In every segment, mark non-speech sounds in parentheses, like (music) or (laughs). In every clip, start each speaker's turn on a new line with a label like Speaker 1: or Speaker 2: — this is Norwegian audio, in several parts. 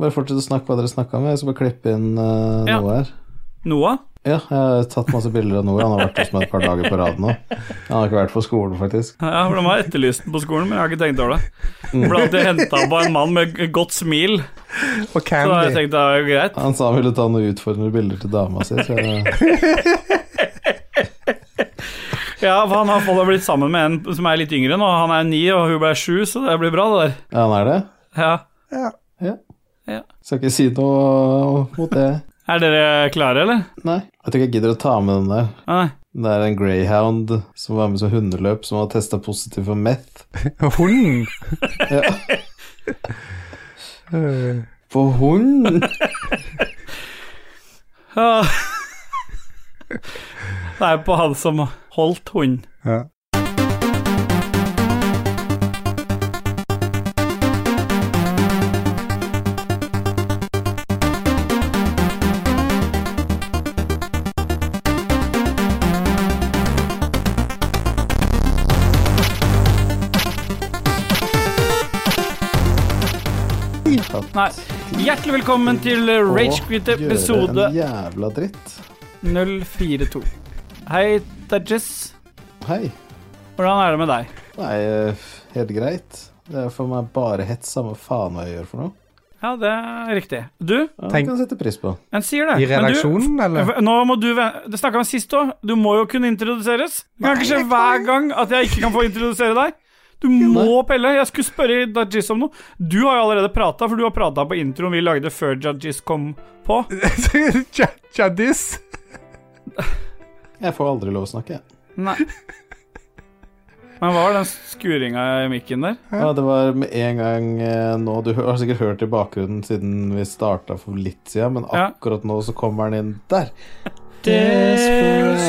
Speaker 1: Bare fortsett å snakke hva dere snakka om. Jeg skal bare klippe inn eh,
Speaker 2: Ja.
Speaker 1: noe her.
Speaker 2: Noah?
Speaker 1: Ja, jeg har tatt masse bilder av Noah. Han har vært hos meg et par dager på rad nå. Han har ikke vært på skolen, faktisk.
Speaker 2: Ja, for de har etterlyst den på skolen, men jeg har ikke tenkt over det. Jeg ble alltid henta på en mann med g- godt smil,
Speaker 3: Og
Speaker 2: så har jeg
Speaker 3: Candy.
Speaker 2: tenkt det er jo greit.
Speaker 1: Han sa han ville ta noen utfordrende bilder til dama si. Så jeg,
Speaker 2: Ja, for han har fått blitt sammen med en som er litt yngre nå. Han er ni, og hun ble sju, så det blir bra, det der.
Speaker 1: ja, han er det.
Speaker 2: Ja.
Speaker 1: Skal ikke si noe eh, mot det.
Speaker 2: Er dere klare, eller?
Speaker 1: Nei. Jeg tror ikke jeg gidder å ta med den der.
Speaker 2: Nei.
Speaker 1: Det er en greyhound som var med som hundeløp, som var testa positiv for meth.
Speaker 3: (laughs) Hunden. (laughs)
Speaker 1: Ja.
Speaker 3: Øh,
Speaker 1: På hund?
Speaker 2: Ja. Det er på han som holdt hunden.
Speaker 3: Ja.
Speaker 2: Nei. Hjertelig velkommen til Ragequit episode
Speaker 1: Gjøre en jævla dritt.
Speaker 2: 042. Hei, det er Jess.
Speaker 1: Hei.
Speaker 2: Hvordan er det med deg?
Speaker 1: Nei, eh, helt greit. Det er for meg bare hets, samme faen hva jeg gjør for noe.
Speaker 2: Ja, det er riktig. Du?
Speaker 1: Ja,
Speaker 3: Tenk-
Speaker 1: Det kan jeg sette pris på.
Speaker 2: En sier det.
Speaker 3: I
Speaker 2: men du-
Speaker 3: redaksjonen, (laughs) eller?
Speaker 2: Nå må du ven- Det snakka vi om sist òg. Du må jo kunne introduseres. Det kan ikke skje hver gang at jeg ikke kan få introdusere deg. Du må pelle. Jeg skulle spørre Dajis om noe. Du har jo allerede prata, for du har prata på introen vi lagde før Dajis kom på.
Speaker 3: Tja- Tjaddis.
Speaker 1: Jeg får aldri lov å snakke, jeg.
Speaker 2: Nei. Men hva var den skuringa i mikken der?
Speaker 1: Ja, det var med en gang eh, nå Du hø- har sikkert hørt i bakgrunnen siden vi starta for litt siden, men
Speaker 2: Ja.
Speaker 1: akkurat nå så kommer den inn der.
Speaker 2: Desperate.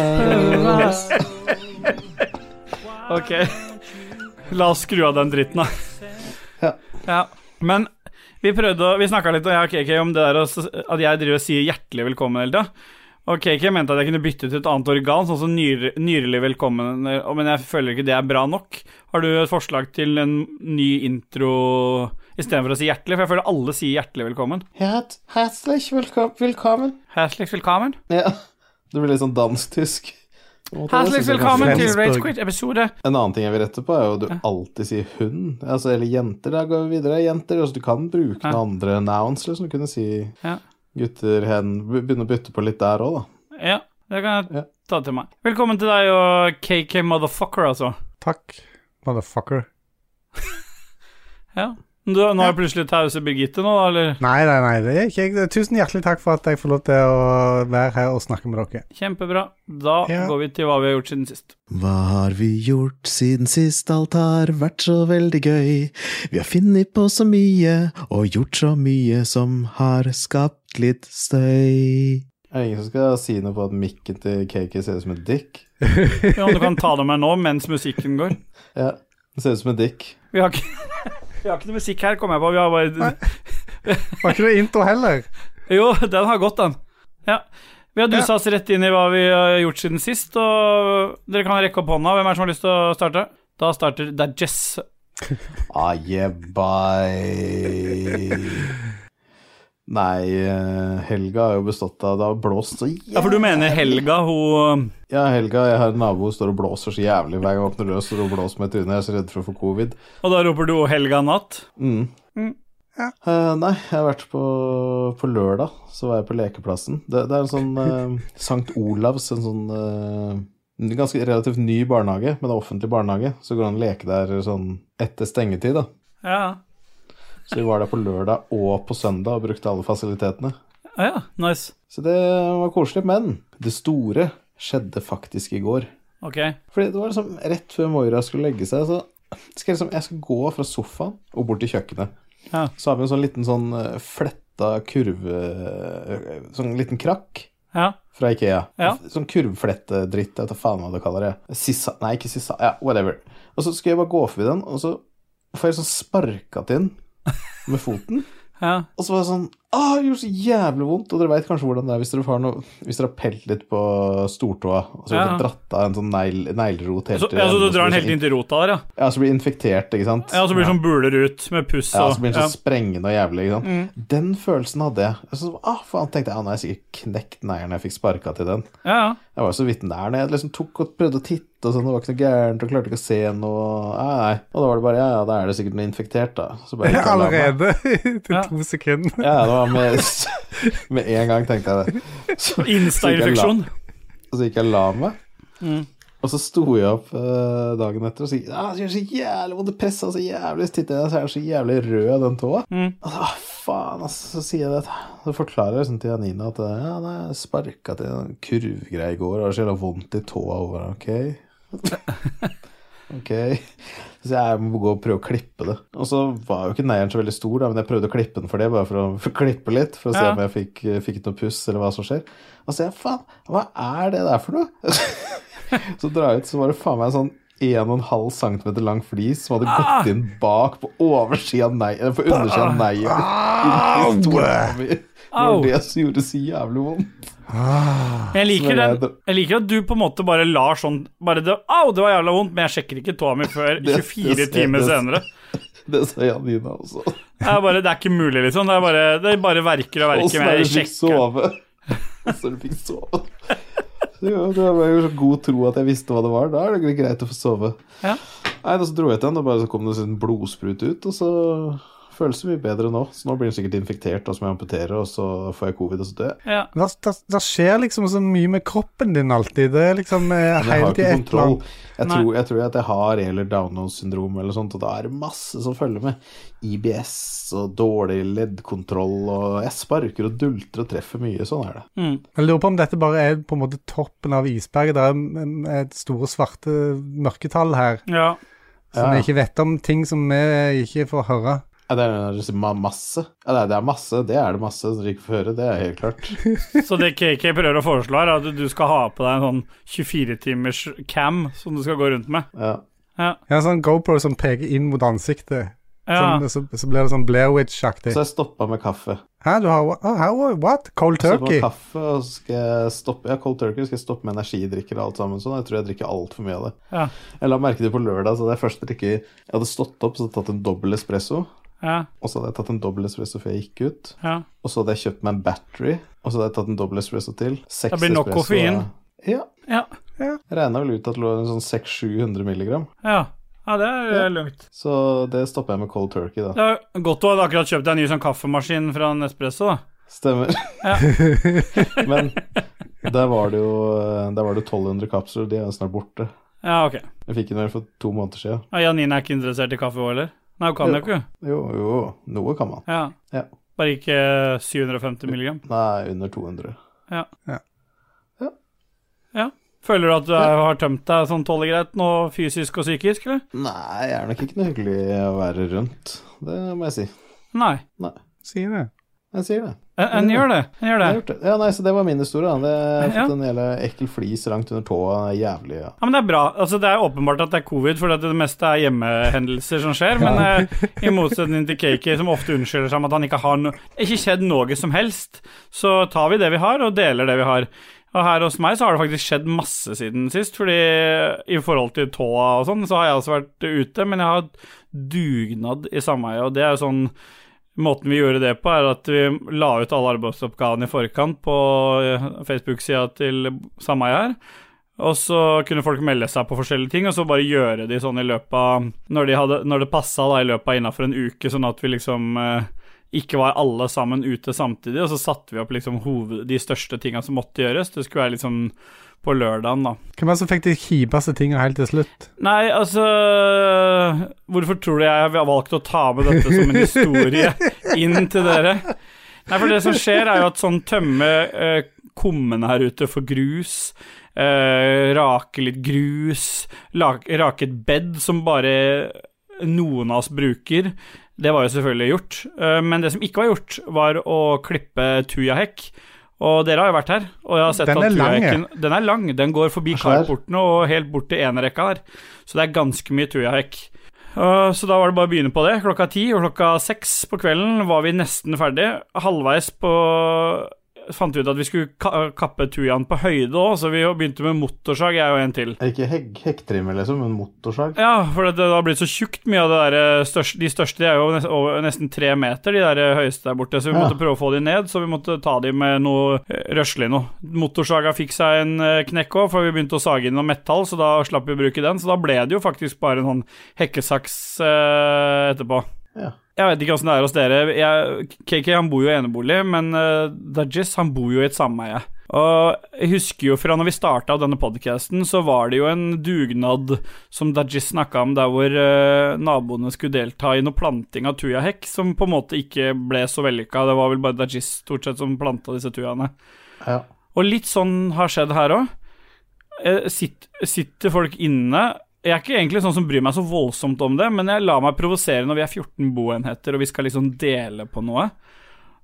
Speaker 2: Ok. La oss skru av den dritten, da.
Speaker 1: Ja.
Speaker 2: Ja. Men vi prøvde å Vi snakka litt og jeg og KK om det der å s- at jeg driver og sier hjertelig velkommen hele tida. Og KK mente at jeg kunne bytte ut et annet organ, sånn som nyre, nyrelig velkommen, eh, men jeg føler ikke det er bra nok. Har du et forslag til en ny intro istedenfor å si hjertelig? For jeg føler alle sier hjertelig velkommen.
Speaker 1: Hjert, herzlich velko- velkommen.
Speaker 2: Herzlich willkommen.
Speaker 1: Ja. Det blir litt sånn dansk-tysk. På en måte, det
Speaker 2: Herzlich
Speaker 1: synes jeg
Speaker 2: willkommen
Speaker 1: kanskje-
Speaker 2: til
Speaker 3: Flensburg.
Speaker 2: Rage Quit episode
Speaker 1: En annen ting jeg vil rette på, er jo at du alltid sier hun. Altså, eller jenter. Da går vi videre. Jenter. Altså, du kan bruke
Speaker 2: Ja.
Speaker 1: noen andre nouns. Liksom. Du kunne si
Speaker 2: Ja.
Speaker 1: gutter, hen Be- Begynne å bytte på litt der òg, da.
Speaker 2: Ja, det kan jeg
Speaker 1: Ja.
Speaker 2: ta til meg. Velkommen til deg og KK Motherfucker, altså.
Speaker 3: Takk, motherfucker.
Speaker 2: Ja. Du, nå er det plutselig tause Birgitte nå, da, eller?
Speaker 3: Nei, nei, nei, det er ikke jeg. Tusen hjertelig takk for at jeg får lov til å være her og snakke med dere.
Speaker 2: Kjempebra. Da
Speaker 3: Ja.
Speaker 2: går vi til hva vi har gjort siden sist.
Speaker 1: Hva har vi gjort siden sist alt har vært så veldig gøy? Vi har funnet på så mye og gjort så mye som har skapt litt støy. Er det ingen som skal si noe på at mikken til KK ser ut som en dick?
Speaker 2: Ja, du kan ta det med nå, mens musikken går.
Speaker 1: Ja, det ser ut som en dick.
Speaker 2: Vi har ikke, (laughs) vi har ikke noe musikk her, kom jeg på. Vi har bare
Speaker 3: Var ikke det
Speaker 1: (laughs)
Speaker 3: intro heller?
Speaker 2: Jo, den har gått, den. Ja. Vi har dusa oss rett inn i hva vi har gjort siden sist, og dere kan rekke opp hånda. Hvem er det som har lyst til å starte? Da starter Det er Jess.
Speaker 1: Ah, yeah, bye. Nei, eh, helga har jo bestått av Det har blåst så jævlig
Speaker 2: Ja, for du mener Helga, hun
Speaker 1: Ja, helga. Jeg har en nabo som står og blåser så jævlig hver gang jeg åpner døra. Står og blåser med trynet. Jeg er så redd for å få covid.
Speaker 2: Og da roper du 'Helga natt'?
Speaker 1: Mm.
Speaker 2: Mm.
Speaker 3: Ja.
Speaker 1: Eh, nei, jeg har vært på På lørdag så var jeg på lekeplassen. Det, det er en sånn
Speaker 2: (laughs)
Speaker 1: eh, Sankt Olavs, en sånn eh, en ganske relativt ny barnehage, men det er offentlig barnehage. Så går det an å leke der sånn etter stengetid, da.
Speaker 2: Ja.
Speaker 1: Så vi var der på lørdag og på søndag og brukte alle fasilitetene.
Speaker 2: Ah, ja, nice.
Speaker 1: Så det var koselig, men det store skjedde faktisk i går.
Speaker 2: Ok.
Speaker 1: Fordi det var liksom rett før Moira skulle legge seg, så skal jeg liksom Jeg skal gå fra sofaen og bort til kjøkkenet.
Speaker 2: Ja.
Speaker 1: Så har vi en sånn liten sånn eh, fletta kurve Sånn liten krakk
Speaker 2: Ja.
Speaker 1: fra Ikea.
Speaker 2: Ja.
Speaker 1: Sånn kurvflettedritt, jeg vet da faen hva det kaller det. Sisa, nei, ikke sisa, ja, whatever. Og så skal jeg bare gå forbi den, og så får jeg sånn sparka til den med foten.
Speaker 2: ja.
Speaker 1: Og så var det sånn ah, det gjorde så jævlig vondt. Og dere veit kanskje hvordan det er hvis dere har, noe, hvis dere har pelt litt på stortåa, og så har
Speaker 2: Ja.
Speaker 1: dere dratt av en sånn negl- neglerot helt
Speaker 2: Så,
Speaker 1: til
Speaker 2: ja,
Speaker 1: enden,
Speaker 2: så du
Speaker 1: og
Speaker 2: drar den
Speaker 1: blir
Speaker 2: helt inn til rota der, ja.
Speaker 1: Ja, så blir det infektert, ikke sant?
Speaker 2: ja så blir det sånn buler ut med puss
Speaker 1: Ja,
Speaker 2: og
Speaker 1: så blir sånn den så sprengende og jævlig. Ikke sant?
Speaker 2: Mm.
Speaker 1: Den følelsen hadde jeg. jeg. Så, ah, faen, tenkte jeg, ah, nå har jeg sikkert knekt neglen jeg fikk sparka til den.
Speaker 2: ja, ja.
Speaker 1: Jeg var jo så vidt nær når jeg liksom tok og prøvde å titte og sånn, det var ikke noe gærent, og klarte ikke å se noe Nei, nei. Og da var det bare ja, ja, da er det sikkert noe infektert, da. Så
Speaker 3: (laughs)
Speaker 1: bare gikk jeg og la meg.
Speaker 3: Allerede til
Speaker 2: Ja.
Speaker 3: to sekunder.
Speaker 1: Ja, det var med, (laughs) med en gang tenkte jeg det. Så,
Speaker 2: Insta-infeksjon.
Speaker 1: så gikk jeg og la meg.
Speaker 2: Mm.
Speaker 1: Og så sto jeg opp eh, dagen etter og sa ah, det gjør så jævlig vondt, det pressa så jævlig. Så titter jeg, så er den så jævlig rød, den tåa.
Speaker 2: Mm.
Speaker 1: Og så, ah, faen, altså, så sier jeg det. Så forklarer jeg liksom til Janina at ja, nei, jeg sparka til en kurvgreie i går, og det er så jævla vondt i tåa over Ok. ok. Så jeg må gå og prøve å klippe det. Og så var jo ikke neieren så veldig stor, da, men jeg prøvde å klippe den for det, bare for å for å (laughs) klippe litt, for å se
Speaker 2: Ja.
Speaker 1: om jeg fikk, fikk noe puss, eller hva som skjer. Og så jeg, faen, hva er det der for noe? (laughs) så drar jeg ut, så var det faen meg en sånn 1,5 cm lang flis som hadde
Speaker 2: Ah!
Speaker 1: gått inn bak på oversiden av nei, eller på undersiden av neien. (laughs) Inni stolen min. Det
Speaker 2: Au.
Speaker 1: var det som gjorde så jævlig vondt.
Speaker 2: Men Jeg liker,
Speaker 1: Så jeg
Speaker 2: den, jeg liker at du på en måte bare lar sånn bare det, Au, det var jævla vondt, men jeg sjekker ikke tåa mi før
Speaker 1: (laughs) det
Speaker 2: 24
Speaker 1: ser-
Speaker 2: timer
Speaker 1: det-
Speaker 2: senere.
Speaker 1: Det sa Janina også.
Speaker 2: Det er bare, det er ikke mulig, liksom. Det er bare, det er bare verker og verker.
Speaker 1: Åssen
Speaker 2: Men
Speaker 1: er det
Speaker 2: jeg
Speaker 1: du fikk
Speaker 2: sjekker.
Speaker 1: sove? (laughs) Åssen er det du fikk sove? Så jo, det var jo så god tro at jeg visste hva det var. Da er det greit å få sove.
Speaker 2: Ja.
Speaker 1: Nei, da så dro jeg til den, og bare så kom det en sånn blodsprut ut, og så føles det mye bedre nå. Så nå blir den sikkert infektert, og så må jeg amputere, og så får jeg covid, og så dør jeg.
Speaker 2: Ja.
Speaker 3: Det, det, det skjer liksom så mye med kroppen din alltid. Det er liksom eh,
Speaker 1: Men jeg
Speaker 3: hele
Speaker 1: har ikke
Speaker 3: tiden et eller
Speaker 1: kontroll.
Speaker 3: annet.
Speaker 1: Jeg
Speaker 2: Nei.
Speaker 1: tror, jeg tror at jeg har eller Downs syndrom eller sånt, og da er det masse som følger med. IBS og dårlig leddkontroll og Jeg sparker og dulter og treffer mye. Sånn er det.
Speaker 2: Mm.
Speaker 3: Jeg lurer på om dette bare er på en måte toppen av isberget. Det er mm, et store svarte mørketall her
Speaker 2: ja.
Speaker 3: som
Speaker 1: Ja.
Speaker 3: vi ikke vet om, ting som vi ikke får høre.
Speaker 1: Ja, det er det er ma- masse. Ja, det er- det er masse. Det er det masse som dere ikke får høre. Det er helt klart.
Speaker 2: Så det KK prøver å foreslå, er at du skal ha på deg en sånn 24-timers cam som du skal gå rundt med.
Speaker 1: Ja.
Speaker 2: Ja.
Speaker 3: Jeg har en sånn GoPro som peker inn mot ansiktet.
Speaker 2: ja.
Speaker 3: Sånn, så, så blir det sånn Blair Witch-aktig.
Speaker 1: Så jeg stoppa med kaffe.
Speaker 3: Hæ, du har oh, how, What? Cold
Speaker 1: Så på
Speaker 3: turkey?
Speaker 1: kaffe og så skal jeg stoppe Ja, cold turkey skal jeg stoppe med energidrikker og alt sammen sånn. Jeg tror jeg drikker altfor mye av det.
Speaker 2: Ja.
Speaker 1: Jeg la merke til på lørdag, så det er første drikke Jeg hadde stått opp, så hadde jeg tatt en dobbel espresso.
Speaker 2: Ja.
Speaker 1: Og så hadde jeg tatt en dobbel espresso før jeg gikk ut.
Speaker 2: Ja.
Speaker 1: Og så hadde jeg kjøpt meg en battery, og så hadde jeg tatt en dobbel espresso til. Seks
Speaker 2: Det blir nok
Speaker 1: espresso,
Speaker 2: koffein.
Speaker 1: Ja.
Speaker 2: Ja.
Speaker 1: Jeg regna vel ut at det lå en sånn 600-700 milligram.
Speaker 2: ja. ja det er eh, lugnt.
Speaker 1: Så det stopper jeg med cold turkey, da.
Speaker 2: Det er godt du hadde akkurat kjøpt deg en ny sånn kaffemaskin fra Nespresso, da.
Speaker 1: Stemmer.
Speaker 2: Ja.
Speaker 1: (laughs) Men der var det jo eh, der var det 1200 kapsler, og de er jo snart borte.
Speaker 2: Ja, ok.
Speaker 1: Jeg fikk den vel for to måneder siden.
Speaker 2: Ja, Janine er ikke interessert i kaffe òg, eller? Nei, hun kan jo
Speaker 1: Jo.
Speaker 2: ikke.
Speaker 1: Jo, jo, noe kan man.
Speaker 2: Ja.
Speaker 1: Ja.
Speaker 2: Bare ikke 750 milligram.
Speaker 1: Nei, under 200.
Speaker 2: Føler du at du er, har tømt deg sånn tålelig greit nå, fysisk og psykisk, eller?
Speaker 1: Nei, jeg er nok ikke noe hyggelig å være rundt. Det må jeg si.
Speaker 2: Nei.
Speaker 3: Si det.
Speaker 1: Jeg sier det.
Speaker 2: En, en gjør det. En
Speaker 1: Jeg
Speaker 2: gjør det.
Speaker 1: har gjort det. Ja, nei, så det var min historie. Da. Det jeg har
Speaker 2: Ja.
Speaker 1: fått en jævla ekkel flis langt under tåa. Jævlig. Ja.
Speaker 2: Ja, men Det er bra. Altså, det er åpenbart at det er covid, for det meste er hjemmehendelser som skjer. Men eh, i motsetning til Kaki, som ofte unnskylder seg med at han ikke har no ikke skjedd noe som helst, så tar vi det vi har, og deler det vi har. Og her hos meg så har det faktisk skjedd masse siden sist, fordi i forhold til tåa og sånn, så har jeg også vært ute, men jeg har hatt dugnad i sameiet, og det er jo sånn Måten vi gjorde det på, er at vi la ut alle arbeidsoppgavene i forkant på eh, Facebook-sida til sameiet her. Og så kunne folk melde seg på forskjellige ting, og så bare gjøre de sånn i løpet av Når, de hadde, når det passa, da, i løpet av innafor en uke, sånn at vi liksom eh, ikke var alle sammen ute samtidig. Og så satte vi opp liksom hoved, de største tinga som måtte gjøres. Det skulle være liksom på lørdagen, da.
Speaker 3: Hvem var det som fikk de kjipeste tingene helt til slutt?
Speaker 2: Nei, altså Hvorfor tror du jeg har valgt å ta med dette som en
Speaker 3: (laughs)
Speaker 2: historie inn til dere? Nei, for det som skjer, er jo at sånn tømme eh, kummen her ute for grus, eh, rake litt grus, lak, rake et bed som bare noen av oss bruker. Det var jo selvfølgelig gjort. Eh, men det som ikke var gjort, var å klippe tujahekk. Og dere har jo vært her, og jeg har sett
Speaker 3: Den er
Speaker 2: at
Speaker 3: lang, ja.
Speaker 2: tujahekken Den er lang. Den går forbi
Speaker 1: Svær.
Speaker 2: carportene og helt bort til enerekka her. Så det er ganske mye tujahekk. Eh, Så da var det bare å begynne på det. Klokka ti og klokka seks på kvelden var vi nesten ferdig. Halvveis på fant vi ut at vi skulle ka kappe tujaen på høyde òg, så vi begynte med motorsag, jeg og en til.
Speaker 1: Ikke hegg, hekktrimmer, liksom, men motorsag.
Speaker 2: Ja, for det, det har blitt så tjukt mye av det der største, De største er jo nes- over- nesten tre meter, de der eh, høyeste der borte, så vi
Speaker 1: Ja.
Speaker 2: måtte prøve å få de ned. Så vi måtte ta de med noe eh, røslig noe. Motorsaga fikk seg en eh, knekk òg, for vi begynte å sage inn noe metall, så da slapp vi å bruke den. Så da ble det jo faktisk bare en sånn hekkesaks eh, etterpå.
Speaker 1: Ja.
Speaker 2: Jeg vet ikke åssen det er hos dere. Jeg, KK han bor jo i enebolig, men uh, Dajis han bor jo i et sameie. Og jeg husker jo fra når vi starta denne podkasten, så var det jo en dugnad som Dajis snakka om, der hvor eh, naboene skulle delta i noe planting av tujahekk, som på en måte ikke ble så vellykka. Det var vel bare Dajis stort sett som planta disse tujaene.
Speaker 1: ja.
Speaker 2: Og litt sånn har skjedd her òg. Sitt, sitter folk inne Jeg er ikke egentlig sånn som bryr meg så voldsomt om det, men jeg lar meg provosere når vi er 14 boenheter og vi skal liksom dele på noe.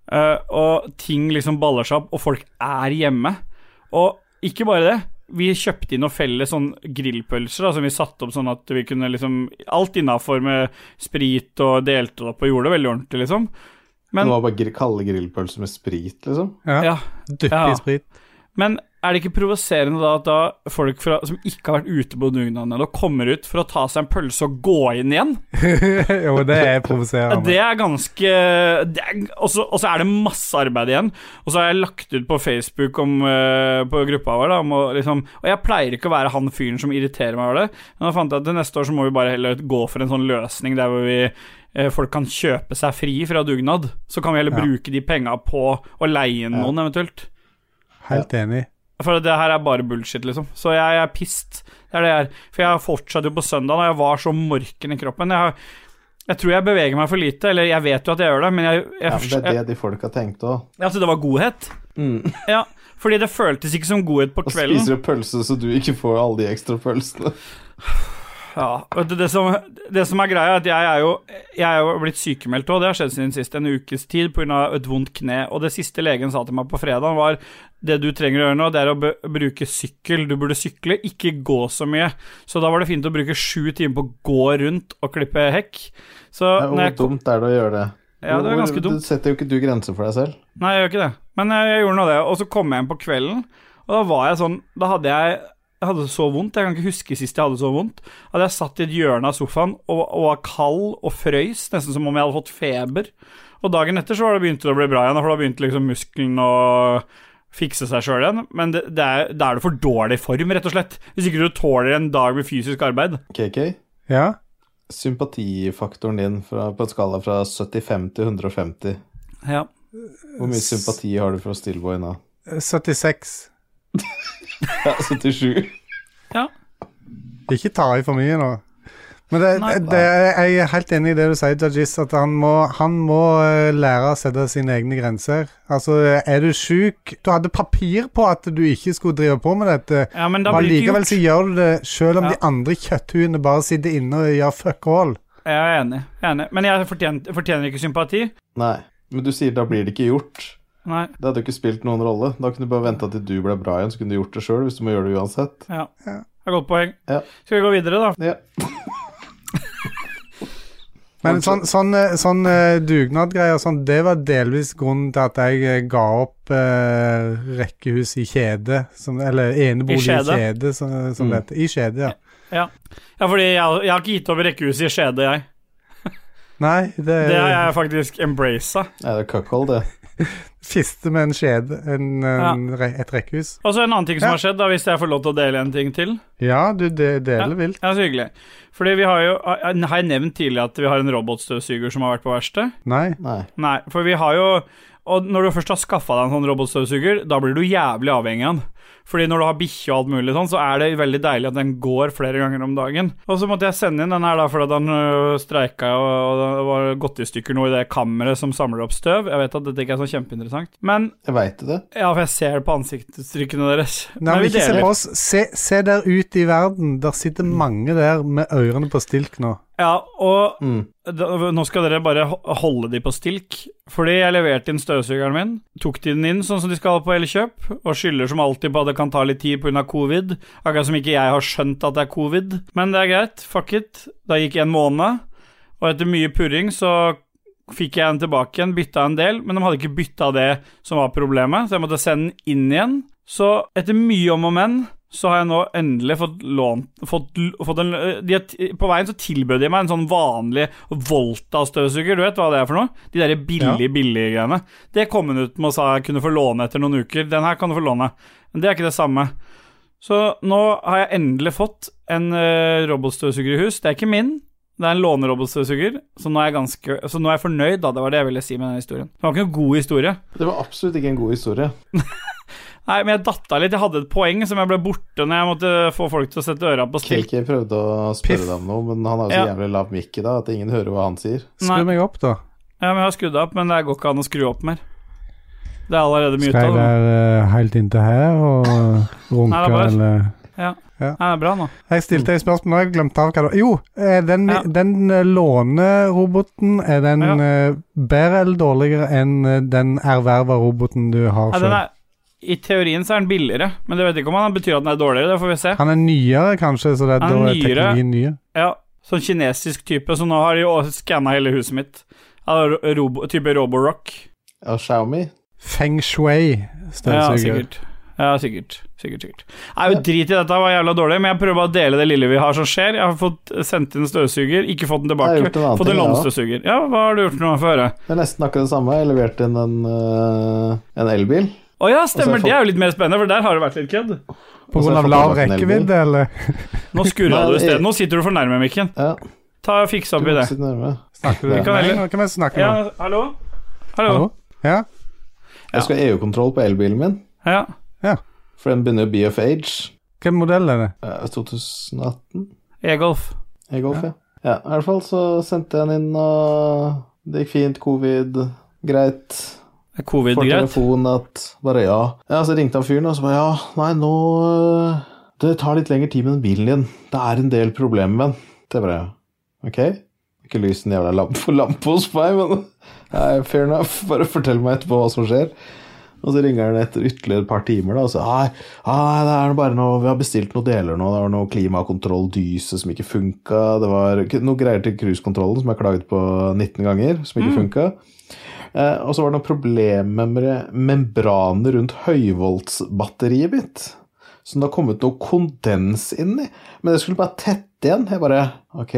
Speaker 2: Eh, og ting liksom baller seg opp, og folk er hjemme. Og ikke bare det. Vi kjøpte inn noen felles sånn grillpølser da, som vi satte opp sånn at vi kunne liksom Alt innafor med sprit og delte det opp og gjorde det veldig ordentlig, liksom. Men-
Speaker 1: det var bare gr kalde grillpølser med sprit, liksom.
Speaker 3: Ja.
Speaker 2: Ja.
Speaker 3: Dyppe
Speaker 2: Ja.
Speaker 3: i sprit. (laughs)
Speaker 2: Men er det ikke provoserende da at da folk fra, som ikke har vært ute på dugnaden, da kommer ut for å ta seg en pølse og gå inn igjen?
Speaker 3: jo, det er provoserende.
Speaker 2: Det er ganske det er, Og så og så er det masse arbeid igjen. Og så har jeg lagt ut på Facebook om, eh, på gruppa vår da, om å liksom Og jeg pleier ikke å være han fyren som irriterer meg over det, men da fant jeg at til neste år så må vi bare heller gå for en sånn løsning der hvor vi eh, Folk kan kjøpe seg fri fra dugnad. Så kan vi heller
Speaker 3: Ja.
Speaker 2: bruke de penga på å leie inn noen, eventuelt.
Speaker 3: Helt enig.
Speaker 2: For det her er bare bullshit, liksom. Så jeg, er pissed. Det er det jeg er. For jeg fortsatte jo på søndag, og jeg var så morken i kroppen. Jeg, jeg tror jeg beveger meg for lite, eller jeg vet jo at jeg gjør det, men jeg, jeg,
Speaker 1: Ja, men det Mm.
Speaker 2: jeg,
Speaker 1: er det de folka tenkte òg.
Speaker 2: Altså, det var godhet. Ja, fordi det føltes ikke som godhet på
Speaker 1: Og
Speaker 2: kvelden.
Speaker 1: spiser du pølse så du ikke får alle de ekstra
Speaker 2: (laughs)
Speaker 1: pølsene.
Speaker 2: Ja, vet du, det, som, det som er greia, er at jeg er jo, jeg er jo blitt sykemeldt òg. Det har skjedd siden sist, en ukes tid pga. et vondt kne. Og det siste legen sa til meg på fredag, var det du trenger å gjøre nå, det er å b bruke sykkel. Du burde sykle, ikke gå så mye. Så da var det fint å bruke sju timer på å gå rundt og klippe hekk. Så
Speaker 1: Ja,
Speaker 2: når
Speaker 1: Hvor
Speaker 2: jeg kom,
Speaker 1: dumt er det å gjøre det?
Speaker 2: ja, det
Speaker 1: Hvor-
Speaker 2: er ganske
Speaker 1: Du
Speaker 2: dumt.
Speaker 1: setter jo ikke du grenser for deg selv.
Speaker 2: Nei, jeg gjør ikke det. Men jeg, jeg gjorde nå det. Og så kom jeg hjem på kvelden, og da var jeg sånn Da hadde jeg jeg hadde så vondt, jeg kan ikke huske sist jeg hadde så vondt. At jeg satt i et hjørne av sofaen og, og var kald og frøys, nesten som om jeg hadde fått feber. Og dagen etter så var det begynte det å bli bra igjen, for da begynte liksom muskelen å fikse seg sjøl igjen. Men det, det er, da er du for dårlig i form, rett og slett. Hvis ikke du tåler en dag med fysisk arbeid.
Speaker 1: KK,
Speaker 3: Ja.
Speaker 1: sympatifaktoren din fra, på en skala fra 75 til 150,
Speaker 2: Ja.
Speaker 1: hvor mye sympati har du for Stillboy nå? (laughs)
Speaker 3: Eh, 76.
Speaker 1: Ja, 77.
Speaker 3: Ikke ta i for mye nå. Men det,
Speaker 2: Nei.
Speaker 3: det, det, jeg er helt enig i det du sier, Dajis, at han må, han må eh, lære å sette sine egne grenser. Altså, er du sjuk Du hadde papir på at du ikke skulle drive på med dette,
Speaker 2: ja, men da
Speaker 3: men
Speaker 2: blir det ikke
Speaker 3: likevel
Speaker 2: gjort.
Speaker 3: så gjør du det selv om
Speaker 2: Ja.
Speaker 3: de andre kjøtthuene bare sitter inne og gjør fuck all.
Speaker 2: Jeg er enig. Jeg er enig. Men jeg fortjener, fortjener ikke sympati.
Speaker 1: Nei, men du sier da blir det ikke gjort.
Speaker 2: Nei.
Speaker 1: Det hadde jo ikke spilt noen rolle. Da kunne du bare venta til du ble bra igjen, så kunne du gjort det sjøl, hvis du må gjøre det uansett.
Speaker 2: Ja.
Speaker 3: Ja.
Speaker 2: Det er godt poeng.
Speaker 1: Ja.
Speaker 2: Skal vi gå videre, da?
Speaker 1: Ja.
Speaker 3: Men sånn, sånn, eh, sånn eh, dugnadgreier og sånn, det var delvis grunnen til at jeg eh, ga opp eh, rekkehus i kjede, som, eller enebolig i
Speaker 2: Skjede.
Speaker 3: kjede, som, som
Speaker 1: Mm.
Speaker 3: det heter. I kjede, ja.
Speaker 2: Ja, fordi jeg, jeg har ikke gitt over rekkehuset i Skjede, jeg.
Speaker 3: Nei, det,
Speaker 2: Det har jeg faktisk embracet.
Speaker 1: Nei, det er cuckold, det.
Speaker 3: Fiste med en skjede, en,
Speaker 2: Ja.
Speaker 3: en, re- et rekkehus.
Speaker 2: Og så en annen ting som
Speaker 3: Ja.
Speaker 2: har skjedd, da, hvis jeg får lov til å dele en ting til.
Speaker 3: Ja, du det deler vilt.
Speaker 2: Ja, så hyggelig. Fordi vi har jo Har jeg nevnt tidligere at vi har en robotstøvsuger som har vært på verksted?
Speaker 3: Nei.
Speaker 1: Nei.
Speaker 2: Nei, for vi har jo Og når du først har skaffa deg en sånn robotstøvsuger, da blir du jævlig avhengig av den. Fordi når du har bikkje og alt mulig sånn, så er det veldig deilig at den går flere ganger om dagen. Og så måtte jeg sende inn den her da, fordi den øh, streika og, og det var gått i stykker noe i det kammeret som samler opp støv. Jeg vet at dette ikke er så kjempeinteressant, men
Speaker 1: Jeg veit jo det.
Speaker 2: Ja, for jeg ser på ansiktsuttrykkene deres. Men
Speaker 3: Nei, men
Speaker 2: vi
Speaker 3: ikke se
Speaker 2: deler. Mm.
Speaker 3: på oss. Se, se der ute i verden. Der sitter mange der med ørene på stilk nå.
Speaker 2: Ja, og
Speaker 1: Mm.
Speaker 2: da, nå skal dere bare ho- holde de på stilk. Fordi jeg leverte inn støvsugeren min, tok de den inn sånn som de skal på Elkjøp, og skylder som alltid på at det kan ta litt tid pga. covid. Akkurat som ikke jeg har skjønt at det er covid. Men det er greit, fuck it. Da gikk en måned, og etter mye purring så fikk jeg den tilbake igjen, bytta en del, men de hadde ikke bytta det som var problemet, så jeg måtte sende den inn igjen. Så etter mye om og men, så har jeg nå endelig fått lånt fått, l- fått en, eh, de, har t- På veien så tilbød de meg en sånn vanlig Volta-støvsuger, du vet hva det er for noe? De der billige, billige greiene. Det kom hun ut med og sa jeg kunne få låne etter noen uker. Den her kan du få låne. Men det er ikke det samme. Så nå har jeg endelig fått en uh, robotstøvsuger i hus. Det er ikke min, det er en lånerobotstøvsuger, så nå er jeg ganske Så nå er jeg fornøyd, da. Det var det jeg ville si med den historien. Det var ikke noen god historie.
Speaker 1: Det var absolutt ikke en god historie.
Speaker 2: Nei, men jeg datta litt. Jeg hadde et poeng som jeg ble borte når jeg måtte få folk til å sette øra på stilk.
Speaker 1: KK prøvde å spørre
Speaker 3: Piff.
Speaker 1: deg om noe, men han har jo så
Speaker 2: Ja.
Speaker 1: jævlig lav mikk i dag at ingen hører hva han sier.
Speaker 2: Nei.
Speaker 3: Skru meg opp, da.
Speaker 2: Ja, men jeg har skrudd av opp, men det går ikke an å skru opp mer. Det er allerede mye
Speaker 3: Skal jeg
Speaker 2: av det.
Speaker 3: være eh, helt inntil her (laughs) og
Speaker 2: Nei,
Speaker 3: runke,
Speaker 2: det er bare-
Speaker 3: eller
Speaker 2: Nei, det er bra nå.
Speaker 3: Jeg stilte et spørsmål, jeg glemte av hva det var. Jo, eh, den,
Speaker 2: Ja.
Speaker 3: den eh, låneroboten, er den
Speaker 2: Ja.
Speaker 3: eh, bedre eller dårligere enn eh, den erverva roboten du har
Speaker 2: Nei, den
Speaker 3: sjøl?
Speaker 2: er, I teorien så er den billigere, men det vet jeg ikke om han betyr at den er dårligere. Det får vi se.
Speaker 3: Han er nyere, kanskje, så
Speaker 2: Han
Speaker 3: det, da
Speaker 2: er
Speaker 3: er
Speaker 2: nyere.
Speaker 3: teknologien nye.
Speaker 2: Ja, sånn kinesisk type, så nå har de jo skanna hele huset mitt. Ja, ro- robo, type Roborock.
Speaker 1: Og Xiaomi
Speaker 3: Feng
Speaker 2: Ja,
Speaker 3: shui-støvsuger.
Speaker 2: sikkert. Ja, sikkert. Sikkert, sikkert. Nei, jo, drit i dette, det var jævla dårlig, men jeg prøver bare å dele det lille vi har som skjer. Jeg har fått sendt inn støvsuger, ikke fått den
Speaker 1: Jeg har
Speaker 2: tilbake.
Speaker 1: gjort en annen
Speaker 2: Fått
Speaker 1: ting,
Speaker 2: en
Speaker 1: jeg
Speaker 2: lomstøvsuger. Ja, hva har du gjort nå for å høre?
Speaker 1: Det er nesten akkurat det samme. Jeg leverte inn en, øh, en elbil.
Speaker 2: Å ja,
Speaker 1: Og så har
Speaker 2: stemmer,
Speaker 1: Altså, jeg
Speaker 2: det er jo litt mer spennende, for der har det vært litt kødd.
Speaker 1: Og
Speaker 3: På
Speaker 1: så
Speaker 3: grunn
Speaker 1: har Altså,
Speaker 3: av
Speaker 1: jeg
Speaker 3: lav
Speaker 1: fått tilbake en elbil.
Speaker 3: rekkevidde, eller?
Speaker 2: Nå skrur
Speaker 1: Nei,
Speaker 2: du i
Speaker 1: jeg-
Speaker 2: stedet, nå sitter du for nærme mikken.
Speaker 1: Ja,
Speaker 2: Ta og Fiks
Speaker 1: du
Speaker 2: opp i
Speaker 1: må
Speaker 2: det.
Speaker 1: sitte nærme.
Speaker 3: Snakker du
Speaker 1: Vi
Speaker 2: kan
Speaker 3: Nei,
Speaker 2: velge-
Speaker 3: nå kan vi snakke
Speaker 2: Ja,
Speaker 3: nå.
Speaker 2: hallo? Hallo?
Speaker 3: Hallo? Ja?
Speaker 2: Ja.
Speaker 1: Jeg skal ha EU-kontroll på elbilen min,
Speaker 2: Ja.
Speaker 1: for den begynner å be of age.
Speaker 3: Hvilken modell er det?
Speaker 1: Eh, 2018
Speaker 2: E-golf.
Speaker 1: i golf, ja. ja. I hvert fall så sendte jeg den inn, og det gikk fint. Covid, greit.
Speaker 2: Er
Speaker 1: Får
Speaker 2: Covid-greit.
Speaker 1: telefon at bare ja. Ja, så ringte han fyren og så bare ja, nei, nå øh, Det tar litt lengre tid med den bilen din. Det er en del problemer med den. Det er bare ok. Ikke lys den jævla (laughs) lampe, lampe hos meg, men nei, fair enough. Bare fortell meg etterpå hva som skjer. Og så ringer han etter ytterligere et par timer, da, og så nei, nei, det er bare noe, vi har bestilt noen deler nå. Det var noe klimakontroll-dyse som ikke funka. Det var noe greier til cruisekontrollen som jeg klaget på 19 ganger, som ikke funka. Eh, og så var det noen problemer med membraner rundt høyvoltsbatteriet mitt. Som det har kommet noe kondens inn i. Men det skulle bare tette igjen. Jeg bare Ok,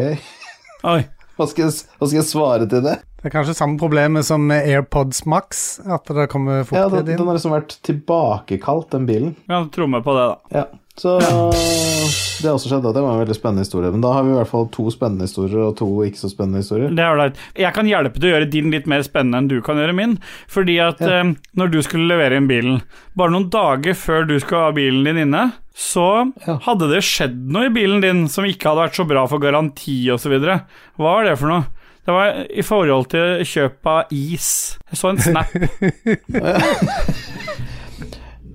Speaker 1: (laughs)
Speaker 2: Oi.
Speaker 1: hva skal jeg, hva skal jeg svare til det?
Speaker 3: Det er kanskje samme problemet som med AirPods Max, at det kommer
Speaker 1: Ja,
Speaker 3: fuktighet
Speaker 1: den, den
Speaker 3: inn.
Speaker 1: har liksom vært tilbakekalt, den bilen.
Speaker 2: Vi kan tromme på det, da.
Speaker 1: Ja. Så det har også skjedd. og Det var en veldig spennende historie. Men da har vi i hvert fall to spennende historier og to ikke så spennende historier.
Speaker 2: Det er ålreit. Jeg kan hjelpe til å gjøre din litt mer spennende enn du kan gjøre min. Fordi at
Speaker 1: Ja.
Speaker 2: eh, når du skulle levere inn bilen, bare noen dager før du skulle ha bilen din inne, så
Speaker 1: Ja.
Speaker 2: hadde det skjedd noe i bilen din som ikke hadde vært så bra for garanti osv. Hva var det for noe? Det var i forhold til kjøp av is. Jeg så en snap.
Speaker 1: (laughs)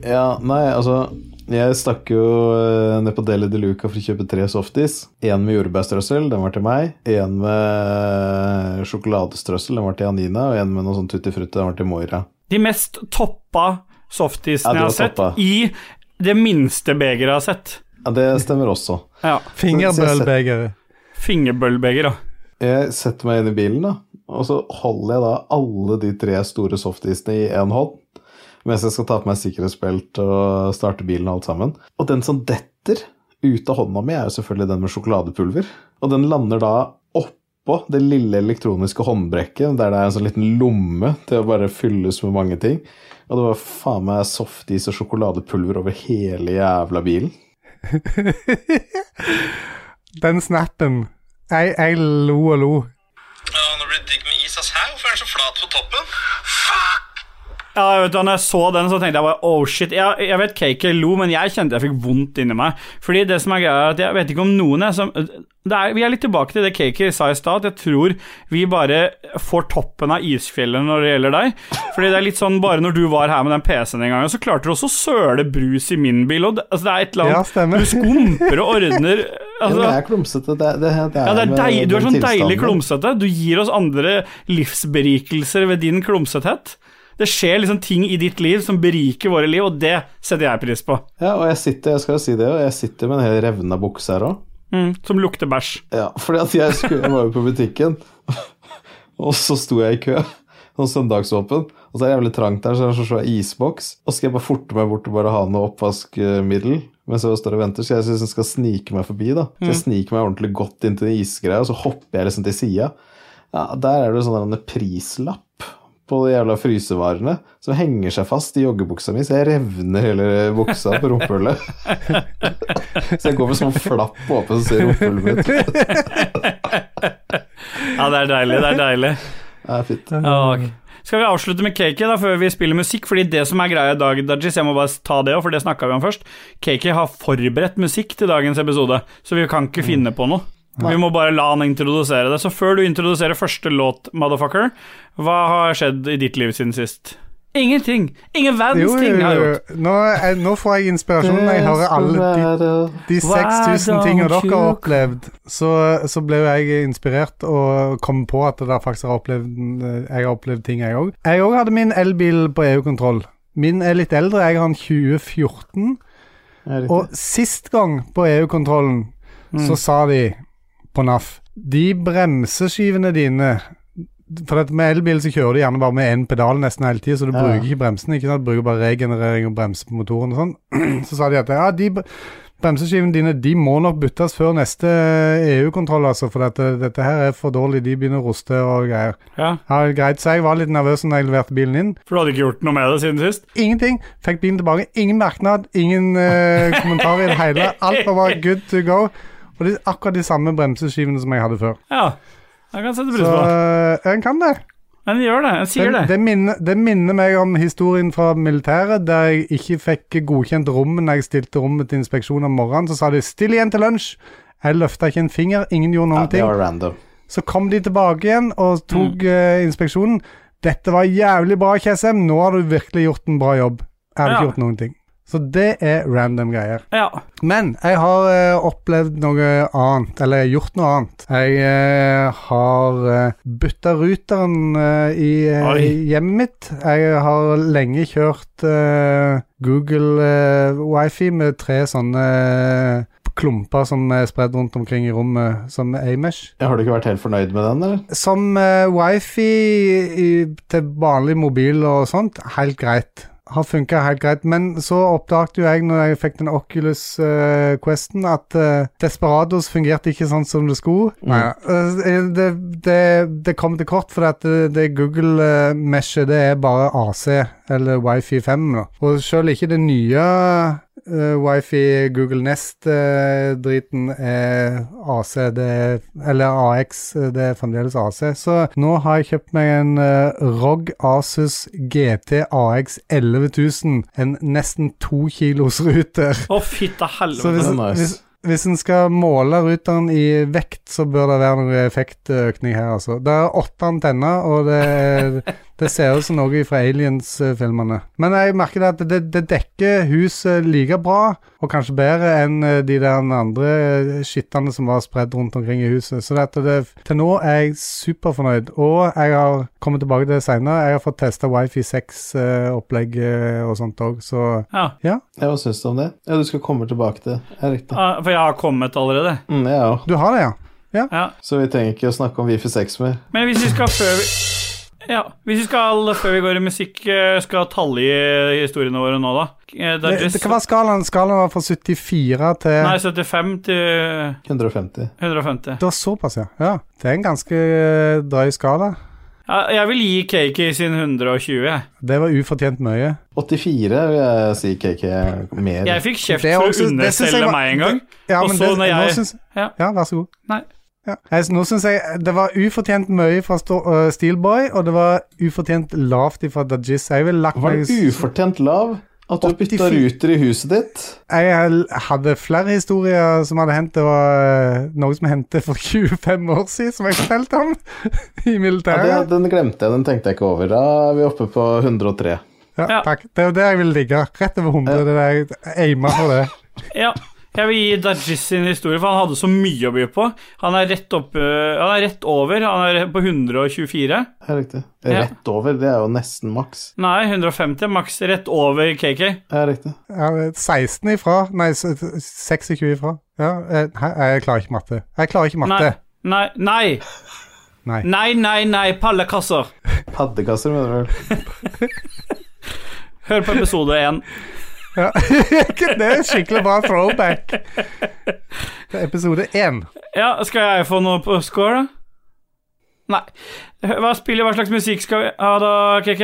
Speaker 1: Ja, nei, altså Jeg stakk jo eh, ned på Deli de Luca for å kjøpe tre softis. Én med jordbærstrøssel, den var til meg. Én med eh, sjokoladestrøssel, den var til Janina. Og én med noe sånn tutti frutti, den var til Moira.
Speaker 2: De mest toppa
Speaker 1: Ja,
Speaker 2: softisene
Speaker 1: de
Speaker 2: jeg
Speaker 1: var
Speaker 2: har sett,
Speaker 1: toppa.
Speaker 2: i det minste begeret jeg har sett.
Speaker 1: Ja, Det stemmer også.
Speaker 2: Ja.
Speaker 3: Fingerbølbegeret.
Speaker 2: Fingerbøllbeger, da.
Speaker 1: Jeg setter meg inn i bilen, da. Og så holder jeg da alle de tre store softisene i én hånd. Mens jeg skal ta på meg sikkerhetsbelt og starte bilen og alt sammen. Og den som detter ut av hånda mi, er jo selvfølgelig den med sjokoladepulver. Og den lander da oppå det lille elektroniske håndbrekket, der det er en sånn liten lomme til å bare fylles med mange ting. Og det var faen meg softis og sjokoladepulver over hele jævla bilen.
Speaker 3: Den snappen. Jeg, jeg lo og lo.
Speaker 4: Ja, nå blir det digg med is, ass. Hæ, hvorfor er den så flat på toppen?
Speaker 2: Ja, vet du, når jeg så den, så tenkte jeg bare oh shit. Jeg, jeg vet KK lo, men jeg kjente jeg fikk vondt inni meg. Fordi det som er greia, er at jeg vet ikke om noen er som det er, Vi er litt tilbake til det KK sa i stad, at jeg tror vi bare får toppen av isfjellet når det gjelder deg. Fordi det er litt sånn bare når du var her med den PC-en en gang, så klarte du også å søle brus i min bil, og det, altså, det er et eller
Speaker 3: Ja,
Speaker 2: annet
Speaker 3: stemmer. (laughs)
Speaker 2: Du skumper og ordner
Speaker 1: Ja,
Speaker 2: Altså,
Speaker 1: men jeg er klumsete. Det, det, det
Speaker 2: ja, det er
Speaker 1: med
Speaker 2: deil, du er
Speaker 1: den
Speaker 2: sånn deilig
Speaker 1: tilstanden.
Speaker 2: klumsete. Du gir oss andre livsberikelser ved din klumsethet. Det skjer liksom ting i ditt liv som beriker våre liv, og det setter jeg pris på.
Speaker 1: Ja, og jeg sitter, jeg skal jo si det, og jeg sitter med en hel revna bukse her òg.
Speaker 2: Mm, som lukter bæsj.
Speaker 1: Ja, fordi at jeg, skulle, jeg var jo på butikken, og så sto jeg i kø. Sånn søndagsåpen. Og så er det jævlig trangt der, så er det en sånn svær isboks. Og så skal jeg bare forte meg bort og bare ha noe oppvaskmiddel mens jeg står og venter. Så jeg synes jeg skal snike meg forbi, da. Så jeg sniker meg ordentlig godt inn til den isgreia, og så hopper jeg liksom til sida. Ja, der er det jo sånn en prislapp på de jævla frysevarene som henger seg fast i joggebuksa mi, så jeg revner hele buksa på rumpehullet. (laughs) så jeg går med sånn flapp åpen, så ser rumpehullet mitt
Speaker 2: Ja, det er deilig. Det er deilig.
Speaker 1: Ja, fint.
Speaker 3: Mm.
Speaker 2: Ja, ok. Skal vi avslutte med Kake da, før vi spiller musikk? Fordi det som er greia i dag, Dajis, jeg må bare ta det òg, for det snakka vi om først. Kake har forberedt musikk til dagens episode, så vi kan ikke
Speaker 3: Mm.
Speaker 2: finne på noe. Vi må bare la han introdusere det. Så før du introduserer første låt, motherfucker, hva har skjedd i ditt liv siden sist? Ingenting. Ingen verdens
Speaker 3: Jo,
Speaker 2: ting
Speaker 3: jo,
Speaker 2: har jeg
Speaker 3: jo.
Speaker 2: gjort.
Speaker 3: Nå, er- nå får jeg inspirasjon når jeg hører alle de, de
Speaker 2: Why
Speaker 3: 6000 tingene
Speaker 2: don't
Speaker 3: dere
Speaker 2: you-
Speaker 3: har opplevd. Så, så ble jo jeg inspirert og kom på at det der faktisk har opplevd, jeg har opplevd ting, jeg òg. Jeg òg hadde min elbil på EU-kontroll. Min er litt eldre, jeg har en 2014. Og sist gang på EU-kontrollen
Speaker 1: Mm.
Speaker 3: så sa de på NAF De bremseskivene dine For at med elbil så kjører du gjerne bare med én pedal nesten hele tida, så du
Speaker 1: Ja.
Speaker 3: bruker ikke bremsene. Ikke sant? Du bruker bare regenerering og bremse på motoren og sånn. Så sa de at ja, de bre- bremseskivene dine de må nok byttes før neste EU-kontroll, altså, for dette, dette her er for dårlig. De begynner å ruste og greier.
Speaker 2: Ja,
Speaker 3: Ja, greit, så jeg var litt nervøs når jeg leverte bilen inn.
Speaker 2: For du hadde ikke gjort noe med det siden sist?
Speaker 3: Ingenting. Fikk bilen tilbake. Ingen merknad, ingen eh, kommentar i det hele. Alt var bare good to go. Og det er akkurat de samme bremseskivene som jeg hadde før.
Speaker 2: Ja. Jeg kan sette pris
Speaker 3: Så
Speaker 2: på det.
Speaker 3: eh, en kan det.
Speaker 2: Men gjør det. Jeg
Speaker 3: Det,
Speaker 2: sier det.
Speaker 3: det, minner, det minner meg om historien fra militæret, der jeg ikke fikk godkjent rommet når jeg stilte rommet til inspeksjon om morgenen. Så sa de 'still igjen til lunsj'. Jeg løfta ikke en finger, ingen gjorde noen
Speaker 1: ja, det
Speaker 3: ting.
Speaker 1: var random.
Speaker 3: Så kom de tilbake igjen og tok
Speaker 2: Mm.
Speaker 3: eh, inspeksjonen. Dette var jævlig bra, KSM. Nå har du virkelig gjort en bra jobb. Jeg hadde
Speaker 2: Ja.
Speaker 3: ikke gjort noen ting. Så det er random greier.
Speaker 2: Ja.
Speaker 3: Men jeg har eh, opplevd noe annet, eller jeg har gjort noe annet. Jeg eh, har uh, bytta ruteren eh, i eh,
Speaker 2: Oi.
Speaker 3: i hjemmet mitt. Jeg har lenge kjørt eh, Google eh, wifi med tre sånne eh, klumper som er spredd rundt omkring i rommet, som Amesh.
Speaker 1: Ja, Har du ikke vært helt fornøyd med den, eller?
Speaker 3: Som eh, wifi i, til vanlig mobil og sånt, helt greit. Har funka helt greit. Men så oppdaget jo jeg, når jeg fikk den Oculus eh, Questen, at eh, Desperados fungerte ikke sånn som det skulle. Nei, eh, det, det, det kom til kort, for at det, det Google-meshet, det er bare AC, eller wifi 5. Da. Og sjøl ikke det nye eh, wifi Google eh, Nest-driten er AC, eh, det er, eller AX, eh, det er fremdeles AC. Så nå har jeg kjøpt meg en eh, ROG Asus GT AX 11000, en nesten to kilos ruter.
Speaker 2: Å, fitte
Speaker 3: Så
Speaker 2: helvete.
Speaker 3: hvis,
Speaker 1: det er nice.
Speaker 3: hvis, hvis en skal måle ruteren i vekt, så bør det være noe effektøkning her, altså. Det er åtte antenner, og det, er- det ser ut som noe fra Aliens-filmene. Men jeg merker det at det, det dekker huset like bra, og kanskje bedre enn eh, de der andre eh, skittene som var spredt rundt omkring i huset. Så det, at det, til nå er jeg superfornøyd, og jeg har kommet tilbake til det seinere. Jeg har fått testa Wifi 6-opplegg eh, og sånt òg, så
Speaker 2: Ja.
Speaker 3: ja.
Speaker 1: Ja, Hva syns du om det? Ja, Du skal komme tilbake til det. Ja, riktig.
Speaker 2: Ah, For jeg har kommet allerede.
Speaker 1: Mm, jeg òg.
Speaker 3: Du har det, ja?
Speaker 2: Ja.
Speaker 1: Så vi trenger ikke å snakke om Wifi 6 mer.
Speaker 2: Men hvis vi skal før vi ja, Hvis vi skal før vi går i musikk, eh, skal talje historiene våre nå, da? Eh, Det er
Speaker 3: Det,
Speaker 2: just,
Speaker 3: det, hva var skalaen? Skalaen var fra 74 til
Speaker 2: Nei, 75 til
Speaker 1: 150.
Speaker 2: 150.
Speaker 3: Det var såpass, ja. ja. Det er en ganske eh, drøy skala.
Speaker 2: Ja, jeg vil gi Kaki sin 120. jeg.
Speaker 3: Det var ufortjent mye.
Speaker 1: 84 vil jeg si KK mer.
Speaker 2: Jeg fikk kjeft
Speaker 3: Det er
Speaker 2: for
Speaker 3: også-
Speaker 2: å
Speaker 3: det synes jeg
Speaker 2: understelle
Speaker 3: var-
Speaker 2: meg en gang.
Speaker 3: Ja,
Speaker 2: Og
Speaker 3: men
Speaker 2: så
Speaker 3: det,
Speaker 2: når jeg-
Speaker 3: nå syns,
Speaker 2: Ja.
Speaker 3: ja, vær så god.
Speaker 2: Nei.
Speaker 3: Ja. Jeg, nå syns jeg det var ufortjent mye fra Sto- øh, Steelboy, og det var ufortjent lavt fra Dajis. Jeg ville lagt
Speaker 1: Var
Speaker 3: meg
Speaker 1: det ufortjent lav at du bytta
Speaker 3: 84?
Speaker 1: ruter i huset ditt?
Speaker 3: Jeg hel- hadde flere historier som hadde hendt. Det var øh, noe som hendte for (laughs) 25 år siden, som jeg fortalte om (laughs) i
Speaker 1: Ja, det,
Speaker 3: militæret.
Speaker 1: den glemte jeg, den tenkte jeg ikke over. Da er vi oppe på 103.
Speaker 3: Ja,
Speaker 2: Ja.
Speaker 3: Takk. Det er jo der jeg ville ligge. Rett over 100. Det er der jeg aima for det.
Speaker 2: Ja. Jeg vil gi Dajis sin historie, for han hadde så mye å by på. Han er rett, opp, øh, han er rett over. Han er på 124.
Speaker 1: Det er riktig. Rett over, det er jo nesten maks.
Speaker 2: Nei, 150. Maks rett over KK.
Speaker 1: Det er riktig.
Speaker 3: Ja, 16 ifra. Nei, s- 26 ifra. Ja, eh, hæ, jeg klarer ikke matte. Jeg klarer
Speaker 2: Nei,
Speaker 3: ikke matte.
Speaker 2: nei, nei,
Speaker 3: Nei.
Speaker 2: nei, nei, nei pallekasser.
Speaker 1: Paddekasser, mener du vel?
Speaker 2: Hør på episode 1.
Speaker 3: Ja. (laughs) det er skikkelig bra throwback. Det er episode 1.
Speaker 2: Ja, skal jeg få noe på score, da? Nei. Hva spiller, hva slags musikk skal vi ha da, KK?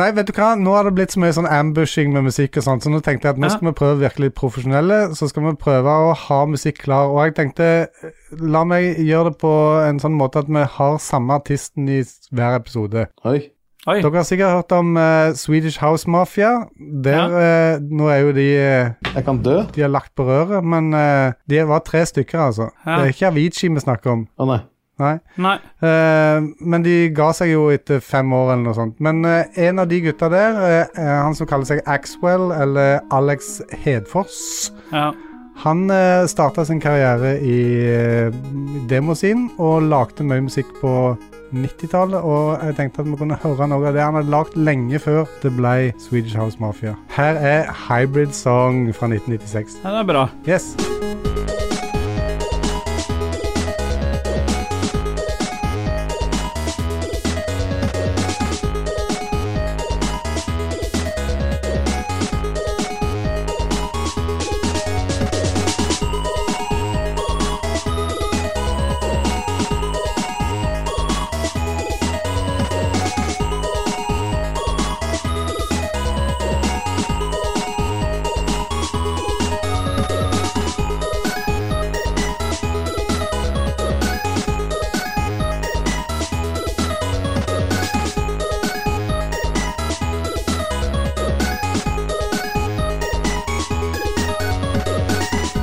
Speaker 3: Nei, vet du hva? Nå har det blitt så mye sånn ambushing med musikk og sånt, så nå tenkte jeg at nå
Speaker 2: Ja.
Speaker 3: skal vi prøve virkelig profesjonelle, så skal vi prøve å ha musikk klar. Og jeg tenkte, eh, la meg gjøre det på en sånn måte at vi har samme artisten i s- hver episode.
Speaker 1: Oi.
Speaker 2: Oi.
Speaker 3: Dere har sikkert hørt om eh, Swedish House Mafia. Der, eh, nå er jo de eh,
Speaker 1: Jeg kan dø?
Speaker 3: De har lagt på røret, men eh, de var tre stykker, altså.
Speaker 2: Ja.
Speaker 3: Det er ikke Avicii vi snakker om.
Speaker 1: Å nei.
Speaker 3: Nei.
Speaker 2: Nei.
Speaker 3: Eh, men de ga seg jo etter fem år eller noe sånt. Men eh, en av de gutta der, eh, eh, han som kaller seg Axwell, eller Alex Hedfors,
Speaker 2: Ja.
Speaker 3: han uh, starta sin karriere i uh, demoscenen og lagde mye musikk på 90-tallet, og jeg tenkte at vi kunne høre noe av det han hadde lagd lenge før det ble Swedish House Mafia. Her er Hybrid Song fra 1996.
Speaker 2: ja, det er bra.
Speaker 3: Yes.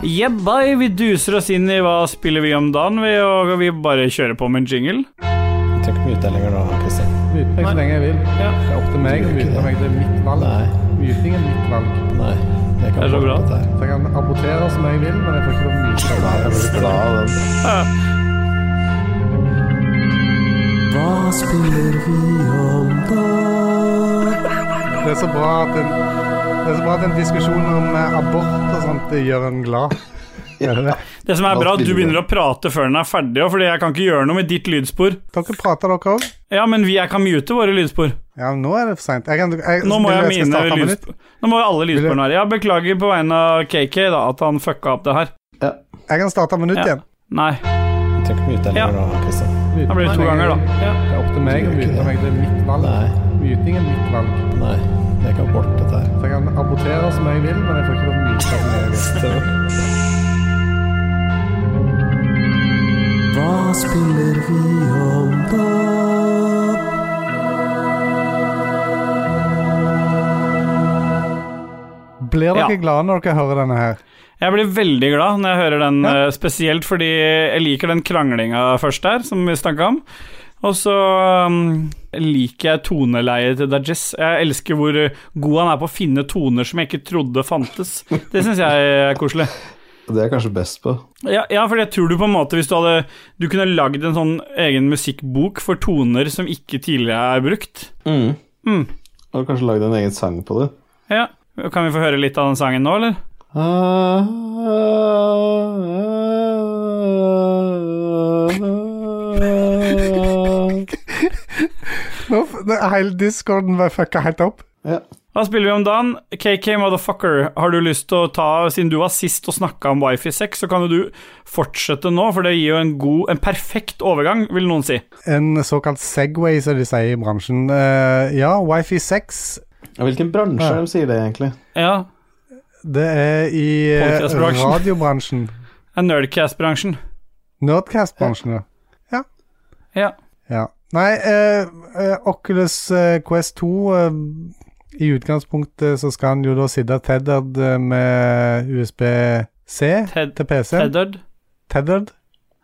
Speaker 2: Yeah, bye. Vi duser oss inn i hva spiller vi om dagen, vi, og vi bare kjører på med en jingle.
Speaker 1: Jeg trenger ikke mye til lenger nå, Kristin.
Speaker 3: Mute meg så lenge jeg vil.
Speaker 2: Ja.
Speaker 3: Det er opp til meg å mute meg. Det er mitt valg.
Speaker 1: Nei.
Speaker 3: Muting er mitt valg.
Speaker 1: Nei. Jeg kan
Speaker 2: Det er så
Speaker 1: hoppe
Speaker 2: bra.
Speaker 1: dette her.
Speaker 3: Så jeg kan abortere som jeg vil, men jeg får ikke lov å mute meg.
Speaker 1: Nei, jeg blir glad av den. Hva spiller vi om da?
Speaker 3: Det er så bra at en, det er så bra at en diskusjon om eh, abort og sånt det gjør en glad. Gjør det det?
Speaker 2: Det som er
Speaker 1: Hva
Speaker 2: bra, at du
Speaker 1: spiller vi?
Speaker 2: begynner å prate før den er ferdig, og fordi jeg kan ikke gjøre noe med ditt lydspor.
Speaker 3: Dere prater dere òg?
Speaker 2: Ja, men vi, jeg kan mute våre lydspor.
Speaker 3: Ja, nå er det for seint. Jeg kan, jeg,
Speaker 2: Nå må,
Speaker 3: vil
Speaker 2: jeg
Speaker 3: skal
Speaker 2: mine
Speaker 3: starte med nytt.
Speaker 2: lydspor. Nå må alle lydsporene være Jeg beklager på vegne av KK da, at han fucka opp det her.
Speaker 3: Jeg kan starte med nytt
Speaker 2: Ja.
Speaker 3: igjen.
Speaker 2: Nei.
Speaker 1: Jeg trenger ikke mye til lenger nå, Kristin.
Speaker 2: Da blir det to ganger, da. Ja.
Speaker 3: Det er opp til meg å mute meg. Det er mitt valg.
Speaker 1: Nei.
Speaker 3: Muting er mitt valg.
Speaker 1: Nei. Jeg kan hoppe dette her.
Speaker 3: Så jeg kan abortere som jeg vil, men jeg får ikke lov å mute meg. som jeg vil.
Speaker 1: Hva spiller vi om da?
Speaker 3: Blir dere
Speaker 2: Ja.
Speaker 3: glade når dere hører denne her?
Speaker 2: Jeg blir veldig glad når jeg hører den,
Speaker 3: Ja.
Speaker 2: eh, spesielt fordi jeg liker den kranglinga først der, som vi snakka om. Og så um, liker jeg toneleiet til Dajess. Jeg elsker hvor eh, god han er på å finne toner som jeg ikke trodde fantes. Det syns jeg er koselig.
Speaker 1: Det er jeg kanskje best på.
Speaker 2: Ja, ja, for jeg tror du på en måte, hvis du hadde Du kunne lagd en sånn egen musikkbok for toner som ikke tidligere er brukt.
Speaker 1: Mm.
Speaker 2: Mm.
Speaker 1: Og kanskje lagd en egen sang på det.
Speaker 2: Ja. Kan vi få høre litt av den sangen nå, eller?
Speaker 1: Ah.
Speaker 3: Nå, f- det, hele discorden var fucka helt opp.
Speaker 1: Ja.
Speaker 2: Hva spiller vi om dagen? KK Motherfucker, har du lyst til å ta Siden du var sist og snakka om wifi-sex, så kan jo du fortsette nå, for det gir jo en god En perfekt overgang, vil noen si.
Speaker 3: En såkalt Segway, som de sier i bransjen. Eh, ja, Wifi 6,
Speaker 1: Ja, Hvilken bransje er det de sier det, egentlig?
Speaker 2: Ja.
Speaker 3: det er i eh,
Speaker 2: Podcastbransjen.
Speaker 3: radiobransjen.
Speaker 2: er Nerdcast-bransjen.
Speaker 3: Nerdcast-bransjen, ja.
Speaker 2: Ja.
Speaker 3: ja. Nei, eh, eh, Oculus eh, Quest 2 eh, I utgangspunktet eh, så skal han jo da sitte tethered eh, med USB-C
Speaker 2: Ted
Speaker 3: til PC.
Speaker 2: Teddard.
Speaker 3: Tethered.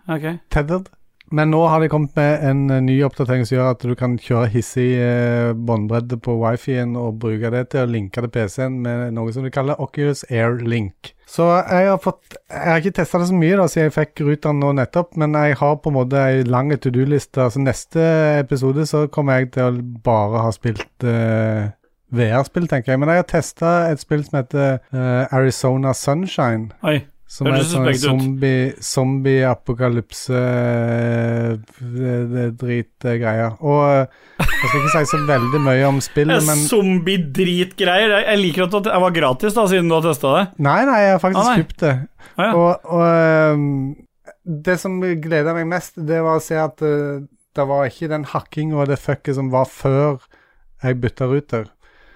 Speaker 2: Ok.
Speaker 3: Tethered. Men nå har de kommet med en eh, ny oppdatering som gjør at du kan kjøre hissig eh, båndbredde på wifi-en og bruke det til å linke til PC-en med noe som de kaller Oculus Air Link. Så jeg har fått Jeg har ikke testa det så mye da, siden jeg fikk ruteren nå nettopp, men jeg har på en måte ei lang to do-liste. Altså neste episode så kommer jeg til å bare ha spilt eh, VR-spill, tenker jeg. Men jeg har testa et spill som heter eh, Arizona Sunshine.
Speaker 2: Oi.
Speaker 3: Som er
Speaker 2: Høres
Speaker 3: sånn
Speaker 2: suspekt ut.
Speaker 3: zombie- eh, zombie-apokalypse-drit-greier. og eh, jeg skal ikke si så veldig mye om
Speaker 2: Det
Speaker 3: spillet,
Speaker 2: er
Speaker 3: men
Speaker 2: Zombie-dritgreier. Jeg- Jeg liker at det var gratis, da, siden du har testa det.
Speaker 3: Nei, nei, jeg har faktisk
Speaker 2: Ah, nei.
Speaker 3: kjøpt det.
Speaker 2: Å, ja.
Speaker 3: Og, og ehm, det som gleda meg mest, det var å se at eh, det var ikke den hakkinga og det fucket som var før jeg bytta ruter.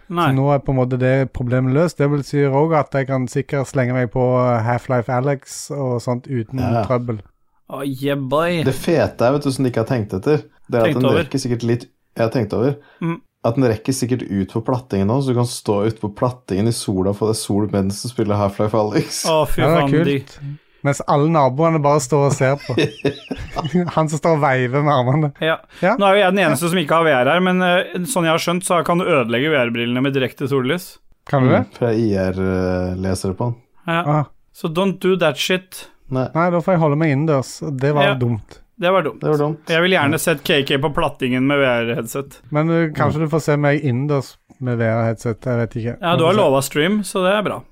Speaker 3: Så
Speaker 2: Nei.
Speaker 3: nå er på en måte det problemet løst. Det vil si òg at jeg kan sikkert slenge meg på Half-Life Alex og sånt uten
Speaker 1: Ja.
Speaker 3: trøbbel.
Speaker 2: Å, yeah, boy.
Speaker 1: Det fete er, vet du, som de ikke har tenkt etter, det er
Speaker 2: Tenkt
Speaker 1: at den
Speaker 2: over.
Speaker 1: rekker sikkert litt Jeg har tenkt over.
Speaker 2: Mm.
Speaker 1: At den rekker sikkert ut på plattingen nå, så du kan stå ute på plattingen i sola og få deg sol mens du spiller Half-Life Alex.
Speaker 2: Å, fy
Speaker 3: Ja, det
Speaker 2: faen.
Speaker 3: er
Speaker 2: digg.
Speaker 3: kult. Mens alle naboene bare står og ser på. Han som står og veiver med armene.
Speaker 2: Ja.
Speaker 3: Ja.
Speaker 2: Nå er jo jeg den eneste som ikke har VR her, men eh, sånn jeg har skjønt, så kan du ødelegge VR-brillene med direkte sollys.
Speaker 3: Kan du det?
Speaker 1: For jeg er IR-lesere på den.
Speaker 2: Ja.
Speaker 3: Ah,
Speaker 2: Så don't do that shit.
Speaker 1: Nei,
Speaker 3: nei, da får jeg holde meg innendørs. og Det var
Speaker 2: Ja.
Speaker 3: dumt.
Speaker 2: Det var dumt.
Speaker 1: det var dumt.
Speaker 2: Jeg vil gjerne sett KK på plattingen med VR-headset.
Speaker 3: Men uh, kanskje du får se meg innendørs med VR-headset. Jeg vet ikke.
Speaker 2: Ja, du har lova stream, så det er bra.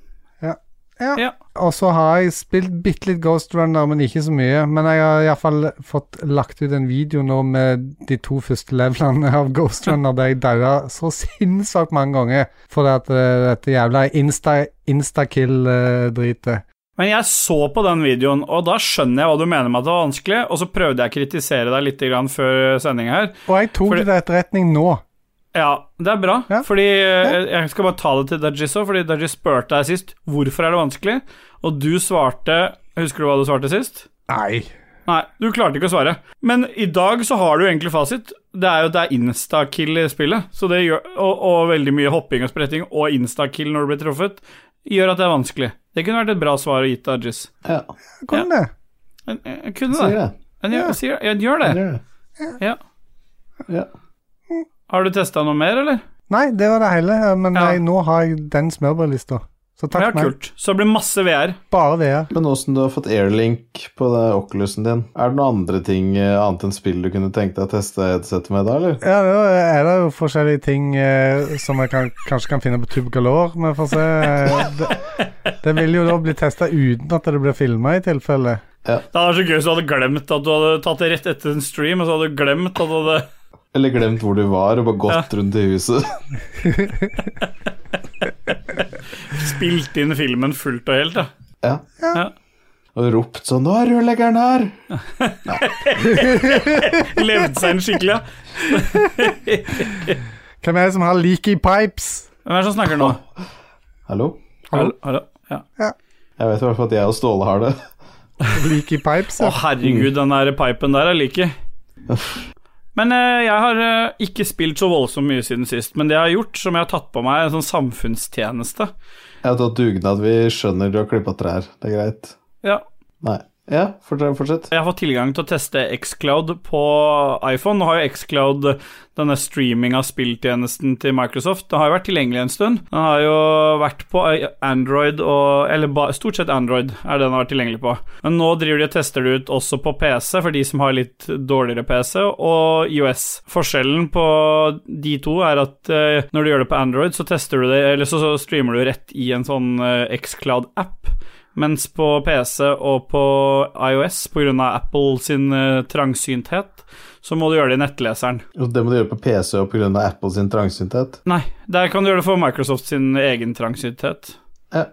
Speaker 3: Og så har jeg spilt bitte litt Ghost Runner, men ikke så mye. Men jeg har iallfall fått lagt ut en video nå med de to første levelene av Ghost Runner der jeg daua så sinnssykt mange ganger fordi at uh, dette jævla insta- eh, instakill-dritet.
Speaker 2: Men jeg så på den videoen, og da skjønner jeg hva du mener med at det var vanskelig, og så prøvde jeg å kritisere deg litt grann før sending her.
Speaker 3: og jeg tok
Speaker 2: Fordi-
Speaker 3: det til etterretning nå.
Speaker 2: Ja, det er bra,
Speaker 3: Ja.
Speaker 2: fordi eh, jeg skal bare ta det til Dajis òg, fordi Dajis spurte deg sist hvorfor er det vanskelig, og du svarte Husker du hva du svarte sist?
Speaker 3: Nei.
Speaker 2: Nei, du klarte ikke å svare. Men i dag så har du egentlig fasit. Det er jo at det er instakill i spillet, så det gjør, og, og veldig mye hopping og spretting og instakill når du blir truffet, gjør at det er vanskelig. Det kunne vært et bra svar å gi til Dajis.
Speaker 1: Ja,
Speaker 3: Kom det.
Speaker 2: Jeg, jeg, jeg kunne
Speaker 1: sier
Speaker 2: det.
Speaker 1: det.
Speaker 2: Men jeg, jeg, sier- jeg gjør det.
Speaker 1: Gjør det.
Speaker 2: Ja.
Speaker 1: Ja.
Speaker 2: Har du testa noe mer, eller?
Speaker 3: Nei, det var det hele, men
Speaker 2: Ja.
Speaker 3: jeg, nå har jeg den smørbrødlista. Så takk
Speaker 2: ja,
Speaker 3: for meg.
Speaker 2: kult. Så det blir masse VR.
Speaker 3: Bare VR.
Speaker 1: Men åssen du har fått airlink på det Oculusen din, er det noen andre ting eh, annet enn spill du kunne tenkt deg å teste headsetet med da, eller?
Speaker 3: Ja, da er det jo forskjellige ting eh, som jeg kan, kanskje kan finne på Tubgalore, men får se. Eh, Det, det vil jo da bli testa uten at det blir filma, i tilfelle.
Speaker 2: Det hadde vært så gøy hvis du hadde glemt at du hadde tatt det rett etter en stream, og så hadde du glemt at du hadde
Speaker 1: Eller glemt hvor du var og bare gått rundt i huset? (laughs)
Speaker 2: spilt inn filmen fullt og helt. Da.
Speaker 1: Ja.
Speaker 2: Ja.
Speaker 1: Og ropt sånn 'Nå er rørleggeren her!'
Speaker 2: Levd seg inn skikkelig. Ja.
Speaker 3: Hvem er det som har leaky pipes?
Speaker 2: Hvem er det som snakker nå?
Speaker 1: Hallo?
Speaker 3: Hallo?
Speaker 2: Hallo? Ja.
Speaker 1: Jeg vet i hvert fall at jeg og Ståle har det.
Speaker 3: Leaky pipes,
Speaker 2: Å,
Speaker 3: ja.
Speaker 2: herregud, den der pipen der er like. Men eh, jeg har eh, ikke spilt så voldsomt mye siden sist, men det jeg har gjort, som jeg har tatt på meg, er en sånn samfunnstjeneste.
Speaker 1: Jeg har tatt dugnad. Vi skjønner du har klippa trær. Det er greit.
Speaker 2: Ja,
Speaker 1: Nei. Ja, fortsett. fortsett.
Speaker 2: Jeg har fått tilgang til å teste Xcloud på iPhone. Nå har jo Xcloud denne streaming av spilltjenesten til Microsoft. Den har jo vært tilgjengelig en stund. Den har jo vært på eh, Android og Eller ba, stort sett Android er det den har vært tilgjengelig på. Men nå driver de og tester det ut også på PC, for de som har litt dårligere PC, og iOS. Forskjellen på de to er at eh, når du gjør det på Android, så tester du det Eller så, så streamer du rett i en sånn eh, Xcloud-app. Mens på PC og på iOS, pga. Apple sin eh, trangsynthet, så må du gjøre det i nettleseren.
Speaker 1: Og Det må du gjøre på PC og pga. Apple sin trangsynthet.
Speaker 2: Nei, der kan du gjøre det for Microsoft sin egen trangsynthet.
Speaker 1: Ja.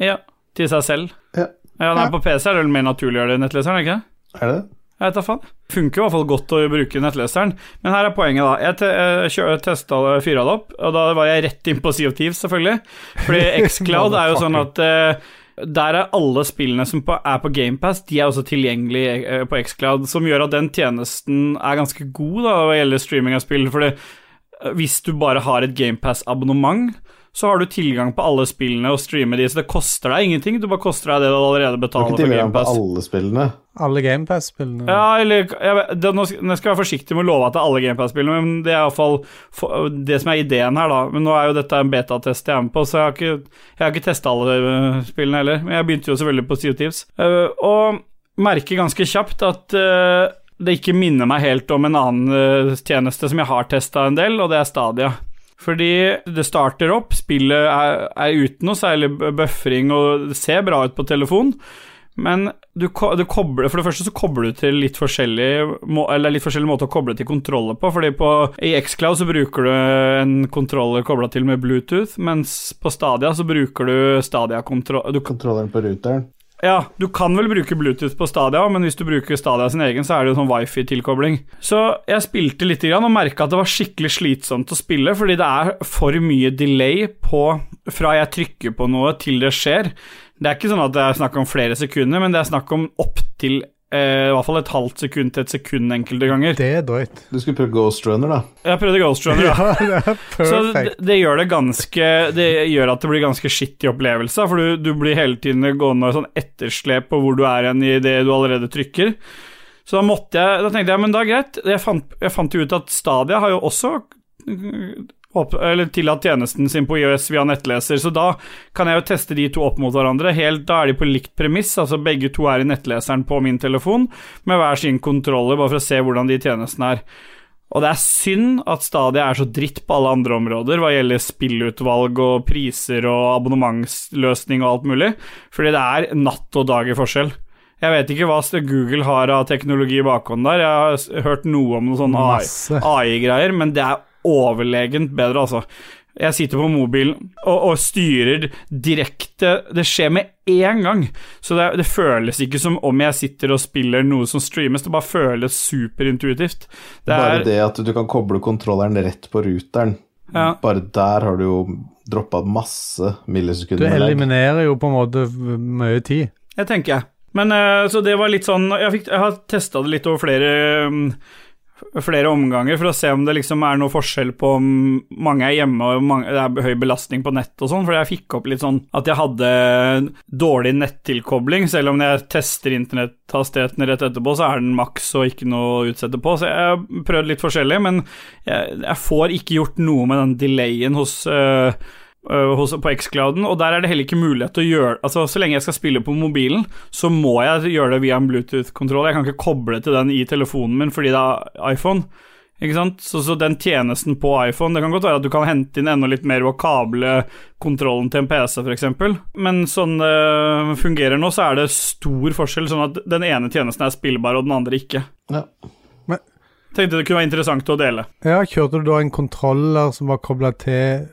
Speaker 2: Ja, til seg selv.
Speaker 1: Ja.
Speaker 2: Ja, nei,
Speaker 3: Ja.
Speaker 2: På PC er det vel mer naturlig å gjøre det i nettleseren, er det ikke det?
Speaker 1: Er det det?
Speaker 2: Jeg vet da faen. Funker i hvert fall godt å bruke nettleseren. Men her er poenget, da. Jeg, te jeg kjø- testa det, fyra det opp, og da var jeg rett inn på Sea of Thieves, selvfølgelig.
Speaker 1: (laughs)
Speaker 2: Fordi Xcloud er jo sånn at eh, der er alle spillene som på, er på GamePass, de er også tilgjengelige eh, på Xcloud, som gjør at den tjenesten er ganske god da, hva gjelder streaming av spill. Fordi eh, hvis du bare har et GamePass-abonnement, så har du tilgang på alle spillene og streame de, så det koster deg ingenting. Du bare koster deg det du allerede
Speaker 1: Du har
Speaker 2: betaler
Speaker 1: ikke
Speaker 2: for
Speaker 1: tilgang på
Speaker 2: GamePass.
Speaker 1: alle spillene.
Speaker 3: Alle GamePass-spillene.
Speaker 2: Ja, eller jeg, vet- det, nå, skal, nå skal jeg være forsiktig med å love at det er alle GamePass-spillene, men det er iallfall det som er ideen her, da. Men nå er jo dette en betatest jeg er med på, så jeg har ikke, jeg har ikke testa alle øh, spillene heller. Men jeg begynte jo selvfølgelig på CO Thieves. Øh, og merker ganske kjapt at øh, det ikke minner meg helt om en annen øh, tjeneste som jeg har testa en del, og det er Stadia. Fordi det starter opp, spillet er, er uten noe særlig b- buffering og det ser bra ut på telefon, men du, ko- du kobler, for det første så kobler du til litt forskjellig må, Eller litt forskjellig måte å koble til kontroller på. Fordi på, i Xcloud så bruker du en kontroller kobla til med Bluetooth, mens på Stadia så bruker du Stadia-kontroll... Du, kan-
Speaker 1: Kontrolleren på routeren.
Speaker 2: ja, du kan vel bruke Bluetooth på Stadia, men hvis du bruker Stadia sin egen, så er det jo sånn wifi-tilkobling. Så jeg spilte litt grann og merka at det var skikkelig slitsomt å spille, fordi det er for mye delay på fra jeg trykker på noe til det skjer. Det er ikke sånn at det er snakk om flere sekunder, men det er snakk om opptil eh, i hvert fall et halvt sekund til et sekund enkelte ganger.
Speaker 3: Det er drøyt.
Speaker 1: Du skulle prøve Ghost Runner, da.
Speaker 2: Jeg prøvde Ghost Runner, ja.
Speaker 3: (laughs) det er
Speaker 2: Så det,
Speaker 3: perfekt.
Speaker 2: det gjør det ganske Det gjør at det blir ganske skittig opplevelse, for du, du blir hele tiden gående og sånn etterslep på hvor du er igjen i det du allerede trykker. Så da måtte jeg Da tenkte jeg, men da er greit. Jeg fant, jeg fant jo ut at Stadia har jo også øh, opp, eller tillatt tjenesten sin på IOS via nettleser, så da kan jeg jo teste de to opp mot hverandre. Helt, da er de på likt premiss, altså begge to er i nettleseren på min telefon, med hver sin kontroller, bare for å se hvordan de tjenestene er. Og det er synd at Stadia er så dritt på alle andre områder hva gjelder spillutvalg og priser og abonnementsløsning og alt mulig, fordi det er natt og dag i forskjell. Jeg vet ikke hva Google har av teknologi i bakhånd der, jeg har s- hørt noe om noe sånn
Speaker 3: Masse.
Speaker 2: AI- AI-greier, men det er overlegent bedre, altså. Jeg sitter på mobilen og, og styrer direkte Det skjer med én gang, så det, det føles ikke som om jeg sitter og spiller noe som streames, det bare føles superintuitivt. Det
Speaker 1: Bare
Speaker 2: er,
Speaker 1: det at du kan koble kontrolleren rett på routeren.
Speaker 2: Ja.
Speaker 1: Bare der har du jo droppa masse
Speaker 3: Du
Speaker 1: millisekunder. med lag.
Speaker 3: eliminerer jo på en måte mye tid.
Speaker 2: Jeg tenker jeg. Men eh, så det var litt sånn Jeg, fikk, jeg har testa det litt over flere mm, Flere omganger for å se om det liksom er noe forskjell på om mange er hjemme og mange, det er høy belastning på nett og sånn, for jeg fikk opp litt sånn at jeg hadde dårlig nettilkobling, selv om jeg tester internetthastigheten rett etterpå, så er den maks og ikke noe å utsette på, så jeg har prøvd litt forskjellig, men jeg, jeg får ikke gjort noe med den delayen hos eh, øh, hos, på X-Clouden, og der er det heller ikke mulighet til å gjøre Altså, så lenge jeg skal spille på mobilen, så må jeg gjøre det via en Bluetooth-kontroll. Jeg kan ikke koble til den i telefonen min fordi det er iPhone. Ikke sant? Så, så den tjenesten på iPhone Det kan godt være at du kan hente inn enda litt mer ved å kable kontrollen til en PC, f.eks. Men sånn det fungerer nå, så er det stor forskjell, sånn at den ene tjenesten er spillbar, og den andre ikke.
Speaker 1: Ja.
Speaker 2: Tenkte det kunne være interessant å dele.
Speaker 3: Ja, kjørte du da en kontroller som var kobla til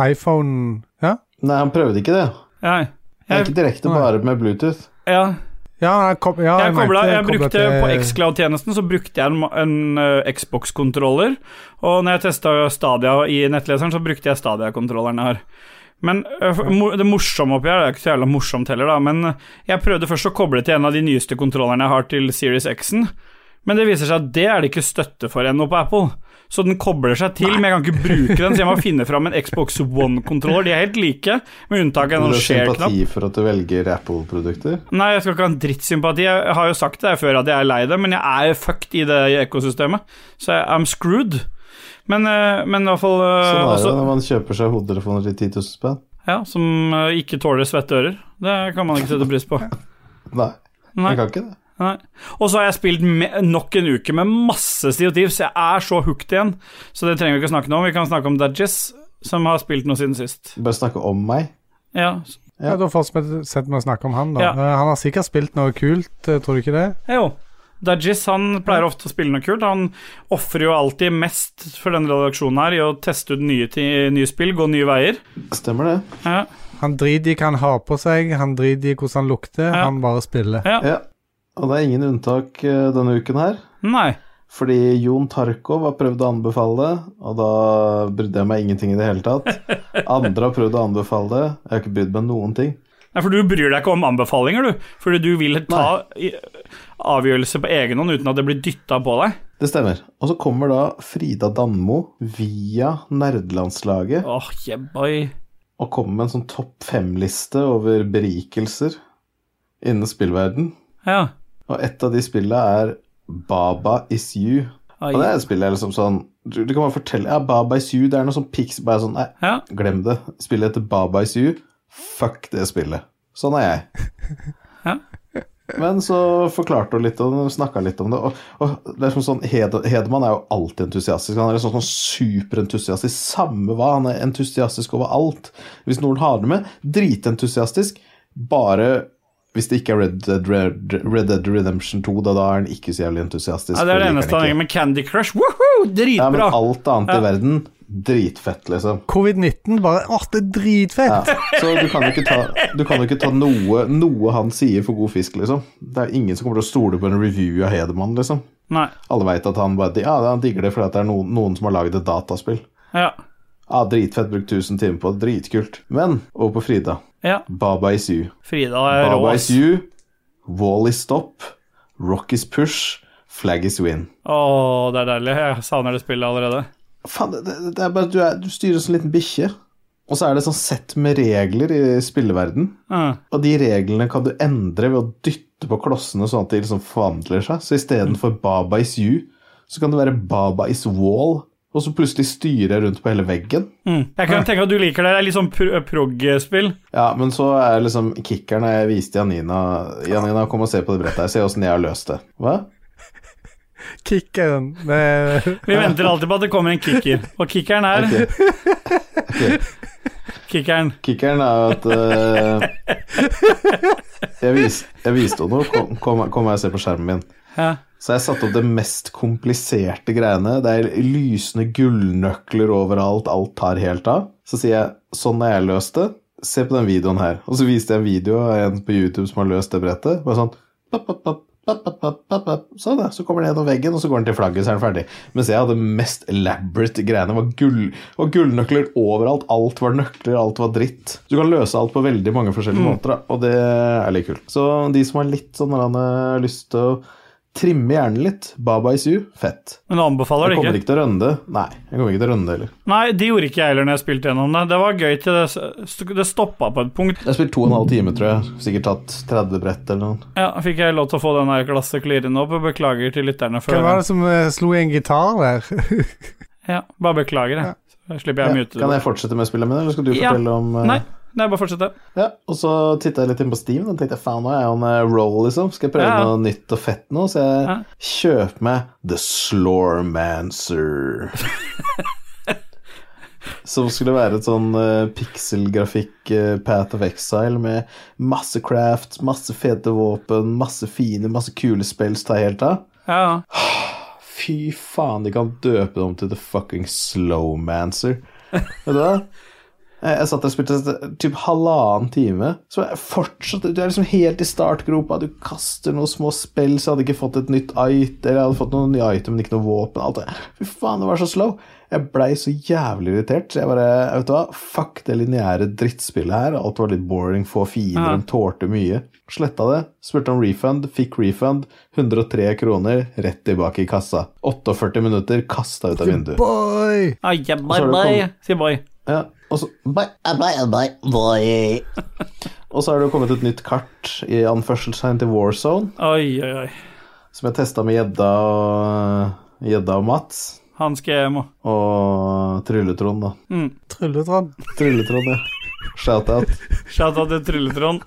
Speaker 3: iPhonen? Ja?
Speaker 1: Nei, han prøvde ikke det.
Speaker 2: Ja,
Speaker 1: Det er
Speaker 2: jeg,
Speaker 1: ikke direkte
Speaker 3: Nei.
Speaker 1: bare med Bluetooth.
Speaker 2: ja,
Speaker 3: Ja, jeg, kob ja,
Speaker 2: jeg,
Speaker 3: mente
Speaker 2: kobla, jeg
Speaker 3: koblet
Speaker 2: brukte
Speaker 3: til-
Speaker 2: På Xcloud-tjenesten så brukte jeg en, ma- en eh, Xbox-kontroller, og når jeg testa Stadia i nettleseren, så brukte jeg Stadia-kontrolleren jeg har. Men eh, for- mo- det morsomme oppi her, det er ikke så jævla morsomt heller, da, men eh, jeg prøvde først å koble til en av de nyeste kontrollerne jeg har til Series X-en, men det viser seg at det er det ikke støtte for ennå på Apple. Så den kobler seg til, men jeg kan ikke bruke den, så jeg må finne fram en Xbox One-kontroller. De er helt like, med unntak av
Speaker 1: Du
Speaker 2: en
Speaker 1: har
Speaker 2: sånn share-knapp.
Speaker 1: sympati for at du velger Apple-produkter.
Speaker 2: Nei, jeg skal ikke ha en drittsympati. Jeg har jo sagt det her før at jeg er lei det, men jeg er fucked i det ekosystemet. Så jeg, I'm screwed. Men, eh, men i hvert fall eh,
Speaker 1: Sånn er det
Speaker 2: også-
Speaker 1: når man kjøper seg hodetelefoner til 10 000 spenn.
Speaker 2: ja, Som eh, ikke tåler svette ører. Det kan man ikke sette pris på.
Speaker 1: Nei,
Speaker 2: Nei.
Speaker 1: jeg kan ikke det.
Speaker 2: Nei. Og så har jeg spilt me nok en uke med masse Sea of Thieves. Jeg er så hooked igjen, så det trenger vi ikke snakke noe om. Vi kan snakke om Dudges, som har spilt noe siden sist.
Speaker 1: Bare snakke om meg.
Speaker 2: Ja,
Speaker 3: Ja, Da fortsetter vi å snakke om han, da.
Speaker 2: Ja.
Speaker 3: Eh, Han har sikkert spilt noe kult, eh, tror du ikke det?
Speaker 2: Jo. Dajis han pleier ofte å spille noe kult. Han ofrer jo alltid mest for denne redaksjonen her i å teste ut nye, ti- nye spill, gå nye veier.
Speaker 1: Stemmer det?
Speaker 2: Ja,
Speaker 3: Han driter i hva han har på seg, han driter i hvordan han lukter,
Speaker 2: Ja.
Speaker 3: han bare spiller.
Speaker 2: ja.
Speaker 1: Ja. Og det er ingen unntak eh, denne uken her.
Speaker 2: Nei.
Speaker 1: Fordi Jon Tarkov har prøvd å anbefale det, og da brydde jeg meg ingenting i det hele tatt. Andre har prøvd å anbefale det, jeg har ikke brydd meg noen ting.
Speaker 2: Nei, for du bryr deg ikke om anbefalinger, du. Fordi du vil ta i- avgjørelse på egen hånd uten at det blir dytta på deg.
Speaker 1: Det stemmer. Og så kommer da Frida Danmo via nerdelandslaget
Speaker 2: Åh, jebbai.
Speaker 1: og kommer med en sånn topp fem-liste over berikelser innen spillverden.
Speaker 2: Ja.
Speaker 1: Og et av de spillene er Baba is you.
Speaker 2: Ai.
Speaker 1: Og det er et spill jeg liksom sånn Du, du kan bare fortelle Ja, Baba is you, det er noe sånn pics Bare sånn, nei,
Speaker 2: ja.
Speaker 1: glem det. Spillet heter Baba is you. Fuck det spillet. Sånn er jeg.
Speaker 2: (laughs) Ja.
Speaker 1: Men så forklarte hun litt og snakka litt om det. Og, og det er som sånn, Hed, Hedman er jo alltid entusiastisk. Han er liksom sånn superentusiastisk. Samme hva, han er entusiastisk over alt. Hvis noen har det med, dritentusiastisk. Bare hvis det ikke er Red Dead, Red, Red Dead Redemption 2, da, da er han ikke så jævlig entusiastisk.
Speaker 2: ja det er det
Speaker 1: liker han
Speaker 2: eneste han
Speaker 1: ikke.
Speaker 2: gjør med Candy Crush. Woohoo!
Speaker 1: Ja, men
Speaker 2: Dritbra.
Speaker 1: alt annet i verden, dritfett, liksom.
Speaker 3: Covid-19 bare Åh, det er
Speaker 1: Ja.
Speaker 3: dritfett!
Speaker 1: Så du kan jo ikke ta, du kan jo ikke ta noe, noe han sier for god fisk, liksom. Det er ingen som kommer til å stole på en review av Hedemann, liksom.
Speaker 2: Nei.
Speaker 1: Alle veit at han bare Ja, han digger det fordi at det er noen, noen som har lagd et dataspill.
Speaker 2: Ja.
Speaker 1: Ja, dritfett, brukt 1000 timer på det, dritkult. Men over på Frida.
Speaker 2: ja.
Speaker 1: Baba is you.
Speaker 2: Frida er rå.
Speaker 1: Baba
Speaker 2: ass.
Speaker 1: is you. Wall is stop. Rock is push. Flag is win.
Speaker 2: Åh, det er deilig. Jeg savner det spillet allerede.
Speaker 1: Faen, det, det, det er bare at du, er, du styrer som en liten bikkje. Og så er det sånn sett med regler i spilleverden.
Speaker 2: Ja.
Speaker 1: Og de reglene kan du endre ved å dytte på klossene sånn at de liksom forvandler seg. Så istedenfor Baba is you, så kan det være Baba is wall. Og så plutselig styrer jeg rundt på hele veggen.
Speaker 2: Mm. Jeg kan tenke at du liker det. Det er litt sånn pro- prog-spill.
Speaker 1: Ja, men så er liksom kickeren jeg viste Janina Janina, kom og se på det brettet her, se åssen jeg har løst det. Hva?
Speaker 3: Kickeren.
Speaker 2: (laughs)
Speaker 3: Det-
Speaker 2: Vi venter alltid på at det kommer en kicker. Og kickeren er
Speaker 1: Ok. Ok.
Speaker 2: kickeren.
Speaker 1: Kickeren er jo at eh, jeg, vis, jeg viste henne noe, kom, kom, kom her og se på skjermen min.
Speaker 2: Ja.
Speaker 1: Så jeg satte opp det mest kompliserte greiene. Det er lysende gullnøkler overalt, alt tar helt av. Så sier jeg sånn har jeg løst det. Se på den videoen her. Og så viste jeg en video av en på YouTube som har løst det brettet. Bare sånn pop, pop, pop, pop, pop, pop, pop, pop. Sånn, ja. Så kommer den gjennom veggen, og så går den til flagget, så er den ferdig. Mens jeg hadde mest elaborate greiene. Det var, gull, det var gullnøkler overalt. Alt var nøkler, alt var dritt. Du kan løse alt på veldig mange forskjellige måter, da. og det er litt kult. Så de som har litt sånn eller annet lyst til å trimme hjernen litt. Baba is you. Fett.
Speaker 2: Men du anbefaler
Speaker 1: Jeg
Speaker 2: det
Speaker 1: kommer
Speaker 2: ikke.
Speaker 1: ikke til å rønne det. Nei, jeg kommer ikke til å rønne det heller.
Speaker 2: Nei, det gjorde ikke jeg heller når jeg spilte gjennom det. Det var gøy til det, st- det stoppa på et punkt.
Speaker 1: Jeg har spilt to og en halv time, tror jeg. Sikkert tatt 30 brett eller noe.
Speaker 2: Ja, fikk jeg lov til å få den her glasset klirrende opp? og Beklager til lytterne for
Speaker 3: Hvem var det som eh, slo i en gitar der?
Speaker 2: Ja, bare beklager, jeg. Så slipper
Speaker 1: Ja,
Speaker 2: jeg å mute
Speaker 1: kan
Speaker 2: det.
Speaker 1: jeg fortsette med spillet mitt, eller skal du
Speaker 2: Ja.
Speaker 1: fortelle om eh,
Speaker 2: Nei, nei, bare fortsette.
Speaker 1: Ja, Og så titta jeg litt inn på Steam, og tenkte jeg faen, nå er jeg on a roll, liksom. Skal jeg prøve
Speaker 2: Ja.
Speaker 1: noe nytt og fett nå? Så jeg
Speaker 2: Ja.
Speaker 1: kjøper meg The
Speaker 2: (laughs)
Speaker 1: Slormancer. Som skulle være et sånn eh, pikselgrafikk eh, Path of Exile med masse craft, masse fete våpen, masse fine, masse kule spells ta helt av.
Speaker 2: Ja, ja.
Speaker 1: Fy faen, de kan døpe det om til The Fucking Slowmancer. Vet du hva? Jeg jeg satt der og spilte typ halvannen time. Så jeg fortsatte Du er liksom helt i startgropa. Du kaster noen små spill, så jeg hadde ikke fått et nytt item. Eller jeg hadde fått noen nye item, men ikke noe våpen. Alt det. Fy faen, det var så slow. Jeg blei så jævlig irritert. Så jeg bare Vet du hva, fuck det lineære drittspillet her. Alt var litt boring. Få fiender,
Speaker 2: Ja.
Speaker 1: de tålte mye. Sletta det. Spurte om refund. Fikk refund. 103 kroner. Rett tilbake i kassa. 48 minutter. Kasta ut av vinduet.
Speaker 3: Boy!
Speaker 2: Ah, yeah,
Speaker 1: så
Speaker 2: bye,
Speaker 1: er det
Speaker 2: bye. Si bye.
Speaker 1: Ja, og så bye, bye, bye, bye. Og så har det jo kommet et nytt kart i anførselstegn til Warzone,
Speaker 2: Oi, oi, oi.
Speaker 1: som jeg testa med gjedda og, gjedda og Mats.
Speaker 2: Han skal hjem òg.
Speaker 1: Og Trylletrond, da.
Speaker 3: Trylletrond.
Speaker 1: Trylletrond, ja. Shout-out.
Speaker 2: Shout-out til Trylletrond.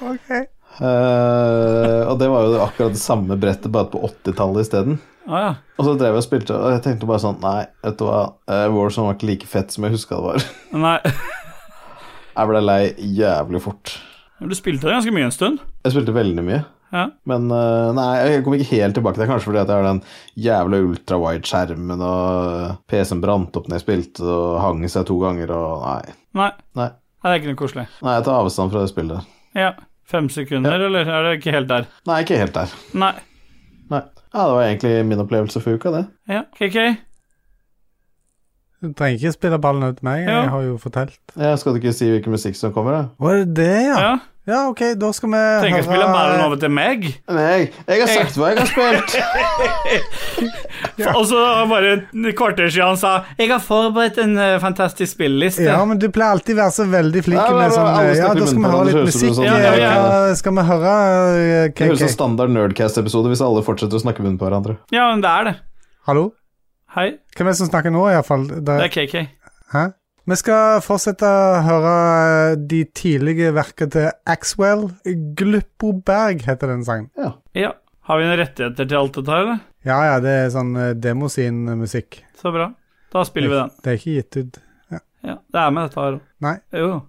Speaker 3: Ok.
Speaker 1: Eh, og det var jo akkurat det samme brettet, bare på 80-tallet isteden.
Speaker 2: Å ja.
Speaker 1: Og så drev jeg og spilte, og jeg tenkte bare sånn Nei, vet du hva, eh, Warzone var ikke like fett som jeg huska det var.
Speaker 2: Nei. (laughs)
Speaker 1: Jeg ble lei jævlig fort.
Speaker 2: Du spilte det ganske mye en stund.
Speaker 1: Jeg spilte veldig mye.
Speaker 2: Ja.
Speaker 1: Men øh, nei, jeg kom ikke helt tilbake til det, kanskje fordi at jeg har den jævla ultrawide-skjermen, og PC-en brant opp når jeg spilte, og hang seg to ganger, og nei.
Speaker 2: Nei.
Speaker 1: Nei,
Speaker 2: Nei, det er ikke noe koselig.
Speaker 1: nei jeg tar avstand fra det spillet.
Speaker 2: Ja. Fem sekunder, eller er det ikke helt der?
Speaker 1: Nei, ikke helt der.
Speaker 2: Nei.
Speaker 1: Nei. Ja, det var egentlig min opplevelse for uka, det.
Speaker 2: Ja, KK.
Speaker 3: Du trenger ikke spille ballen ut til meg,
Speaker 2: Ja.
Speaker 3: jeg har jo fortalt.
Speaker 1: Ja, skal du ikke si hvilken musikk som kommer, da?
Speaker 3: Var det det, ja?
Speaker 2: Ja.
Speaker 3: ja? ok, da skal vi
Speaker 2: Trenger ikke spille ballen over til meg.
Speaker 1: Nei, jeg har sagt hva jeg har spilt.
Speaker 2: Og så bare et kvarter siden han sa 'Jeg har forberedt en eh, fantastisk spilleliste'.
Speaker 3: Ja, men du pleier alltid å være så veldig flink
Speaker 1: Ja, men
Speaker 3: med
Speaker 1: det var
Speaker 3: sånn
Speaker 1: alle
Speaker 3: eh, Ja,
Speaker 1: snakker
Speaker 3: da
Speaker 1: i
Speaker 3: skal
Speaker 1: munnen på
Speaker 3: vi ha
Speaker 1: hverandre,
Speaker 3: litt
Speaker 1: det høres ut som
Speaker 3: musikk.
Speaker 1: sånn-
Speaker 3: eh,
Speaker 2: Ja, ja, ja.
Speaker 3: hva Skal vi høre eh,
Speaker 1: Det høres ut som
Speaker 3: KK?
Speaker 1: standard Nerdcast-episode hvis alle fortsetter å snakke munnen på hverandre.
Speaker 2: ja, men det er det.
Speaker 3: Hallo?
Speaker 2: Hei,
Speaker 3: Hvem er det som snakker nå, iallfall?
Speaker 2: det er KK.
Speaker 3: Hæ? Vi skal fortsette å høre eh, de tidlige verkene til Axwell. Gluppoberg heter den sangen.
Speaker 1: Ja.
Speaker 2: Ja. Har vi noen rettigheter til alt dette her, eller?
Speaker 3: Ja, ja, det er sånn eh, demosin-musikk.
Speaker 2: Så bra. Da spiller vi den.
Speaker 3: Det er ikke gitt ut.
Speaker 2: Ja, det er med dette her òg.
Speaker 3: Nei.
Speaker 2: Jo.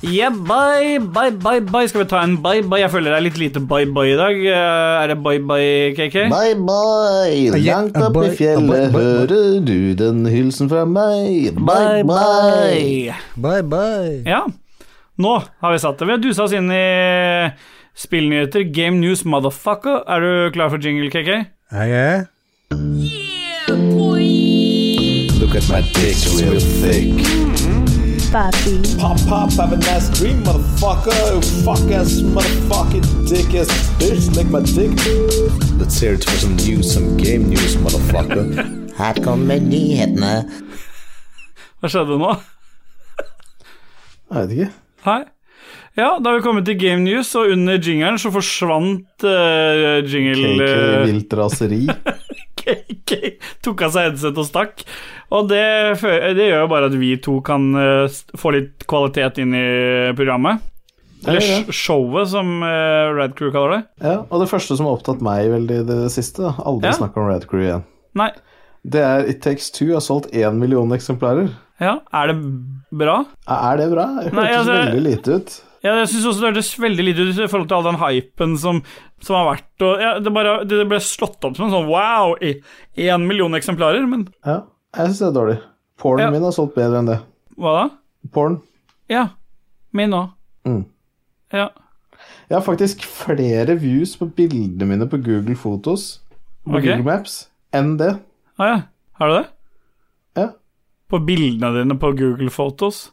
Speaker 2: Yeah, bye, bye, bye, bye. Skal vi ta en bye, bye? Jeg føler det er litt lite bye, bye i dag. Eh, Er det bye, bye, KK?
Speaker 1: Bye, bye. Langt opp i fjellet hører du den hilsen fra meg. Bye, bye.
Speaker 3: Bye, bye.
Speaker 2: Ja. Nå har vi satt det. Vi har dusa oss inn i spillnyheter. Game news, motherfucker. Er du klar for jingle, KK?
Speaker 3: Jeg er
Speaker 1: Look at my dick real thick.
Speaker 5: Papi.
Speaker 6: Pop, pop, have a nice dream, motherfucker. Fuck ass, motherfucking dick ass bitch, lick my dick.
Speaker 1: Let's hear it for some news, some game news, motherfucker.
Speaker 7: Her kommer nyhetene.
Speaker 2: Hva skjedde nå?
Speaker 1: Jeg vet ikke.
Speaker 2: Hei. Ja, da har vi kommet til Game News, og under jingeren så forsvant eh, jingle...
Speaker 1: KK
Speaker 2: eh, (laughs)
Speaker 1: vilt raseri.
Speaker 2: KK tok av seg headset og stakk. Og det, fø- det gjør jo bare at vi to kan eh, st- få litt kvalitet inn i programmet. Eller
Speaker 1: Ja, ja, ja.
Speaker 2: sh- showet, som eh, Red Crew kaller det.
Speaker 1: Ja, og det første som har opptatt meg veldig i det siste, da. aldri
Speaker 2: Ja.
Speaker 1: snakk om Red Crew igjen,
Speaker 2: Nei.
Speaker 1: det er It Takes Two har solgt én million eksemplarer.
Speaker 2: Ja, er det bra?
Speaker 1: Er det bra? Det
Speaker 2: Nei,
Speaker 1: hørtes
Speaker 2: altså-
Speaker 1: veldig lite ut.
Speaker 2: Ja, jeg syns også det hørtes veldig lite ut i forhold til all den hypen som, som har vært. Og, ja, det, bare, det ble slått opp som en sånn wow, i- én million eksemplarer, men
Speaker 1: Ja, jeg syns det er dårlig. Pornen
Speaker 2: Ja.
Speaker 1: min har solgt bedre enn det.
Speaker 2: hva da?
Speaker 1: Porn.
Speaker 2: Ja. Min òg.
Speaker 1: Mm.
Speaker 2: Ja.
Speaker 1: Jeg har faktisk flere views på bildene mine på Google Fotos på
Speaker 2: Ok.
Speaker 1: Google Maps enn det.
Speaker 2: Ah, ja. Har du det?
Speaker 1: Ja.
Speaker 2: På bildene dine på Google Photos?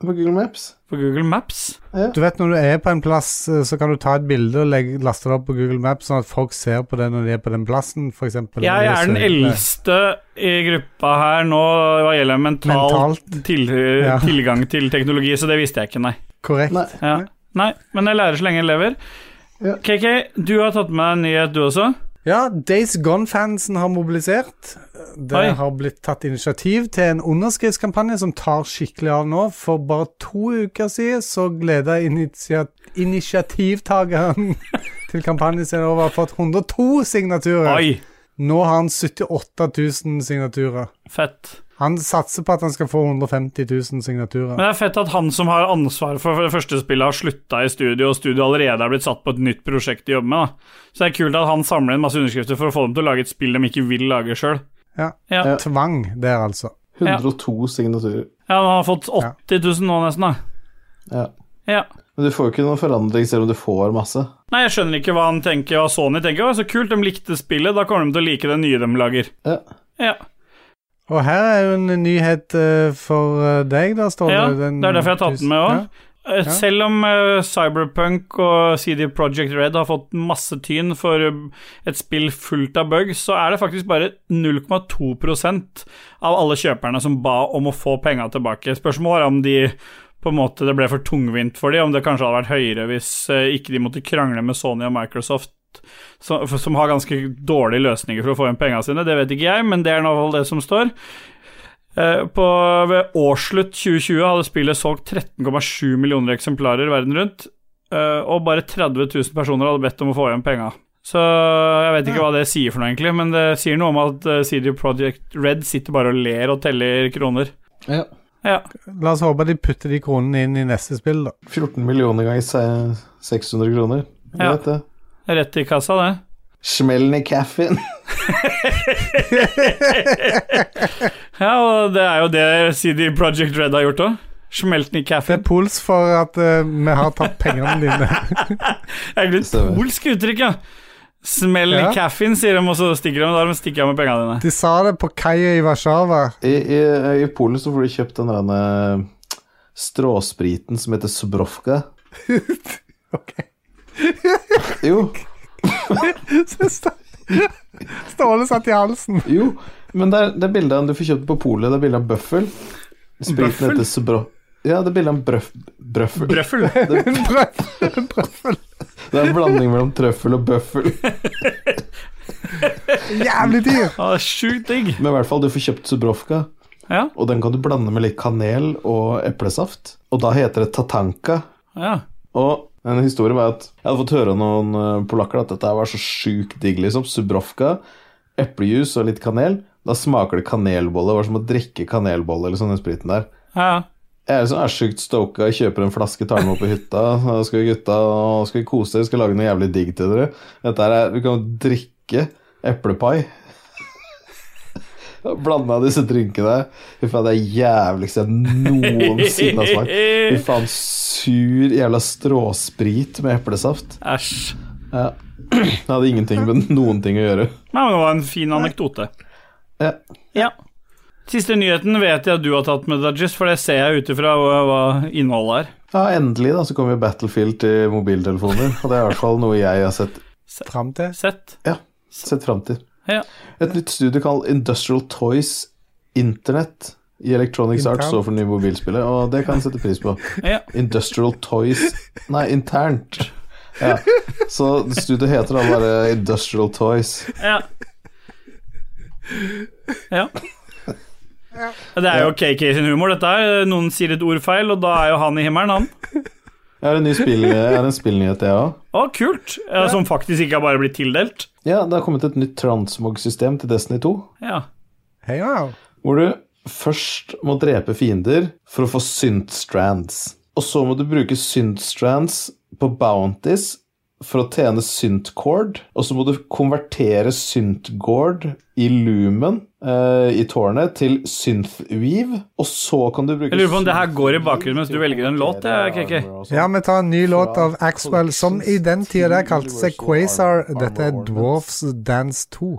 Speaker 1: På Google Maps.
Speaker 2: På Google Maps?
Speaker 3: Du vet når du er på en plass, eh, så kan du ta et bilde og legge, laste det opp på Google Maps, sånn at folk ser på det når de er på den plassen, f.eks.
Speaker 2: Jeg er den eldste i gruppa her nå hva gjelder mental
Speaker 3: Mentalt.
Speaker 2: til,
Speaker 3: Ja.
Speaker 2: tilgang til teknologi, så det visste jeg ikke, nei.
Speaker 3: Korrekt.
Speaker 1: Nei.
Speaker 2: Ja. Nei, men jeg lærer så lenge jeg lever.
Speaker 1: Ja.
Speaker 2: KK, du har tatt med deg en nyhet, du også.
Speaker 3: Ja, Days Gone-fansen har mobilisert. Det
Speaker 2: Oi.
Speaker 3: har blitt tatt initiativ til en underskriftskampanje som tar skikkelig av nå. For bare to uker siden så gleda initia initiativtakeren (laughs) til kampanjen sin over å ha fått 102 signaturer.
Speaker 2: Oi,
Speaker 3: Nå har han 78 000 signaturer.
Speaker 2: fett.
Speaker 3: Han satser på at han skal få 150 000 signaturer.
Speaker 2: Men det er fett at han som har ansvaret for det første spillet, har slutta i studio, og studioet allerede er blitt satt på et nytt prosjekt de jobber med. da. Så det er kult at han samler inn masse underskrifter for å få dem til å lage et spill de ikke vil lage sjøl.
Speaker 3: Ja.
Speaker 2: Ja.
Speaker 1: Ja.
Speaker 3: Tvang der, altså.
Speaker 1: 102 signaturer.
Speaker 2: ja, han har fått 80 000 nå nesten, da.
Speaker 1: Ja.
Speaker 2: Ja.
Speaker 1: Men du får jo ikke noen forandring selv om du får masse.
Speaker 2: Nei, jeg skjønner ikke hva han tenker, hva Sony tenker. Å, så kult, de likte spillet, da kommer de til å like det nye de lager.
Speaker 1: Ja.
Speaker 2: Ja,
Speaker 3: Og her er jo en nyhet eh, for eh, deg, da, Ståle.
Speaker 2: ja det
Speaker 3: Den-
Speaker 2: er derfor jeg har tatt den med òg. Selv om eh, Cyberpunk og CD Projekt Red har fått masse tyn for eh, et spill fullt av bugs, så er det faktisk bare 0,2 av alle kjøperne som ba om å få penga tilbake. Spørsmålet er om de på en måte det ble for tungvint for de, om det kanskje hadde vært høyere hvis eh, ikke de måtte krangle med Sony og Microsoft, som, for- som har ganske dårlige løsninger for å få igjen penga sine. Det vet ikke jeg, men det er nå i hvert fall det som står. Eh, På, ved årsslutt 2020 hadde spillet solgt 13,7 millioner eksemplarer verden rundt, eh, og bare 30 000 personer hadde bedt om å få igjen penga. Så jeg vet ikke hva det sier for noe, egentlig, men det sier noe om at eh, CD Project Red sitter bare og ler og teller kroner.
Speaker 1: ja.
Speaker 2: Ja.
Speaker 3: Ja. La oss håpe de putter de kronene inn i neste spill, da.
Speaker 1: 14 millioner ganger se- 600 kroner. Ja.
Speaker 2: Ja.
Speaker 1: Vet det.
Speaker 2: Rett i kassa, det.
Speaker 1: Smellen i caffen.
Speaker 2: Ja, og det er jo det CD Project Red har gjort òg. Smelten i
Speaker 3: Det er
Speaker 2: kaffen.
Speaker 3: puls for at eh, vi har tatt pengene
Speaker 2: (laughs)
Speaker 3: dine.
Speaker 2: Det er egentlig et
Speaker 1: Stemmer.
Speaker 2: polsk uttrykk, ja. Smell i
Speaker 3: Ja.
Speaker 2: kaffen, sier de, og så stikker de. Da har de stikket av med pengene dine.
Speaker 3: De sa det på kaia i Warszawa.
Speaker 1: I, i, I Polen så får du kjøpt den derne stråspriten som heter Subrovka.
Speaker 3: Ok.
Speaker 1: Jo,
Speaker 3: Så Stå- Ståle satt i
Speaker 2: (laughs)
Speaker 3: halsen.
Speaker 1: jo. Men det er, det er bildet av en du får kjøpt på polet. Det er bilde av en bøffel. Spriten
Speaker 2: Bøffel?
Speaker 1: heter Subrov... Ja, det er bilde av en brøff... Brøffel.
Speaker 2: Brøffel.
Speaker 3: Brøffel, brøffel.
Speaker 1: Det er en blanding mellom trøffel og (laughs) bøffel.
Speaker 3: Jævlig dyr!
Speaker 2: Ja, det er sjukt digg.
Speaker 1: Men i hvert fall, du får kjøpt Subrovka,
Speaker 2: Ja,
Speaker 1: og den kan du blande med litt kanel og eplesaft. Og da heter det tatanka.
Speaker 2: ja.
Speaker 1: Og en historie var at jeg hadde fått høre av noen eh, polakker at dette her var så sjukt digg, liksom. Subrovka, eplejus og litt kanel. Da smaker det kanelbolle. Det var som å drikke kanelbolle eller sånn, den spriten der.
Speaker 2: Ja,
Speaker 1: Jeg er liksom er sjukt stoka, jeg kjøper en flaske, tar den med opp på hytta. (laughs) Så skal vi gutta og skal vi kose dere, skal lage noe jævlig digg til dere. Dette her er, Vi kan jo drikke eplepai. (laughs) Blanda disse drinkene her. Fy faen, det er jævligste jeg noensinne har smakt. Fy faen, sur jævla stråsprit med eplesaft.
Speaker 2: æsj.
Speaker 1: Ja. Det hadde ingenting med noen ting å gjøre.
Speaker 2: Nei, men det var en fin anekdote.
Speaker 1: Ja.
Speaker 2: Ja. Siste nyheten vet jeg at du har tatt med, Dajis, for det ser jeg ut ifra hva hva innholdet er.
Speaker 1: ja, endelig da, så kommer jo Battlefield til mobiltelefoner. Og det er i hvert fall noe jeg har sett,
Speaker 3: Fram til
Speaker 2: Sett.
Speaker 1: sett fram til.
Speaker 2: Ja.
Speaker 1: Et nytt studie kalt Industrial Toys Internet i Electronics
Speaker 3: Internt.
Speaker 1: Arts står for nye mobilspillet, og det kan jeg sette pris på.
Speaker 2: Ja.
Speaker 1: Industrial Toys Nei, internt. Ja. Så studiet heter da bare Industrial Toys.
Speaker 2: Ja. ja. Det er jo KK sin humor, dette her. Noen sier et ord feil, og da er jo han i himmelen, han.
Speaker 1: Jeg har en ny spill, jeg har en spillnyhet, jeg òg.
Speaker 2: Å, kult! Ja, Som faktisk ikke har bare blitt tildelt.
Speaker 1: Ja, det har kommet et nytt transmog-system til Destiny 2.
Speaker 2: Ja.
Speaker 3: Hei, wow.
Speaker 1: Hvor du først må drepe fiender for å få synth-strands. Og så må du bruke synth-strands på bounties for å tjene synth-cord. Og så må du konvertere synth-gord i lumen eh, i tårnet til synth-weave. Og så kan du bruke
Speaker 2: Jeg lurer på om det her
Speaker 1: synth-weave
Speaker 2: går i bakgrunnen mens du
Speaker 1: til å
Speaker 2: velger en låt, eh,
Speaker 1: konvertere
Speaker 2: ja, KK.
Speaker 1: armor og sånn. sånt.
Speaker 3: Ja, vi tar en ny låt av Axwell, som i den tida der kalte seg Quasar. Dette er Dwarfs Dance 2.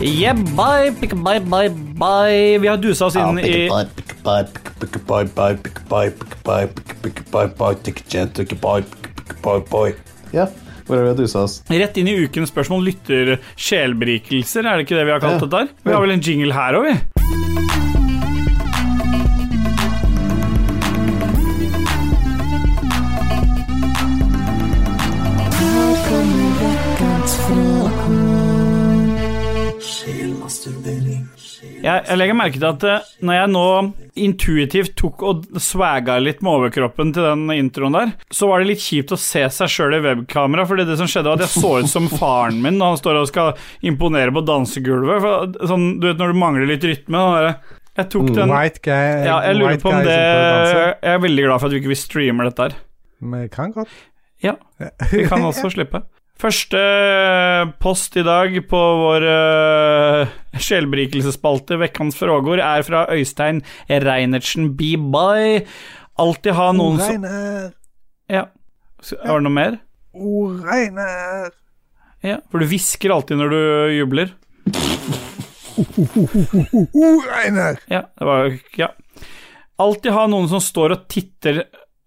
Speaker 2: Yeah, bye, pick, bye, bye, bye. Vi har dusa oss inn i
Speaker 1: Ja, hvor er vi har dusa oss?
Speaker 2: rett inn i ukens spørsmål lytter sjelberikelser, er det ikke det vi har kalt
Speaker 1: Ja.
Speaker 2: det der? Vi har vel en jingle her òg, vi. Jeg, jeg legger merke til at eh, når jeg nå intuitivt tok og swagga litt med overkroppen til den introen der, så var det litt kjipt å se seg sjøl i webkamera, fordi det som skjedde, var at jeg så ut som faren min når han står og skal imponere på dansegulvet. For, sånn, du vet når du mangler litt rytme. den derre- jeg tok den
Speaker 3: White guy
Speaker 2: ja, Jeg lurer
Speaker 3: white
Speaker 2: på om
Speaker 3: guy
Speaker 2: det
Speaker 3: som prøver å danse.
Speaker 2: Jeg er veldig glad for at vi ikke vi streamer dette her.
Speaker 3: Men jeg kan godt.
Speaker 2: Ja, vi kan også slippe. Første eh, post i dag på vår uh, sjelberikelsesspalte, Vekkans frågor, er fra Øystein Reinertsen Bibye. Alltid ha noen som
Speaker 3: Oreiner,
Speaker 2: Ja. Så, Har du noe mer?
Speaker 3: Oreiner.
Speaker 2: Ja, For du hvisker alltid når du jubler.
Speaker 3: Oreiner.
Speaker 2: Ja, det var jo Ja. Alltid ha noen som står og titter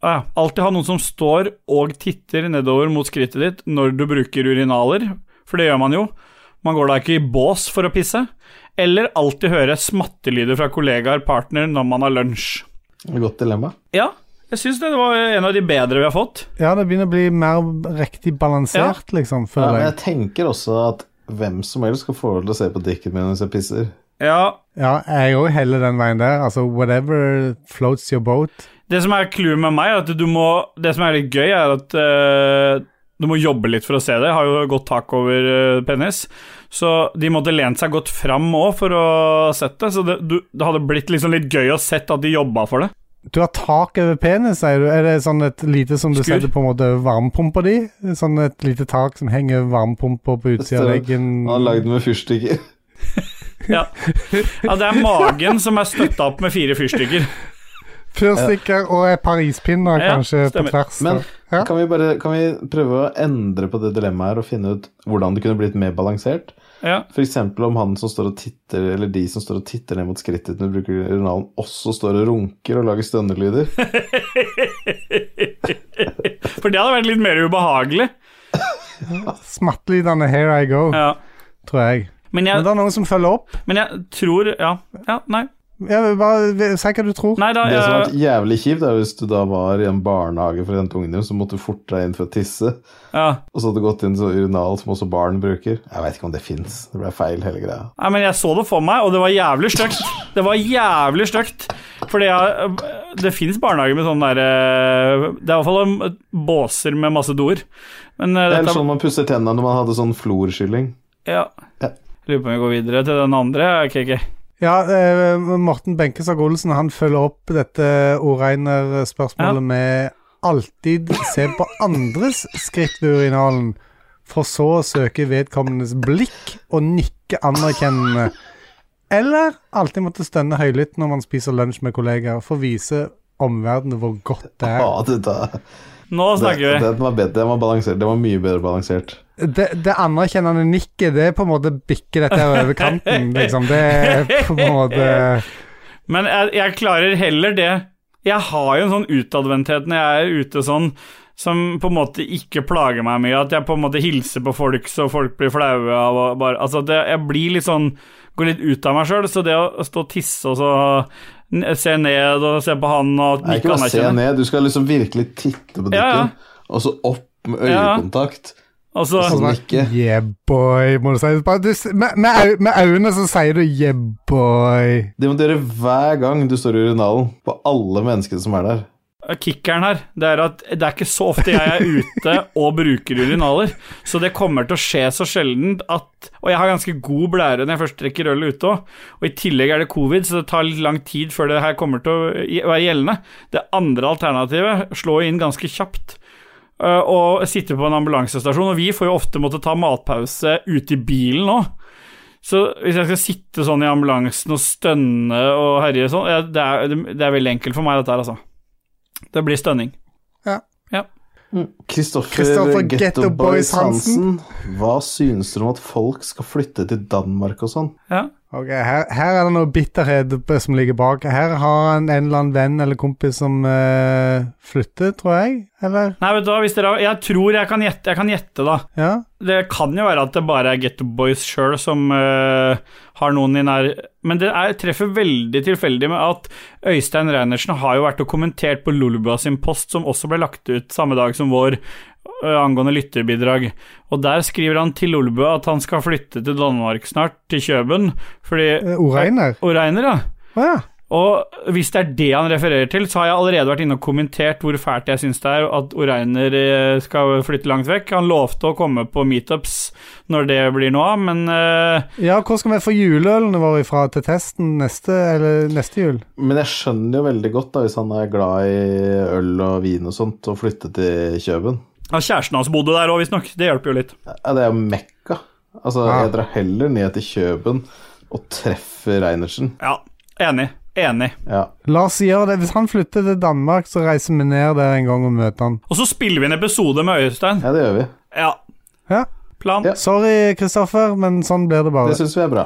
Speaker 2: ah, Alltid ha noen som står og titter nedover mot skrittet ditt når du bruker urinaler, for det gjør man jo. Man går da ikke i bås for å pisse. Eller alltid høre smattelyder fra kollegaer, partner, når man har lunsj.
Speaker 1: Godt dilemma.
Speaker 2: Ja, jeg syns det var en av de bedre vi har fått.
Speaker 3: Ja, det begynner å bli mer riktig balansert,
Speaker 1: Ja,
Speaker 3: liksom,
Speaker 1: men
Speaker 3: føler
Speaker 1: jeg
Speaker 3: jeg.
Speaker 1: tenker også at hvem som helst skal få lov til å se på dikken min mens jeg pisser.
Speaker 2: Ja,
Speaker 3: Ja, jeg òg heller den veien der. Altså, whatever floats your boat.
Speaker 2: Det som er clouet med meg, er at du må Det som er litt gøy, er at eh, du må jobbe litt for å se det. Jeg har jo godt tak over eh, penis. Så de måtte lent seg godt fram òg for å sett det. Så det, du, det hadde blitt liksom litt gøy å sett at de jobba for det.
Speaker 3: Du har tak over penis, sier du. Er det sånn et lite som du
Speaker 2: Skur?
Speaker 3: setter på en måte over varmepumpa di? Sånn et lite tak som henger over varmepumpa på utsida av
Speaker 1: Det står-
Speaker 3: veggen?
Speaker 1: Han har lagd den med fyrstikker.
Speaker 2: Ja. ja, det er magen som er støtta opp med fire fyrstikker.
Speaker 3: Fyrstikker og et par ispinner,
Speaker 2: Ja,
Speaker 3: kanskje,
Speaker 2: stemmer.
Speaker 3: på tvers.
Speaker 1: Men
Speaker 3: Ja.
Speaker 1: kan vi, bare, kan vi prøve å endre på det dilemmaet her og finne ut hvordan det kunne blitt mer balansert?
Speaker 2: Ja.
Speaker 1: F.eks. om han som står og titter, eller de som står og titter ned mot skrittet når du bruker urinalen, også står og runker og lager stønnelyder.
Speaker 2: For det hadde vært litt mer ubehagelig.
Speaker 3: Smattelydene Here I Go,
Speaker 2: Ja.
Speaker 3: tror jeg.
Speaker 2: Men
Speaker 3: Men
Speaker 2: jeg,
Speaker 3: det er noen som følger opp.
Speaker 2: men jeg tror Ja, ja nei.
Speaker 3: Ja, bare Si hva du tror.
Speaker 2: Nei da.
Speaker 1: Det som har vært
Speaker 2: Jeg,
Speaker 1: jævlig kjipt, er hvis du da var i en barnehage for å hente ungen din, så måtte du forte deg inn for å tisse,
Speaker 2: ja.
Speaker 1: og så hadde du gått inn sånn urinal som også barn bruker. Jeg veit ikke om det fins. Det ble feil, hele greia.
Speaker 2: Nei, men jeg så det for meg, og det var jævlig stygt. Det var jævlig stygt. Fordi jeg, det fins barnehager med sånne derre Det er i hvert fall en- båser med masse doer. Men eh,
Speaker 1: Det er
Speaker 2: dette
Speaker 1: litt sånn man pusser tennene når man hadde sånn florskylling.
Speaker 2: Ja.
Speaker 1: Ja.
Speaker 2: Lurer på om vi går videre til den andre. Okay, okay.
Speaker 3: Ja, eh, Morten Benkesag Olsen han følger opp dette Oreiner-spørsmålet
Speaker 2: Ja.
Speaker 3: med alltid se på andres skritt ved urinalen, for så å søke vedkommendes blikk og nikke anerkjennende. Eller alltid måtte stønne høylytt når man spiser lunsj med kollegaer, for å vise omverdenen hvor godt det er.
Speaker 1: Ja, det, da-
Speaker 2: Nå
Speaker 1: det,
Speaker 2: snakker vi.
Speaker 1: den var bedre, den var balansert. Den var mye bedre balansert.
Speaker 3: Det, det anerkjennende nikket, det er på en måte bikke dette her over kanten, liksom. Det er på en måte
Speaker 2: Men jeg, jeg klarer heller det Jeg har jo en sånn utadvendthet når jeg er ute sånn, som på en måte ikke plager meg mye. At jeg på en måte hilser på folk så folk blir flaue av å bare Altså, det, jeg blir litt sånn Går litt ut av meg sjøl, så det å stå og tisse og så n- se ned og se på han og
Speaker 1: Nei, ikke
Speaker 2: nikke
Speaker 1: bare se
Speaker 2: anerkjennende,
Speaker 1: ned, du skal liksom virkelig titte på dikken,
Speaker 2: Ja, ja.
Speaker 1: og så opp med
Speaker 2: Ja, ja.
Speaker 1: øyekontakt.
Speaker 2: og så
Speaker 1: og så
Speaker 3: Bare,
Speaker 1: nikke.
Speaker 3: Yeah, boy, må du si. Bare, du, s- med, med, au- med øynene så sier du yeah, boy.
Speaker 1: Det må du gjøre hver gang du står i urinalen, på alle menneskene som er der.
Speaker 2: Kickeren her, det er at det er ikke så ofte jeg er ute og bruker urinaler, så det kommer til å skje så sjelden at Og jeg har ganske god blære når jeg først drikker øl ute òg, og i tillegg er det covid, så det tar litt lang tid før det her kommer til å gje- være gjeldende. Det andre alternativet slår inn ganske kjapt. øh, Og sitte på en ambulansestasjon, og vi får jo ofte måtte ta matpause ute i bilen òg. Så hvis jeg skal sitte sånn i ambulansen og stønne og herje sånn, ja, det er, det er veldig enkelt for meg, dette her, altså. Det blir stønning.
Speaker 1: Kristoffer
Speaker 3: Christopher
Speaker 1: Getto
Speaker 3: Getto
Speaker 1: Boys
Speaker 3: Boys
Speaker 1: Hansen, hva synes dere om at folk skal flytte til Danmark og sånn?
Speaker 2: Ja.
Speaker 3: Ok, her, her er det noe bitterhet b- som ligger bak. Her har han en eller annen venn eller kompis som eh, flytter, tror jeg. Eller?
Speaker 2: Nei, vet du hva, hvis dere, har- jeg tror jeg kan gjette, jeg kan gjette da.
Speaker 3: Ja.
Speaker 2: Det kan jo være at det bare er Getto Boys sjøl som øh, har noen i nær... Men det er, treffer veldig tilfeldig med at Øystein Reinertsen har jo vært og kommentert på Lulubua sin post, som også ble lagt ut samme dag som vår øh, angående lytterbidrag. Og der skriver han til Lulubua at han skal flytte til Danmark snart, til Kjøben, fordi
Speaker 3: Eh, Oreiner?
Speaker 2: Og Reiner, ja.
Speaker 3: Å ja.
Speaker 2: Og hvis det er det han refererer til, så har jeg allerede vært inne og kommentert hvor fælt jeg syns det er at Oreiner eh, skal flytte langt vekk. Han lovte å komme på meetups når det blir noe av, men eh,
Speaker 3: Ja, hvor skal vi få juleølene våre ifra til testen neste, eller neste jul?
Speaker 1: Men jeg skjønner jo veldig godt da, hvis han er glad i øl og vin og sånt, og flytte til Kjøben.
Speaker 2: ja, kjæresten hans bodde der òg, visstnok. Det hjelper jo litt.
Speaker 1: Ja, det er jo mekka. Altså,
Speaker 3: Ja.
Speaker 1: jeg drar heller ned til Kjøben og treffer Reinertsen.
Speaker 2: Ja, enig. Enig.
Speaker 1: Ja.
Speaker 3: La oss gjøre det. Hvis han flytter til Danmark, så reiser vi ned der en gang og møter han.
Speaker 2: Og så spiller vi en episode med Øystein.
Speaker 1: ja, det gjør vi.
Speaker 2: Ja.
Speaker 3: Ja.
Speaker 2: Plan.
Speaker 1: Ja.
Speaker 3: Sorry, Kristoffer, men sånn blir
Speaker 1: Det
Speaker 3: det bare.
Speaker 1: syns vi er bra.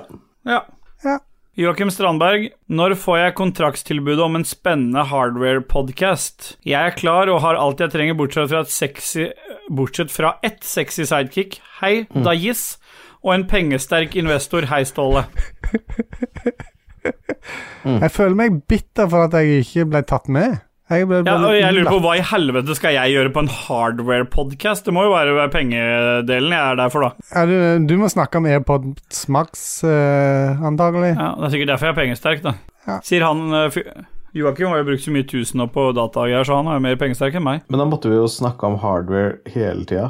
Speaker 2: Ja.
Speaker 3: Ja.
Speaker 2: Joakim Strandberg, når får jeg kontraktstilbudet om en spennende hardware-podkast? Jeg er klar og har alt jeg trenger, bortsett fra, et sexy, bortsett fra ett sexy sidekick, hei, Dajis, og en pengesterk investor, hei, Ståle.
Speaker 3: Jeg føler meg bitter for at jeg ikke ble tatt med. Jeg ble,
Speaker 2: Ja, og jeg lurer på hva i helvete skal jeg gjøre på en hardware-podkast? Det må jo være pengedelen jeg er der for, da.
Speaker 3: Ja, du, du må snakke om AirPods Max, eh, antagelig.
Speaker 2: Ja, det er sikkert derfor jeg er pengesterk, da.
Speaker 3: Ja.
Speaker 2: Sier han eh, fy- Joakim har jo brukt så mye tusener på datagreier, så han er jo mer pengesterk enn meg.
Speaker 1: Men da måtte vi jo snakke om hardware hele tida.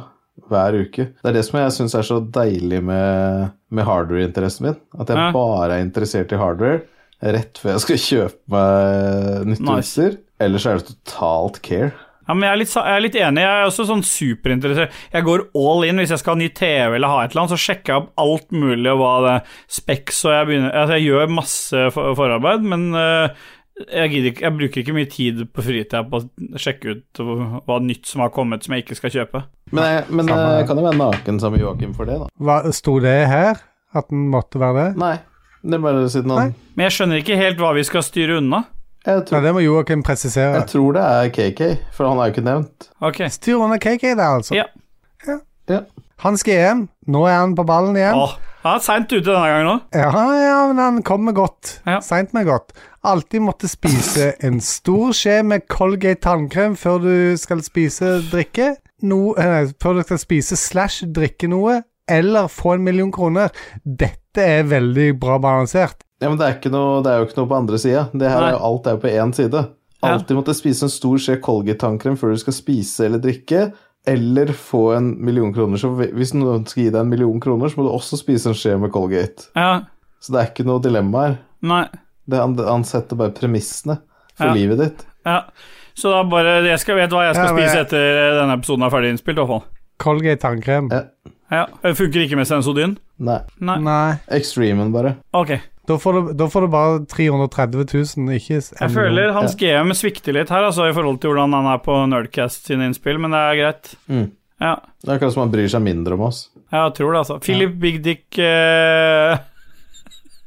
Speaker 1: Hver uke. Det er det som jeg syns er så deilig med, med hardware-interessen min. At jeg
Speaker 2: Ja.
Speaker 1: bare er interessert i hardware rett før jeg skal kjøpe meg nytt
Speaker 2: Nice.
Speaker 1: utstyr. Ellers er det totalt care.
Speaker 2: Ja, men jeg er, litt, sa- jeg er litt enig. Jeg er også sånn superinteressert. Jeg går all in hvis jeg skal ha ny TV eller ha et eller annet, så sjekker jeg opp alt mulig og hva det er Specs og jeg begynner Altså, jeg gjør masse for forarbeid, men eh, jeg, gidder ikke, jeg bruker ikke mye tid på fritida på å sjekke ut hva nytt som har kommet som jeg ikke skal kjøpe.
Speaker 1: Men jeg, men
Speaker 3: Samme
Speaker 1: jeg
Speaker 3: her.
Speaker 1: kan jo være naken sammen med Joakim for det, da.
Speaker 3: Hva, sto det her? At den måtte være det?
Speaker 1: Nei. Det er bare siden han
Speaker 2: Men jeg skjønner ikke helt hva vi skal styre unna.
Speaker 1: jeg
Speaker 3: Nei,
Speaker 1: tror,
Speaker 3: det må Joakim presisere.
Speaker 1: jeg tror det er KK, for han er jo ikke nevnt.
Speaker 2: Ok.
Speaker 3: Styr under KK der, altså.
Speaker 2: Ja.
Speaker 1: Ja.
Speaker 3: Han skal hjem. Nå er han på ballen igjen.
Speaker 2: Åh, han er seint ute denne gangen òg.
Speaker 3: Ja, ja, men han kommer godt.
Speaker 2: Ja.
Speaker 3: Seint, men godt. Alltid måtte spise en stor skje med Colgate tannkrem før du skal spise drikke. No, nei, før du skal spise slash drikke noe, eller få en million kroner. Dette er veldig bra balansert.
Speaker 1: Ja, men det er, ikke noe, det er jo ikke noe på andre sida. Det her
Speaker 2: Nei.
Speaker 1: er jo alt er jo på én side. Alltid måtte spise en stor skje Colgate-tannkrem før du skal spise eller drikke, eller få en million kroner. Så hvis noen skal gi deg en million kroner, så må du også spise en skje med Colgate.
Speaker 2: Ja.
Speaker 1: Så det er ikke noe dilemma her.
Speaker 2: Nei.
Speaker 1: Det han, han setter bare premissene for
Speaker 2: Ja.
Speaker 1: livet ditt.
Speaker 2: Ja. Så da bare Jeg skal vet hva jeg skal
Speaker 3: Ja, men
Speaker 2: spise
Speaker 3: jeg-
Speaker 2: etter eh, denne episoden er ferdig innspilt, i hvert fall.
Speaker 3: Colgate tannkrem.
Speaker 1: Ja.
Speaker 2: Ja, det Eh, Funker ikke med sensodyn?
Speaker 1: Nei.
Speaker 2: Nei.
Speaker 3: Nei.
Speaker 1: Extremen, bare.
Speaker 2: Ok.
Speaker 3: Da får, du, da får du bare 330 000, ikke en
Speaker 2: Jeg
Speaker 3: million.
Speaker 2: føler hans GM svikter litt her, altså, i forhold til hvordan han er på Nerdcast sine innspill, men det er greit.
Speaker 1: Mm.
Speaker 2: Ja,
Speaker 1: Det er akkurat som han bryr seg mindre om oss.
Speaker 2: jeg tror det, altså. Philip Big Dick eh,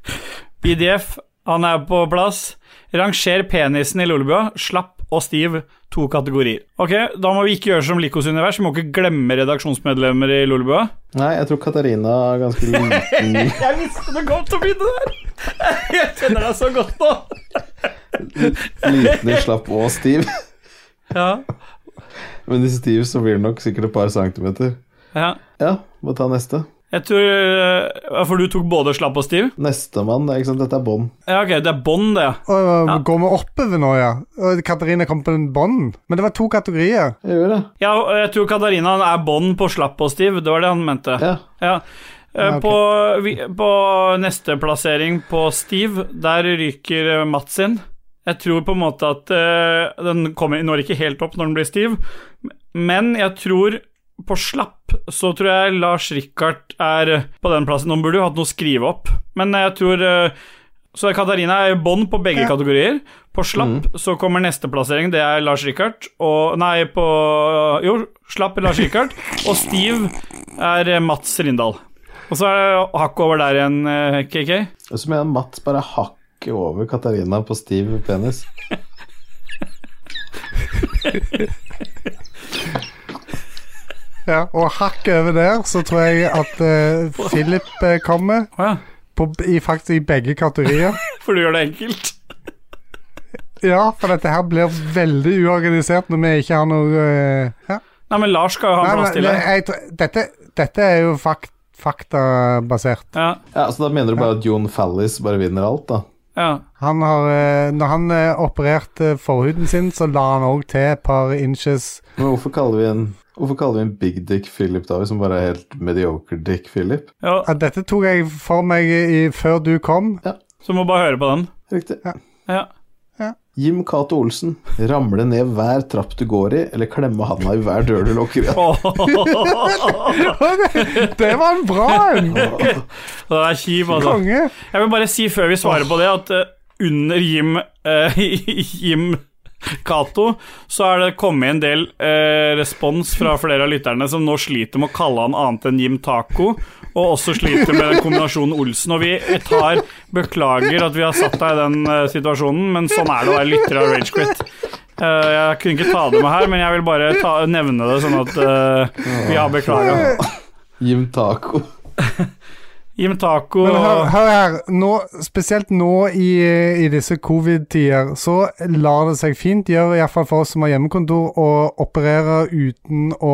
Speaker 2: (laughs) BDF, han er på plass. Ranger penisen i Lolebua. Slapp og stiv. To kategorier. Ok, Da må vi ikke gjøre som Likos univers, vi må ikke glemme redaksjonsmedlemmer i Lolebua.
Speaker 1: Nei, jeg tror Katarina er ganske liten
Speaker 2: (laughs) Jeg visste det godt å begynne der! (laughs) Jeg kjenner deg så godt nå.
Speaker 1: Liten i slapp og stiv.
Speaker 2: Ja,
Speaker 1: Men i stiv så blir det nok sikkert et par centimeter.
Speaker 2: ja.
Speaker 1: Ja, må ta neste.
Speaker 2: Jeg tror eh, For du tok både slapp og stiv?
Speaker 1: Nestemann, det er ikke sant, dette er bånd.
Speaker 2: Ja, ok, det er bånd, det. ja.
Speaker 3: Å, Går vi oppover nå, ja? Og Katarina kom på den bånden. Men det var to kategorier.
Speaker 1: Jeg gjør det.
Speaker 2: Ja, og jeg tror Katarina er bånd på slapp og stiv. Det var det han mente.
Speaker 1: Ja.
Speaker 2: Ja. Eh,
Speaker 3: Ja, ok.
Speaker 2: På, vi, på neste plassering på stiv, der ryker eh, Mats inn. Jeg tror på en måte at eh, den kommer, når ikke helt opp når den blir stiv, men jeg tror på slapp så tror jeg Lars Rikard er på den plassen. Nå burde jo hatt noe å skrive opp, men jeg tror eh, Så Katarina er i bånn på begge kategorier. På slapp
Speaker 3: Mm.
Speaker 2: så kommer neste plassering, det er Lars Rikard. Og Nei, på Jo, slapp Lars (laughs) Rikard. Og stiv er eh, Mats Rindal. Og så er det hakk over der igjen, eh, KK.
Speaker 6: Og så mener jeg Matt bare hakket over Katarina på stiv penis.
Speaker 3: Ja, og hakk over der, så tror jeg at eh, Philip eh, kommer.
Speaker 2: Å ja.
Speaker 3: På, i, faktisk i begge kategorier.
Speaker 2: For du gjør det enkelt.
Speaker 3: Ja, for dette her blir veldig uorganisert når vi ikke har noe eh, ja.
Speaker 2: Nei, men Lars skal jo ha en
Speaker 3: Nei,
Speaker 2: plass
Speaker 3: men,
Speaker 2: til
Speaker 3: jeg,
Speaker 2: her.
Speaker 3: tror- dette, dette er jo fak, faktabasert.
Speaker 2: Ja,
Speaker 6: Ja, Så da mener du bare at Jon Fallis bare vinner alt, da?
Speaker 2: ja.
Speaker 3: Han har, eh, når han eh, opererte forhuden sin, så la han òg til et par inches.
Speaker 6: Men hvorfor kaller vi en Hvorfor kaller vi en big dick Philip da, hvis han bare er helt mediocre dick Philip?
Speaker 2: ja.
Speaker 3: Ja, dette tok jeg for meg i, før du kom. (laughs)
Speaker 2: Så må bare høre på den.
Speaker 6: Riktig.
Speaker 2: Ja.
Speaker 6: Jim Cato Olsen. Ramle ned hver trapp du går i, eller klemme handa i hver dør du lukker igjen.
Speaker 3: Det var en bra en!
Speaker 2: Det er kjip, altså.
Speaker 3: Konge.
Speaker 2: Jeg vil bare si før vi svarer på det, at eh, under Jim uh, (laughs) Jim Cato, så er det kommet en del eh, respons fra flere av lytterne som nå sliter med å kalle han annet enn Jim Taco, og også sliter med kombinasjonen Olsen. Og vi tar Beklager at vi har satt deg i den eh, situasjonen, men sånn er det å være lytter av Ragequit. Eh, jeg kunne ikke ta det med her, men jeg vil bare ta, nevne det, sånn at eh, vi har beklaga.
Speaker 6: Jim Taco.
Speaker 2: Jim Taco
Speaker 3: Men hør,
Speaker 2: og
Speaker 3: hør her, nå, spesielt nå i, i disse covid-tider, så lar det seg fint gjøre, iallfall for oss som har hjemmekontor, å operere uten å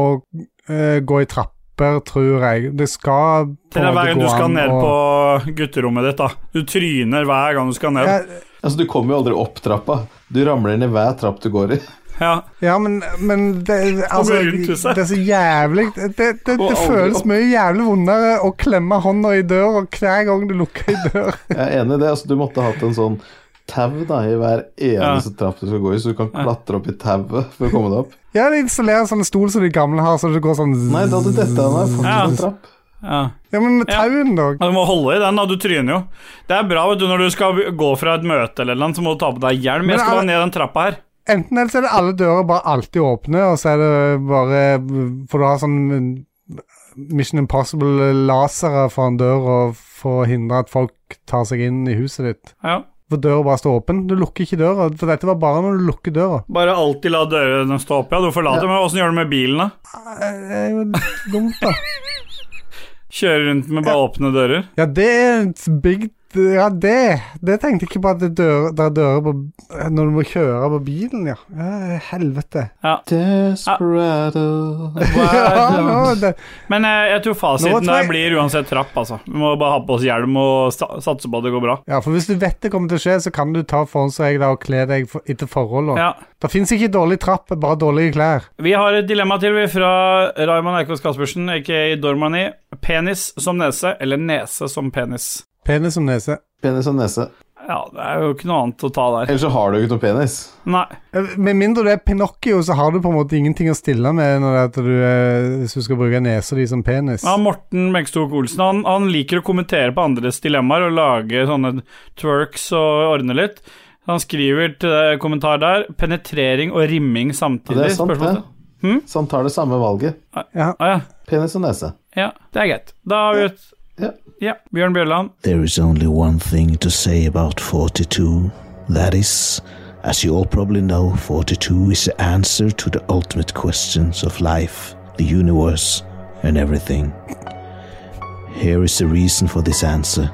Speaker 3: eh, gå i trapper, tror jeg. Det skal på
Speaker 2: Det er
Speaker 3: en måte
Speaker 2: hver gang du
Speaker 3: gå
Speaker 2: skal
Speaker 3: an
Speaker 2: ned
Speaker 3: å-
Speaker 2: på gutterommet ditt, da. Du tryner hver gang du skal ned.
Speaker 3: ja,
Speaker 6: Altså, du kommer jo aldri opp trappa. Du ramler ned hver trapp du går i.
Speaker 2: Ja.
Speaker 3: ja, men, men det, altså,
Speaker 2: rundt
Speaker 3: det
Speaker 2: huset.
Speaker 3: er så jævlig Det, det, det,
Speaker 6: Gå aldri
Speaker 3: føles
Speaker 6: opp.
Speaker 3: mye jævlig vondere å klemme hånda i døra hver gang du lukker ei dør.
Speaker 6: Jeg er enig i det. Altså, du måtte hatt en sånn tau da, i hver eneste trapp du skal gå i, så du kan klatre opp i tauet for å komme deg opp.
Speaker 3: Ja, de installerer sånn stol som de gamle har, så det går sånn
Speaker 6: Nei, da hadde dette av meg
Speaker 2: Ja.
Speaker 6: fortsatt en trapp.
Speaker 2: ja.
Speaker 3: Ja, men med tauen, da.
Speaker 2: Ja, Du må holde i den, da. Du tryner jo. Det er bra vet du, når du skal gå fra et møte eller noe, så må du ta på deg hjelm.
Speaker 3: Men
Speaker 2: Jeg skal
Speaker 3: er-
Speaker 2: bare ned den trappa her.
Speaker 3: Enten eller så er det alle dører bare alltid åpne, og så er det bare For du har sånn Mission Impossible-lasere foran døra for å hindre at folk tar seg inn i huset ditt.
Speaker 2: Ja.
Speaker 3: For døra bare står åpen. Du lukker ikke døra, for dette var bare når du lukker døra.
Speaker 2: Bare alltid la dørene stå oppe, ja. Du forlater Men åssen gjør du med bilen, da?
Speaker 3: Det er jo dumt, da.
Speaker 2: Kjører rundt med bare åpne dører?
Speaker 3: Ja, det er en big Ja, det Det tenkte jeg ikke på at det er dører, det er dører på Når du må kjøre på bilen, ja. ja helvete.
Speaker 6: Desperado.
Speaker 3: (laughs) Ja, nå, det,
Speaker 2: Men eh, jeg, jeg tror
Speaker 3: Nå
Speaker 2: fasiten
Speaker 3: tror jeg-
Speaker 2: der blir uansett trapp, altså. Vi må bare ha på oss hjelm og sa- satse på at det går bra.
Speaker 3: Ja, for hvis du vet det kommer til å skje, så kan du ta forhåndsregler og kle deg for, etter forholdene.
Speaker 2: Ja.
Speaker 3: Det fins ikke dårlig trapp, bare dårlige klær.
Speaker 2: Vi har et dilemma til vi fra Raymond Eikås Caspersen, aka Dormani. Penis som nese, eller nese som penis?
Speaker 3: Penis som nese.
Speaker 6: Penis og nese.
Speaker 2: Ja, det er jo ikke noe annet å ta der.
Speaker 6: Ellers så har du jo ikke noe penis.
Speaker 2: Nei.
Speaker 3: Eh, Med mindre du er Pinocchio, så har du på en måte ingenting å stille med når det er at du, eh, hvis du skal bruke nesa di som penis.
Speaker 2: Ja, Morten Mengstok Olsen han, han liker å kommentere på andres dilemmaer og lage sånne twerks og ordne litt. Han skriver til eh, kommentar der 'penetrering og rimming
Speaker 6: Ja, det
Speaker 2: samtidig'.
Speaker 6: er sant, det.
Speaker 2: Spørsmålstegn.
Speaker 6: Så han tar det samme valget.
Speaker 2: Ah, ja.
Speaker 6: Penis og nese.
Speaker 2: ja, det er greit. Da har vi et
Speaker 6: Ja.
Speaker 2: ja. Bjørn Bjørland.
Speaker 7: There is only one thing to say about 42. That is, as you all probably know, 42 is the answer to the ultimate questions of life, the universe, and everything. Here is the reason for this answer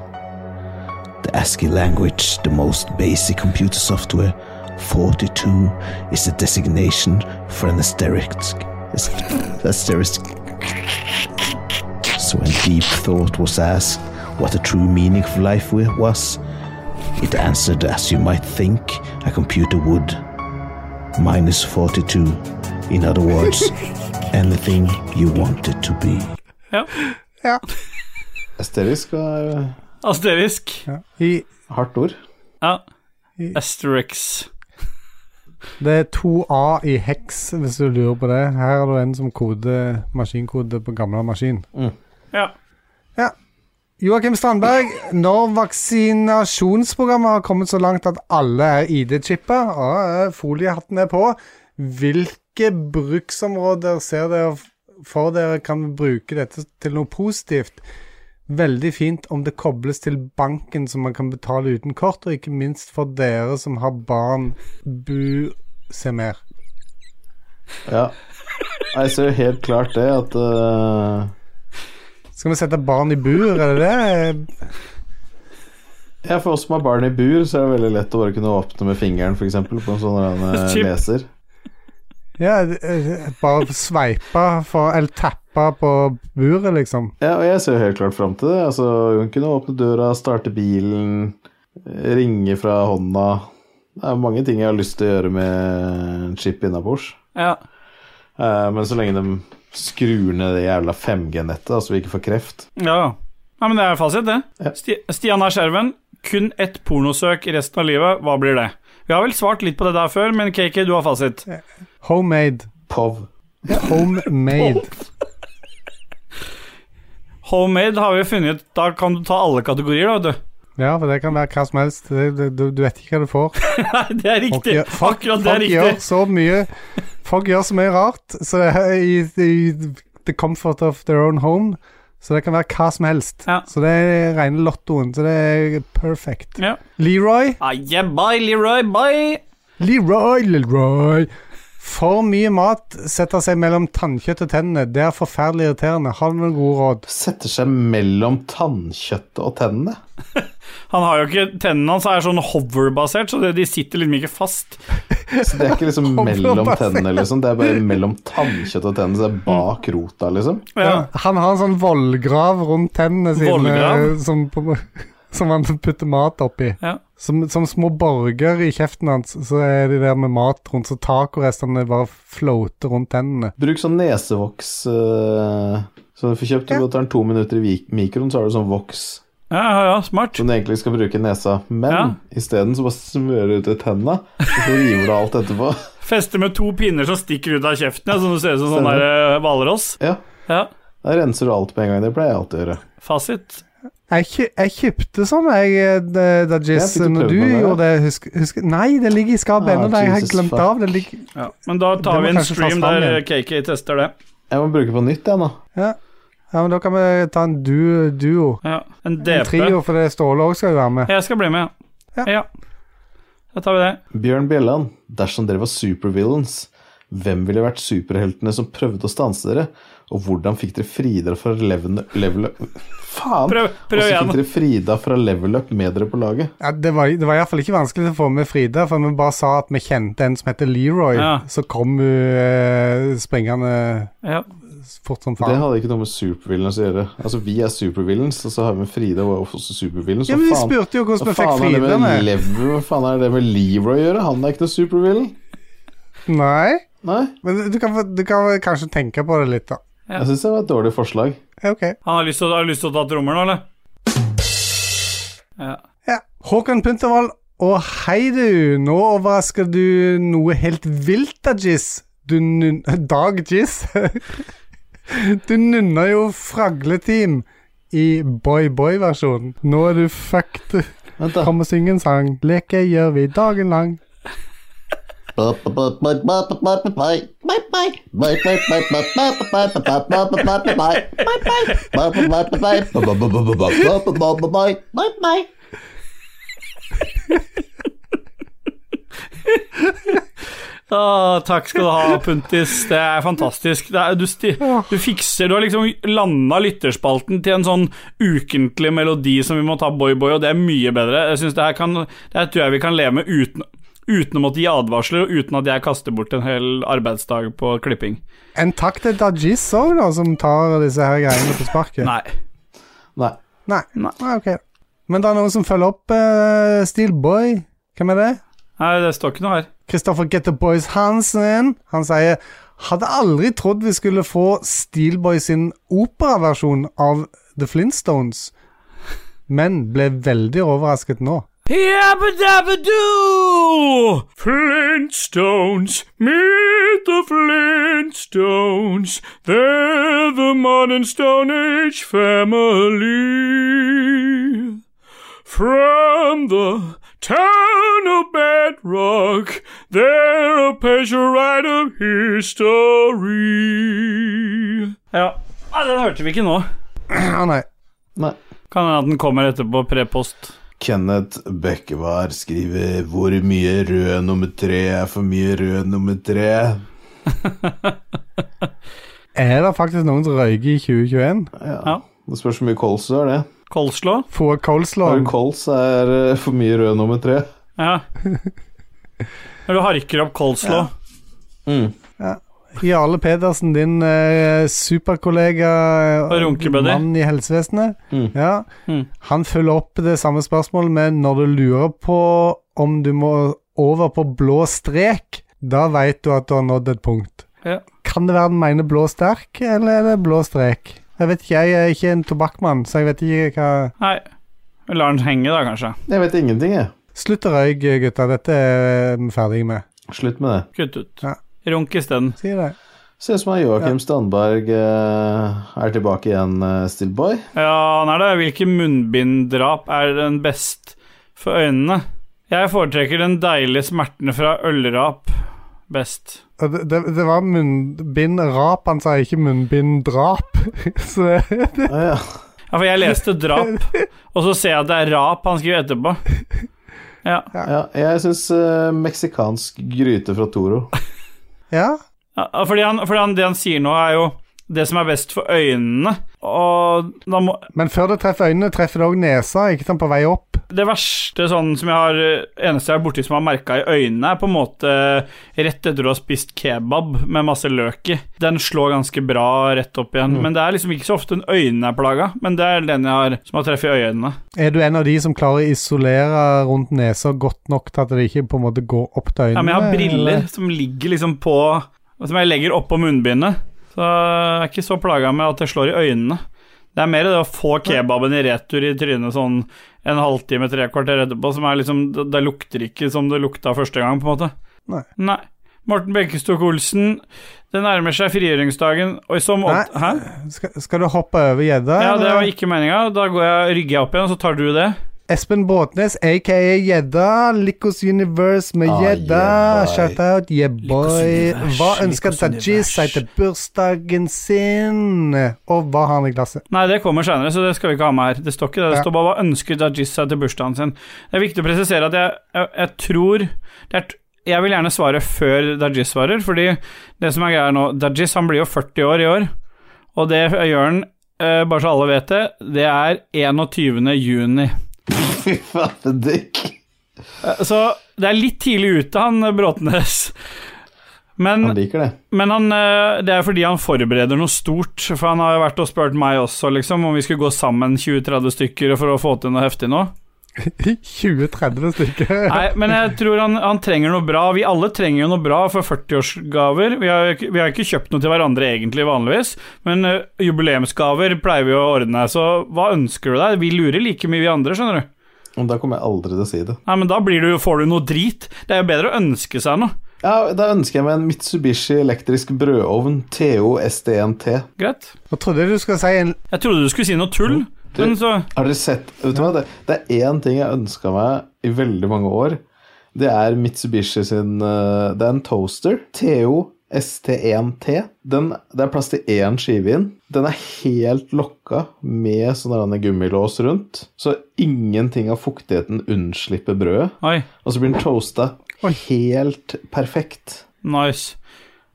Speaker 7: the ASCII language, the most basic computer software. 42 is the designation for an asterisk. (laughs) asterisk. So when deep thought was asked what the true meaning of life wi- was, it answered as you might think a computer would. Minus 42. In other words, anything you want it to be.
Speaker 6: Esterisk var eh,
Speaker 2: Asterisk.
Speaker 3: I,
Speaker 6: hardt ord.
Speaker 2: Ja. Asterix.
Speaker 3: det er 2A i heks, hvis du lurer på det. Her er du en som koder maskinkode på gamle maskin.
Speaker 2: Ja.
Speaker 3: Joakim Strandberg, når vaksinasjonsprogrammet har kommet så langt at alle er ID-chippa og eh, foliehatten er på, hvilke bruksområder ser dere f- for dere kan bruke dette til noe positivt? Veldig fint om det kobles til banken som man kan betale uten kort, og ikke minst for dere som har barn. Bu se mer.
Speaker 1: Ja. Jeg ser helt klart det at eh,
Speaker 3: Skal vi sette barn i bur, er det det?
Speaker 1: Ja, for oss som har barn i bur, så er det veldig lett å bare kunne åpne med fingeren, f.eks., på en sånn eh,
Speaker 2: Chip.
Speaker 1: leser.
Speaker 3: Ja, eh, bare sveipe for Eller tappe på buret, liksom.
Speaker 1: Ja, og jeg ser jo helt klart fram til det. Altså, hun kunne åpne døra, starte bilen, ringe fra hånda. Det er mange ting jeg har lyst til å gjøre med en chip innabords.
Speaker 2: Ja.
Speaker 1: Eh, Men så lenge de skrur ned det jævla 5G-nettet, altså vi ikke får kreft
Speaker 2: Ja, ja. Nei, men det er fasit, det.
Speaker 1: Ja.
Speaker 2: Sti Stian R. Skjerven, kun ett pornosøk i resten av livet, hva blir det? Vi har vel svart litt på det der før, men KK, du har fasit.
Speaker 3: Homemade.
Speaker 1: POV.
Speaker 2: (laughs)
Speaker 3: Homemade.
Speaker 2: Homemade har vi funnet, da kan du ta alle kategorier, da, vet du. (laughs)
Speaker 3: Ja, for det kan være hva som helst. Det, det, du, du vet ikke hva
Speaker 2: (laughs)
Speaker 3: du får.
Speaker 2: Nei, det er
Speaker 3: Folk
Speaker 2: riktig.
Speaker 3: gjør, folk,
Speaker 2: Akkurat det er
Speaker 3: folk gjør
Speaker 2: riktig.
Speaker 3: så mye Folk gjør så mye rart så det, er i, i the comfort of their own home. Så det kan være hva som helst.
Speaker 2: Ja.
Speaker 3: Så det er rene lottoen. Så det er perfect.
Speaker 2: Ja.
Speaker 3: Leroy,
Speaker 2: Ah, yeah, bye, Leroy, bye.
Speaker 3: Leroy, Leroy. For mye mat setter seg mellom tannkjøtt og tennene. Det er forferdelig irriterende. Har du noen gode råd?
Speaker 1: Setter seg mellom tannkjøttet og tennene.
Speaker 2: Han har jo ikke Tennene hans er sånn hover-basert, så det, de sitter liksom ikke fast.
Speaker 1: Så det er ikke liksom
Speaker 3: Kommer
Speaker 1: mellom
Speaker 3: opp, ass.
Speaker 1: tennene, liksom. Det er bare mellom tannkjøtt og tennene, så det er bak rota, liksom.
Speaker 2: Ja.
Speaker 3: Han har en sånn vollgrav rundt tennene sine
Speaker 2: Vollgrav?
Speaker 3: eh, som, på- (laughs) som han putter mat oppi.
Speaker 2: Ja.
Speaker 3: Som, som små borger i kjeften hans, så er de der med mat rundt, så tacorestene bare floater rundt tennene.
Speaker 1: Bruk sånn nesevoks eh, som du får kjøpt. Du
Speaker 3: Ja.
Speaker 1: bare tar den to minutter i vik- mikroen, så har du sånn voks
Speaker 2: Ja, ja, ja, smart.
Speaker 1: som du egentlig skal bruke i nesa. Men
Speaker 2: Ja.
Speaker 1: isteden så bare smører du ut i tennene, og så river du alt etterpå. (laughs)
Speaker 2: Feste med to pinner som stikker ut av kjeften, ja, som det ser ut som sånn der eh, hvalross.
Speaker 1: Ja.
Speaker 2: Ja.
Speaker 1: Da renser du alt på en gang. Det pleier jeg alltid å gjøre.
Speaker 2: Fasit.
Speaker 3: Jeg, kjø- jeg kjøpte sånn, jeg, eh, da Jizz,
Speaker 1: fikk du prøvd
Speaker 3: når du
Speaker 1: med det,
Speaker 3: gjorde det. Husk, husk, nei, det ligger i skapet
Speaker 1: Ah,
Speaker 3: ennå, det har jeg
Speaker 1: Jesus
Speaker 3: glemt
Speaker 1: fuck.
Speaker 3: av. Det ligger,
Speaker 2: Ja. Men da
Speaker 3: Det
Speaker 2: tar
Speaker 3: må
Speaker 2: vi en
Speaker 3: kanskje tas
Speaker 2: stream
Speaker 3: fram
Speaker 2: der eh, KK tester det.
Speaker 1: Jeg må bruke på nytt, jeg, nå.
Speaker 3: ja. ja, men da kan vi ta en duo. duo.
Speaker 2: Ja. En
Speaker 3: En
Speaker 2: DP.
Speaker 3: trio, for det Ståle òg skal jo være med.
Speaker 2: Jeg skal bli med.
Speaker 3: Ja.
Speaker 2: Ja. Da tar vi det.
Speaker 1: Bjørn Bjelland, dersom dere var supervillains, hvem ville vært superheltene som prøvde å stanse dere? Og hvordan fikk dere Frida fra level up level up- Faen!
Speaker 2: Prøv, prøv
Speaker 1: Og så
Speaker 2: igjen.
Speaker 1: fikk dere Frida fra level up med dere på laget.
Speaker 3: Ja, det var, det var iallfall ikke vanskelig å få med Frida, for vi bare sa at vi kjente en som heter Leroy.
Speaker 2: Ja.
Speaker 3: Så kom hun eh, springende
Speaker 2: Ja.
Speaker 3: fort som
Speaker 1: Det
Speaker 3: faen.
Speaker 1: hadde ikke noe med supervillains å gjøre. Altså, vi er supervillains, og så har vi Frida og er også supervillains.
Speaker 3: Ja,
Speaker 1: Hva
Speaker 3: men Vi
Speaker 1: faen-
Speaker 3: spurte jo hvordan
Speaker 1: hva
Speaker 3: vi fikk
Speaker 1: faen er det
Speaker 3: Frida
Speaker 1: med
Speaker 3: med.
Speaker 1: Lev- Hva faen er det med Leroy å gjøre? Han er ikke noe supervillain.
Speaker 3: Nei,
Speaker 1: Nei,
Speaker 3: men du kan, få- du kan vel kanskje tenke på det litt, da.
Speaker 2: Ja.
Speaker 1: jeg syns det var et dårlig forslag.
Speaker 3: Ja, Ok.
Speaker 2: Han har lyst til, å- har lyst til å ta trommer nå, eller? Ja.
Speaker 3: Ja. Håkon Puntervold, og hei du, nå overrasker du noe helt vilt av Jizz. Du nun... (laughs) Dag Jizz. (laughs) du nunner jo Fragleteam i boy-boy-versjonen. Nå er du fucked.
Speaker 1: Vent, da.
Speaker 3: Kom og syng en sang. Leke gjør vi dagen lang.
Speaker 2: Ah, takk skal du ha, Puntis. Det er fantastisk. Det er, du, sti, du fikser Du har liksom landa lytterspalten til en sånn ukentlig melodi som vi må ta boy-boy, og det er mye bedre. Jeg synes det her kan Det her tror jeg vi kan leve med uten, uten å måtte gi advarsler, og uten at jeg kaster bort en hel arbeidsdag på klipping.
Speaker 3: En takk til Dajis òg, da, som tar disse her greiene på sparket.
Speaker 2: Nei.
Speaker 1: Nei.
Speaker 3: Nei.
Speaker 2: Nei.
Speaker 3: Nei, ok. Men det er noen som følger opp eh, Steelboy. Hvem er det?
Speaker 2: Nei, det står ikke noe her.
Speaker 3: Kristoffer Get the Boys Hansen. Han sier Hadde aldri trodd vi skulle få Steelboy sin operaversjon av The Flintstones, men ble veldig overrasket nå. (clears throat)
Speaker 2: Yabba-dabba-doo! Flintstones, meet the Flintstones. They're the modern Stone Age family. From the town of Bedrock, they're a picture of history. Ja. Ah, den hørte vi ikke nå.
Speaker 3: Å nei.
Speaker 1: Nei.
Speaker 2: Kan hende at den kommer etterpå, prepost.
Speaker 1: Kenneth Bekkevar skriver 'Hvor mye rød nummer tre er for mye rød nummer tre'?
Speaker 3: Er det faktisk noen som røyker i 2021?
Speaker 2: Ja.
Speaker 1: Det spørs hvor mye kols du har, det.
Speaker 2: Coleslaw?
Speaker 3: Få
Speaker 1: Har du
Speaker 3: coleslaw?
Speaker 1: kols, er eh, for mye rød nummer tre.
Speaker 2: Ja. Når du harker opp coleslaw.
Speaker 1: Mm.
Speaker 3: Jarle Pedersen, din eh, superkollega eh,
Speaker 2: Og runkebuddy.
Speaker 3: mann i helsevesenet,
Speaker 1: Mm.
Speaker 3: ja,
Speaker 2: Mm.
Speaker 3: han følger opp det samme spørsmålet med når du lurer på om du må over på blå strek, da vet du at du har nådd et punkt.
Speaker 2: Ja.
Speaker 3: Kan det være den mener blå sterk, eller er det blå strek? Jeg vet ikke, jeg er ikke en tobakkmann, så jeg vet ikke hva
Speaker 2: Nei. Vi lar den henge, da, kanskje.
Speaker 1: Jeg vet ingenting, jeg.
Speaker 3: Slutt å røyke, gutta. Dette er vi ferdige med.
Speaker 1: Slutt med det.
Speaker 2: Kutt ut.
Speaker 3: Ja.
Speaker 2: Runk isteden.
Speaker 3: Si det.
Speaker 1: Ser ut som han Joakim Strandberg eh, er tilbake igjen, eh, Stillboy.
Speaker 2: Ja, han er det. Hvilke munnbinddrap er den best for øynene? Jeg foretrekker den deilige smerten fra ølrap best.
Speaker 3: Og Det, det, det var munnbindrap, han sa ikke munnbinddrap. (laughs) Så det,
Speaker 1: Ah, (laughs) ja.
Speaker 2: Ja, for jeg leste drap, og så ser jeg at det er rap han skriver etterpå. Ja.
Speaker 1: Ja, jeg syns eh, meksikansk gryte fra Toro.
Speaker 3: ja.
Speaker 2: ja fordi, han, fordi han, det han sier nå, er jo det som er best for øynene, og da må
Speaker 3: Men før det treffer øynene, treffer det òg nesa. Ikke sant, på vei opp.
Speaker 2: Det verste sånn som jeg har eneste jeg er borti som jeg har merka i øynene, er på en måte eh, rett etter du har spist kebab med masse løk i. Den slår ganske bra rett opp igjen, men det er liksom ikke så ofte en øynene er plaga. Men det er den jeg har som har treff i øynene.
Speaker 3: Er du en av de som klarer å isolere rundt nesa godt nok til at det ikke på en måte går opp til øynene?
Speaker 2: Ja, men jeg har briller
Speaker 3: eller?
Speaker 2: som ligger liksom på Som jeg legger oppå munnbindet. Så jeg er ikke så plaga med at det slår i øynene. Det er mer det å få kebaben i retur i trynet sånn en halvtime, tre kvarter etterpå, som er liksom Det, det lukter ikke som det lukta første gang, på en måte.
Speaker 3: Nei.
Speaker 2: Nei. Morten Bekkestok Olsen, det nærmer seg frigjøringsdagen, og som
Speaker 3: Nei.
Speaker 2: åt... Hæ?
Speaker 3: Skal, skal du hoppe over gjedda?
Speaker 2: Ja, det
Speaker 3: eller?
Speaker 2: var ikke meninga. Da går jeg, rygger jeg opp igjen, og så tar du det.
Speaker 3: Espen Båtnes, aka Gjedda. Likos Universe med
Speaker 1: Ah,
Speaker 3: Gjedda.
Speaker 1: yeah, boy.
Speaker 3: Shout out, yeah boy.
Speaker 2: Universe,
Speaker 3: Hva ønsker
Speaker 2: Likos
Speaker 3: Dajis seg til bursdagen sin? Og hva har han i (laughs) glasset?
Speaker 2: Nei, det kommer seinere, så det skal vi ikke ha med her. Det står ikke det. Det
Speaker 3: Ja.
Speaker 2: står bare hva ønsker Dajis seg til bursdagen sin. Det er viktig å presisere at jeg, jeg, jeg tror det er, t- Jeg vil gjerne svare før Dajis svarer, fordi det som er greia nå Dajis han blir jo 40 år i år, og det gjør han, eh, bare så alle vet det, det er 21. juni.
Speaker 1: (laughs) Fy faen, dick.
Speaker 2: Så det er litt tidlig ute, han Bråtnes. Men
Speaker 1: Han liker det.
Speaker 2: Men han, eh, det er fordi han forbereder noe stort, for han har jo vært og spurt meg også, liksom, om vi skulle gå sammen 20-30 stykker for å få til noe heftig nå.
Speaker 3: 20-30 stykker.
Speaker 2: Nei, men jeg tror han, han trenger noe bra. Vi alle trenger jo noe bra for 40-årsgaver. Vi, har jo ikke- vi har ikke kjøpt noe til hverandre egentlig vanligvis, men eh, jubileumsgaver pleier vi å ordne, så hva ønsker du deg? Vi lurer like mye vi andre, skjønner du.
Speaker 1: Og da kommer jeg aldri til å si det.
Speaker 2: Nei, men da blir du, får du noe drit. Det er jo bedre å ønske seg noe.
Speaker 1: Ja, Da ønsker jeg meg en Mitsubishi elektrisk brødovn TO SDNT.
Speaker 2: Greit.
Speaker 3: Jeg trodde du skulle si en
Speaker 2: Jeg trodde du skulle si noe tull, men så
Speaker 1: Har dere sett Vet du hva, det, det er én ting jeg ønska meg i veldig mange år. Det er Mitsubishi sin eh, Det er en toaster. TO ST1T. E Den, det er plass til én skive inn. Den er helt lokka med sånn der en gummilås rundt, så ingenting av fuktigheten unnslipper brødet.
Speaker 2: Oi,
Speaker 1: Og så blir den toasta helt perfekt.
Speaker 2: nice.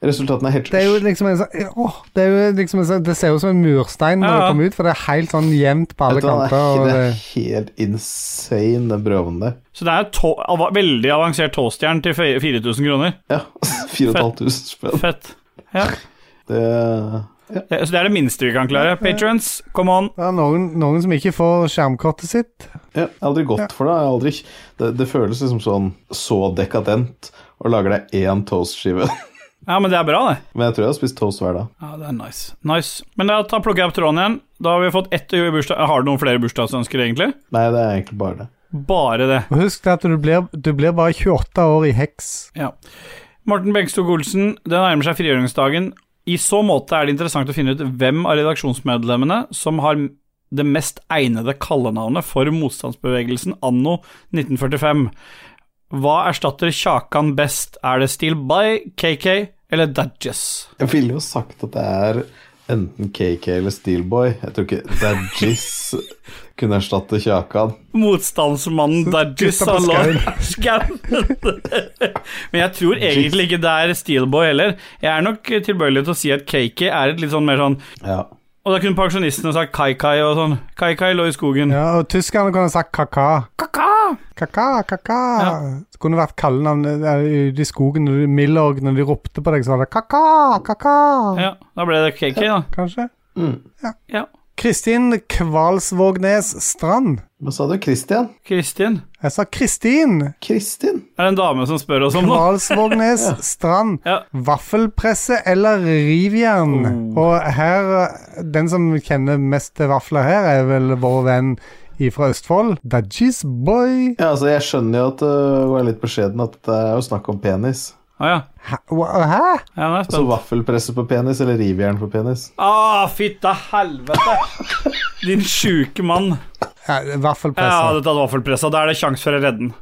Speaker 1: Resultatene er helt
Speaker 3: Det er jo liksom en sånn Åh, det er jo liksom en sånn Det ser ut som en murstein når
Speaker 2: Ja, ja.
Speaker 3: det kommer ut, for det er helt sånn jevnt på alle
Speaker 1: Vet du hva,
Speaker 3: kanter. Og
Speaker 1: det, er,
Speaker 3: det,
Speaker 1: he- det er helt insane, den brødovnen der.
Speaker 2: Så det er et to av- veldig avansert toastjern til fe- 4000 kroner.
Speaker 1: Ja, (laughs) 4500 spenn.
Speaker 2: Fett. Ja.
Speaker 1: Det
Speaker 2: Det, så det er det minste vi kan klare. Patrons, come on.
Speaker 3: det er noen, noen som ikke får skjermkortet sitt.
Speaker 1: Ja, jeg har aldri gått for det. Jeg har aldri, det. Det føles liksom sånn så dekadent å lage deg én toastskive. (laughs)
Speaker 2: Ja, men det er bra, det.
Speaker 1: Men jeg tror jeg har spist toast hver dag.
Speaker 2: Ja, det er nice. Nice. Men da tar- plukker jeg opp tråden igjen. Da har vi fått ett i bursdag... Har du noen flere bursdagsønsker, egentlig?
Speaker 1: Nei, det er egentlig bare det.
Speaker 2: Bare det.
Speaker 3: Og husk at du blir, du blir bare 28 år i heks.
Speaker 2: Ja. Morten Bengstok Olsen, det nærmer seg frigjøringsdagen. I så måte er det interessant å finne ut hvem av redaksjonsmedlemmene som har det mest egnede kallenavnet for motstandsbevegelsen anno 1945. Hva erstatter Kjakan best? Er det Steel By, KK eller Dudges?
Speaker 1: Jeg ville jo sagt at det er enten KK eller Steelboy. Jeg tror ikke Dadgies
Speaker 2: (laughs)
Speaker 1: kunne erstatte Kjakan.
Speaker 2: Motstandsmannen Dudges
Speaker 3: Gutta på
Speaker 2: han lå- (laughs) Skauen. Men jeg tror egentlig ikke det er Steelboy heller. Jeg er nok tilbøyelig til å si at KK er et litt sånn mer sånn
Speaker 1: Ja.
Speaker 2: Og da kunne pensjonistene sagt Kai-Kai og sånn. Kai-Kai lå i skogen.
Speaker 3: Ja, og tyskerne kunne sagt kaka.
Speaker 2: Kaka!
Speaker 3: Kaka, kaka.
Speaker 2: Ja.
Speaker 3: Det kunne vært kallenavn eh, ute i skogen når du Milorg, når de ropte på deg, så var det kaka, kaka.
Speaker 2: Ja, da ble det KK, da.
Speaker 3: Kanskje?
Speaker 2: Ja.
Speaker 3: Kristin Kvalsvågnes Strand.
Speaker 1: Hva sa du? Christian?
Speaker 2: Kristin.
Speaker 3: Jeg sa Kristin
Speaker 1: Kristin?
Speaker 2: Er det en dame som spør oss om noe?
Speaker 3: Kvalsvågnes Strand.
Speaker 2: Ja.
Speaker 3: Vaffelpresse eller rivjern? Og her eh, Den som kjenner mest til vafler her, er vel vår venn ifra Østfold. Dudgies boy.
Speaker 1: Ja, altså, jeg skjønner jo at uh, hun er litt beskjeden, at det er jo snakk om penis.
Speaker 2: Å ja.
Speaker 3: Hæ? Hva- Hæ?
Speaker 2: ja nå er jeg
Speaker 1: Så
Speaker 2: spent.
Speaker 1: vaffelpresse på penis, eller rivjern på penis.
Speaker 2: Å, fitta helvete! Din sjuke mann.
Speaker 3: Ja,
Speaker 2: Ja, altså.
Speaker 3: Vaffelpresse.
Speaker 2: dette er vaffelpressa. Da er det sjanse for å redde den.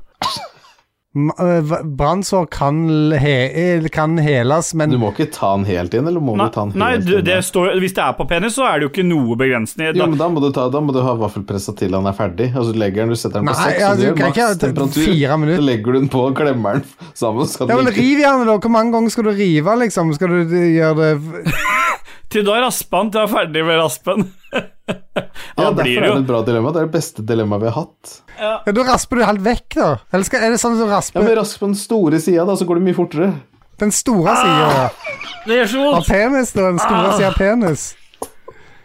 Speaker 3: M- øh, v- Brannsår kan, l- he eh, kan heles, men
Speaker 1: Du må ikke ta den helt inn, eller må
Speaker 2: Nei,
Speaker 1: du ta den helt
Speaker 2: nei du,
Speaker 1: inn?
Speaker 2: det står, hvis det er på penis, så er det jo ikke noe begrensning.
Speaker 1: Jo,
Speaker 2: Da,
Speaker 1: men da må du, ta, da må du ha vaffelpressa til han er ferdig. Og så legger den, du setter den på
Speaker 3: Nei,
Speaker 1: seks,
Speaker 3: ja,
Speaker 1: og
Speaker 3: du
Speaker 1: du gjør
Speaker 3: kan ikke ha
Speaker 1: maks
Speaker 3: det-
Speaker 1: temperatur.
Speaker 3: fire minutter.
Speaker 1: Så legger du den på og klemmer den (laughs) sammen. Så
Speaker 3: Ja,
Speaker 1: den
Speaker 3: men
Speaker 1: ikke-
Speaker 3: Riv gjerne, da. Hvor mange ganger skal du rive, liksom? Skal du d- gjøre det v-
Speaker 2: til da rasper han til han er ferdig med raspen. (laughs)
Speaker 1: ja,
Speaker 2: da
Speaker 1: derfor
Speaker 2: blir
Speaker 1: er
Speaker 2: det
Speaker 1: det
Speaker 2: jo
Speaker 1: et bra dilemma. Det er det beste dilemmaet vi har hatt.
Speaker 3: Ja, Da rasper du helt vekk, da. Eller skal, er det sånn som
Speaker 1: Ja,
Speaker 3: rasper
Speaker 1: men Raskt på den store sida, da, så går det mye fortere.
Speaker 3: den store sida da.
Speaker 2: Det gjør så
Speaker 3: av
Speaker 2: vondt!
Speaker 3: penis? da, Den store sida av penis.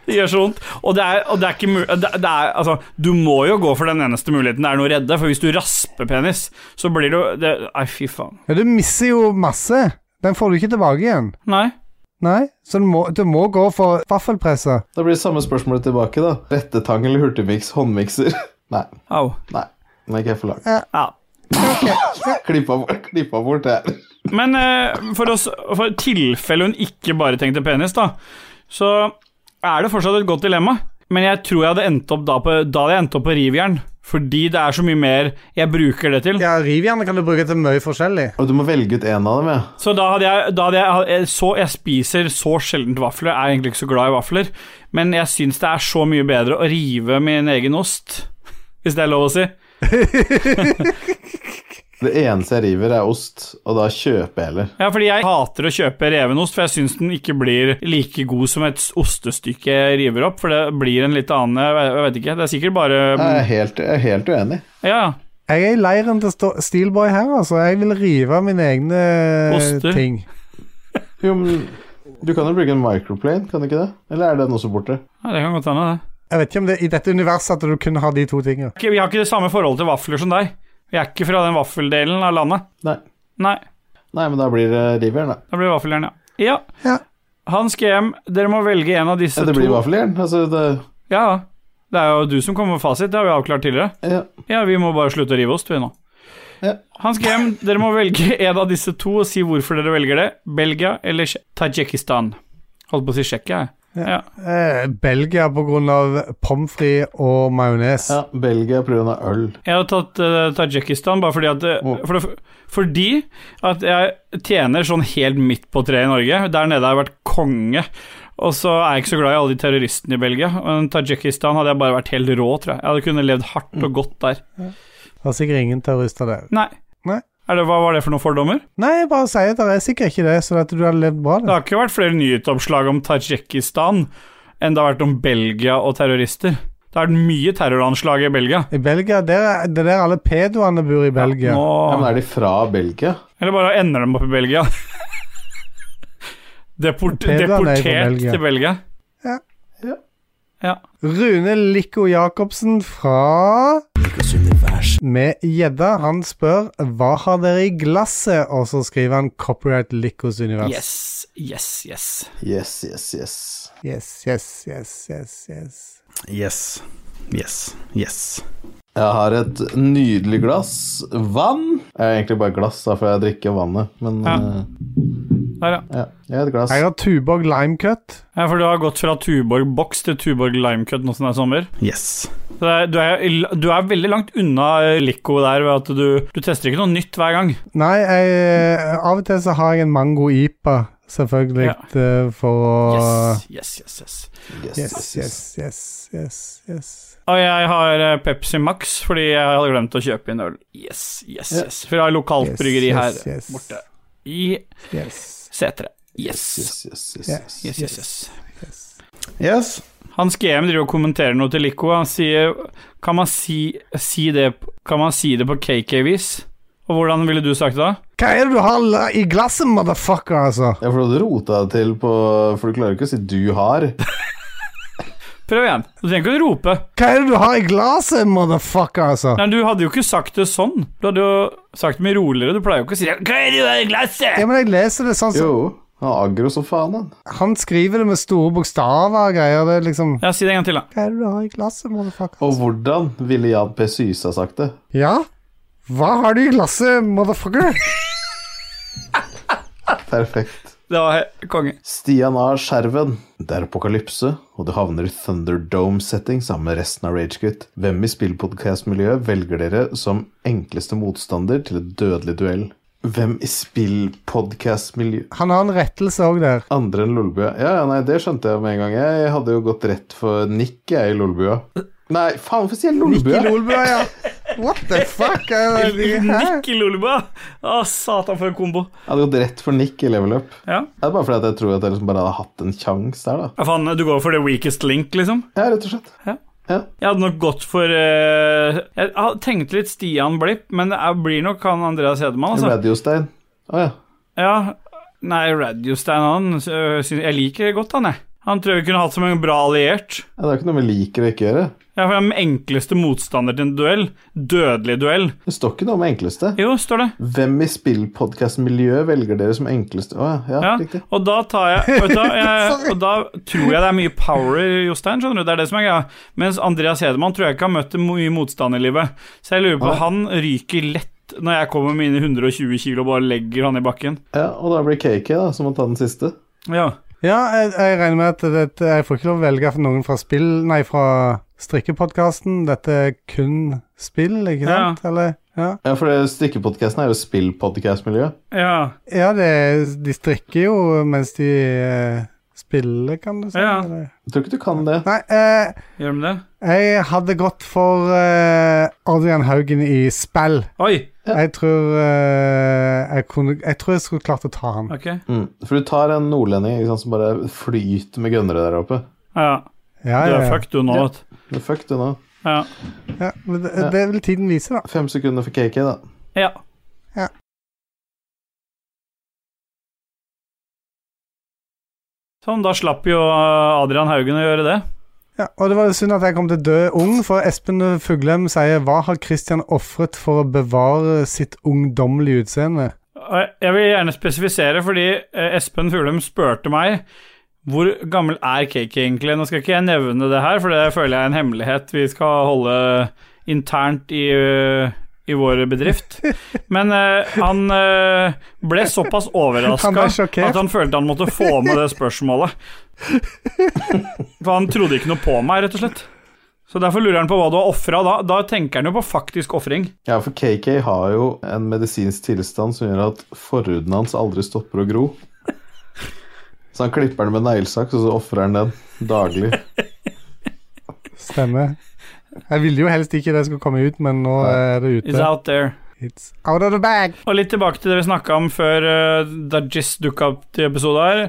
Speaker 2: Det gjør så vondt. Og det er, og det er ikke mulig det, det er, altså, Du må jo gå for den eneste muligheten det er noe å redde, for hvis du rasper penis, så blir du det, Nei, fy faen.
Speaker 3: Ja, du mister jo masse. Den får du ikke tilbake igjen.
Speaker 2: Nei.
Speaker 3: Nei, så du må, du må gå for vaffelpresse.
Speaker 1: Da blir det samme spørsmålet tilbake, da. Rettetang eller hurtigmiks? Håndmikser? (laughs) Nei.
Speaker 2: Au.
Speaker 1: Nei. Den er ikke jeg for lang.
Speaker 2: Ja.
Speaker 1: Klippa (laughs) bort, klippa bort det her.
Speaker 2: Men eh, for, oss, for tilfelle hun ikke bare tenkte penis, da, så er det fortsatt et godt dilemma. Men jeg tror jeg hadde endt opp da, på, da hadde jeg endt opp på rivjern. Fordi det er så mye mer jeg bruker det til.
Speaker 3: Ja, rivjernet kan du bruke til mye forskjellig.
Speaker 1: Og du må velge ut én av dem, ja.
Speaker 2: Så da hadde jeg, da hadde jeg- jeg Så jeg spiser så sjeldent vafler. Jeg er egentlig ikke så glad i vafler. Men jeg syns det er så mye bedre å rive min egen ost. Hvis det er lov å si.
Speaker 1: Det eneste jeg river, er ost, og da kjøper jeg heller.
Speaker 2: Ja, fordi jeg hater å kjøpe revenost, for jeg syns den ikke blir like god som et ostestykke jeg river opp, for det blir en litt annen Jeg vet- jeg vet ikke, det er sikkert
Speaker 1: Jeg er
Speaker 2: bare
Speaker 1: helt, jeg er helt uenig.
Speaker 2: Ja,
Speaker 3: Jeg er i leiren til Sto- Steelboy her, altså. Jeg vil rive mine egne
Speaker 2: Oster.
Speaker 3: ting.
Speaker 1: Jo, men du kan jo bruke en microplane, kan du ikke det? Eller er den også borte?
Speaker 2: ja det kan godt hende, det.
Speaker 3: Jeg vet ikke om det i dette universet at du kun har de to tingene.
Speaker 2: Ikke- Vi har ikke det samme forholdet til vafler som deg. Vi er ikke fra den vaffeldelen av landet.
Speaker 1: Nei.
Speaker 2: Nei,
Speaker 1: Nei, men da blir det rivjern, da.
Speaker 2: da blir det vaffeljern, ja.
Speaker 3: Ja.
Speaker 2: Hans GM, dere må velge en av disse
Speaker 1: Ja, det blir
Speaker 2: to.
Speaker 1: vaffeljern. Altså, det
Speaker 2: Ja, det er jo du som kommer med fasit, det har vi avklart tidligere.
Speaker 1: ja.
Speaker 2: Ja, vi må bare slutte å rive ost, vi nå.
Speaker 1: Ja.
Speaker 2: Hans GM, dere må velge (laughs) en av disse to og si hvorfor dere velger det. Belgia eller Tsje- Tadsjikistan? Holdt på å si Tsjekkia, jeg. Ja.
Speaker 3: Eh, Belgia på grunn av pommes frites og majones.
Speaker 1: ja Belgia pga. øl.
Speaker 2: Jeg har tatt uh, Tadsjikistan bare fordi at eh,
Speaker 1: Hvor-
Speaker 2: for det, Fordi at jeg tjener sånn helt midt på treet i Norge. Der nede har jeg vært konge. Og så er jeg ikke så glad i alle de terroristene i Belgia. Men Tadsjikistan hadde jeg bare vært helt rå, tror jeg. Jeg hadde kunnet levd hardt og godt der.
Speaker 3: Det er sikkert ingen terrorister der.
Speaker 2: Nei.
Speaker 3: Nei.
Speaker 2: Er det, hva var det for noen fordommer?
Speaker 3: Nei, jeg bare sier at det er sikkert ikke det, så at du har levd bra.
Speaker 2: Det
Speaker 3: Det.
Speaker 2: har ikke vært flere nyhetsoppslag om Tadsjikistan enn det har vært om Belgia og terrorister. Det har vært mye terroranslag i Belgia.
Speaker 3: I Belgia, der, er- det er der alle pedoene bor i Belgia.
Speaker 1: Ja, men
Speaker 2: Nå,
Speaker 1: er de fra Belgia?
Speaker 2: eller bare ender dem opp i Belgia. (laughs) Deport,
Speaker 3: Pedoen er jo fra
Speaker 2: deportert
Speaker 3: Belgia.
Speaker 2: til Belgia.
Speaker 3: Rune Likko Jacobsen fra Med gjedda. Han spør 'Hva har dere i glasset?' Og så skriver han 'Copyright Likos univers'.
Speaker 2: Yes, yes, yes.
Speaker 1: Yes, yes, yes.
Speaker 3: yes, yes, yes, yes, yes.
Speaker 8: Yes. Yes. Yes.
Speaker 1: Jeg har et nydelig glass vann. Jeg har egentlig bare glass, da, for jeg drikker vannet. Men
Speaker 2: Ja.
Speaker 1: eh,
Speaker 2: Der, ja.
Speaker 1: Ja, jeg har et glass.
Speaker 3: Jeg har Tuborg lime cut.
Speaker 2: ja. For du har gått fra Tuborg boks til Tuborg limecut nå som det er sommer.
Speaker 9: Yes.
Speaker 2: Så det er- du, er, du er veldig langt unna Lico der ved at du, du tester ikke noe nytt hver gang.
Speaker 3: Nei, jeg, av og til så har jeg en mango ipa, selvfølgelig, eh, for å
Speaker 2: Yes, yes, yes, yes.
Speaker 1: Yes,
Speaker 3: Yes, yes, yes, yes, yes.
Speaker 2: Og jeg har eh, Pepsi Max fordi jeg hadde glemt å kjøpe inn øl. Yes, yes,
Speaker 1: Ja.
Speaker 2: yes. For jeg har lokalt
Speaker 3: Yes,
Speaker 2: bryggeri her
Speaker 3: yes, yes.
Speaker 2: borte i
Speaker 3: Yes,
Speaker 2: Setre. Yes.
Speaker 1: Yes, yes, yes,
Speaker 3: Ja.
Speaker 1: yes.
Speaker 2: Yes, yes, yes.
Speaker 3: yes.
Speaker 9: Yes.
Speaker 2: Hans GM driver og kommenterer noe til Lico. Han sier Kan man si, si, det, kan man si det på KK-vis? Og hvordan ville du sagt det? da?
Speaker 3: Hva er det du har la- i glasset, motherfucker, altså?
Speaker 1: Ja, for du hadde rota det til på For du klarer ikke å si 'du har'.
Speaker 2: Prøv igjen. Du trenger ikke å rope.
Speaker 3: Hva er det du har i glasset, motherfucker, altså?
Speaker 2: Nei, Du hadde jo ikke sagt det sånn. Du hadde jo sagt det mye roligere. Du pleier jo ikke å si det. Hva er det du har i
Speaker 3: Ja,
Speaker 2: glasset?
Speaker 3: men jeg leser det sånn som
Speaker 1: Jo. Han er aggro som faen, han.
Speaker 3: Han skriver det med store bokstaver og greier. Det er liksom
Speaker 2: Ja, Si det en gang til, da.
Speaker 3: Hva er det du har i glasset, motherfucker?
Speaker 1: Og hvordan ville Jan P. Syse ha sagt det?
Speaker 3: Ja? Hva har du i glasset, motherfucker?
Speaker 1: Perfekt.
Speaker 2: Det var he- eh, konge.
Speaker 1: Stian A. Skjerven. Det er apokalypse, og du havner i Thunderdome-setting sammen med resten av Ragequit. Hvem i spillpodcast-miljøet velger dere som enkleste motstander til et dødelig duell? Hvem i spillpodcast-miljø
Speaker 3: Han har en rettelse òg der.
Speaker 1: Andre enn Lolbua? Ja, ja, nei, det skjønte jeg med en gang. Jeg hadde jo gått rett for Nick, jeg, i Lolbua. Nei, faen, hvorfor sier jeg
Speaker 3: Nikki
Speaker 1: Lolbua?
Speaker 3: Lolbua, ja. What the fuck? Er det, hæ?
Speaker 2: Nikk i Lolebua. Å, satan, for en kombo.
Speaker 1: Jeg hadde gått rett for Nick i level up.
Speaker 2: Ja.
Speaker 1: Det er bare fordi at jeg tror at jeg liksom bare hadde hatt en sjanse der, da.
Speaker 2: ja, faen, du går for the weakest link, liksom?
Speaker 1: Ja, rett og slett.
Speaker 2: Jeg hadde nok gått for eh, Jeg hadde tenkt litt Stian Blipp, men det er- blir nok han Andreas Hedemann, altså.
Speaker 1: Radiostein. Å ja.
Speaker 2: Ja, nei, Radiostein han øh, syns- Jeg liker godt han, jeg. Han tror jeg vi kunne hatt som en bra alliert.
Speaker 1: Ja, Det er ikke noe vi liker og ikke gjøre.
Speaker 2: Ja, for Den enkleste motstander til en duell. Dødelig duell.
Speaker 1: Det står ikke noe om enkleste.
Speaker 2: Jo, står det.
Speaker 1: Hvem i spillpodkast-miljø velger dere som enkleste? Å ja, ja,
Speaker 2: Ja,
Speaker 1: riktig.
Speaker 2: Og da tar jeg, vet du, hva, jeg Og da tror jeg det er mye power, Jostein. Skjønner du, det er det som er greia. Mens Andreas Hedemann tror jeg ikke har møtt mye motstand i livet. Så jeg lurer på,
Speaker 1: Nei.
Speaker 2: han ryker lett når jeg kommer med mine 120 kilo og bare legger han i bakken.
Speaker 1: Ja, og da blir KK da, som må ta den siste.
Speaker 2: Ja,
Speaker 3: Ja, jeg, jeg regner med at dette, jeg får ikke lov å velge for noen fra spill, nei, fra strikkepodkasten. Dette er kun spill, ikke
Speaker 2: Ja.
Speaker 3: sant? Eller? Ja.
Speaker 1: Ja, for det- strikkepodkasten er jo spillpodkast-miljø.
Speaker 2: ja,
Speaker 3: ja det, er- de strikker jo mens de eh, spiller, kan du si.
Speaker 2: Ja.
Speaker 3: eller?
Speaker 1: Jeg tror ikke du kan det.
Speaker 3: Nei, eh,
Speaker 2: gjør de det?
Speaker 3: jeg hadde gått for eh, Adrian Haugen i spill.
Speaker 2: Oi,
Speaker 3: Jeg tror eh, jeg kunne Jeg tror jeg skulle klart å ta han.
Speaker 2: ok.
Speaker 1: Mm. For du tar en nordlending ikke sant, som bare flyter med gønnere der oppe.
Speaker 2: Ja,
Speaker 3: Ja,
Speaker 2: du
Speaker 3: ja,
Speaker 2: er
Speaker 3: ja.
Speaker 2: fucked du nå,
Speaker 1: Ja.
Speaker 2: vet du.
Speaker 1: Men fuck du nå.
Speaker 2: Ja.
Speaker 3: ja men det, det vil tiden vise, da.
Speaker 1: Fem sekunder for KK, da.
Speaker 2: ja. Sånn, da slapp jo Adrian Haugen å gjøre det.
Speaker 3: Ja, og det var jo synd at jeg kom til å dø ung, for Espen Fuglem sier Hva har Christian ofret for å bevare sitt ungdommelige utseende?
Speaker 2: Og Eh, Jeg vil gjerne spesifisere, fordi eh, Espen Fuglem spurte meg hvor gammel er Cake egentlig? Nå skal ikke jeg nevne det her, for det føler jeg er en hemmelighet vi skal holde internt i, eh, i vår bedrift.
Speaker 3: (laughs)
Speaker 2: Men eh, han eh, ble såpass
Speaker 3: Han ble
Speaker 2: overraska
Speaker 3: sjokkert.
Speaker 2: at han følte han måtte få med det
Speaker 3: (laughs)
Speaker 2: spørsmålet. For han trodde ikke noe på meg, rett og slett. Så derfor lurer han på hva du har ofra. Da, da tenker han jo på faktisk ofring.
Speaker 1: Ja, for KK har jo en medisinsk tilstand som gjør at forhuden hans aldri stopper å gro. Så han klipper den med neglesaks, og så ofrer han den daglig.
Speaker 3: Stemmer. Jeg ville jo helst ikke det skulle komme ut, men nå er det
Speaker 2: Is
Speaker 3: ute.
Speaker 2: out there.
Speaker 3: It's out of the bag!
Speaker 2: Og litt tilbake til det vi snakka om før uh, Dajis dukka opp til episoden her.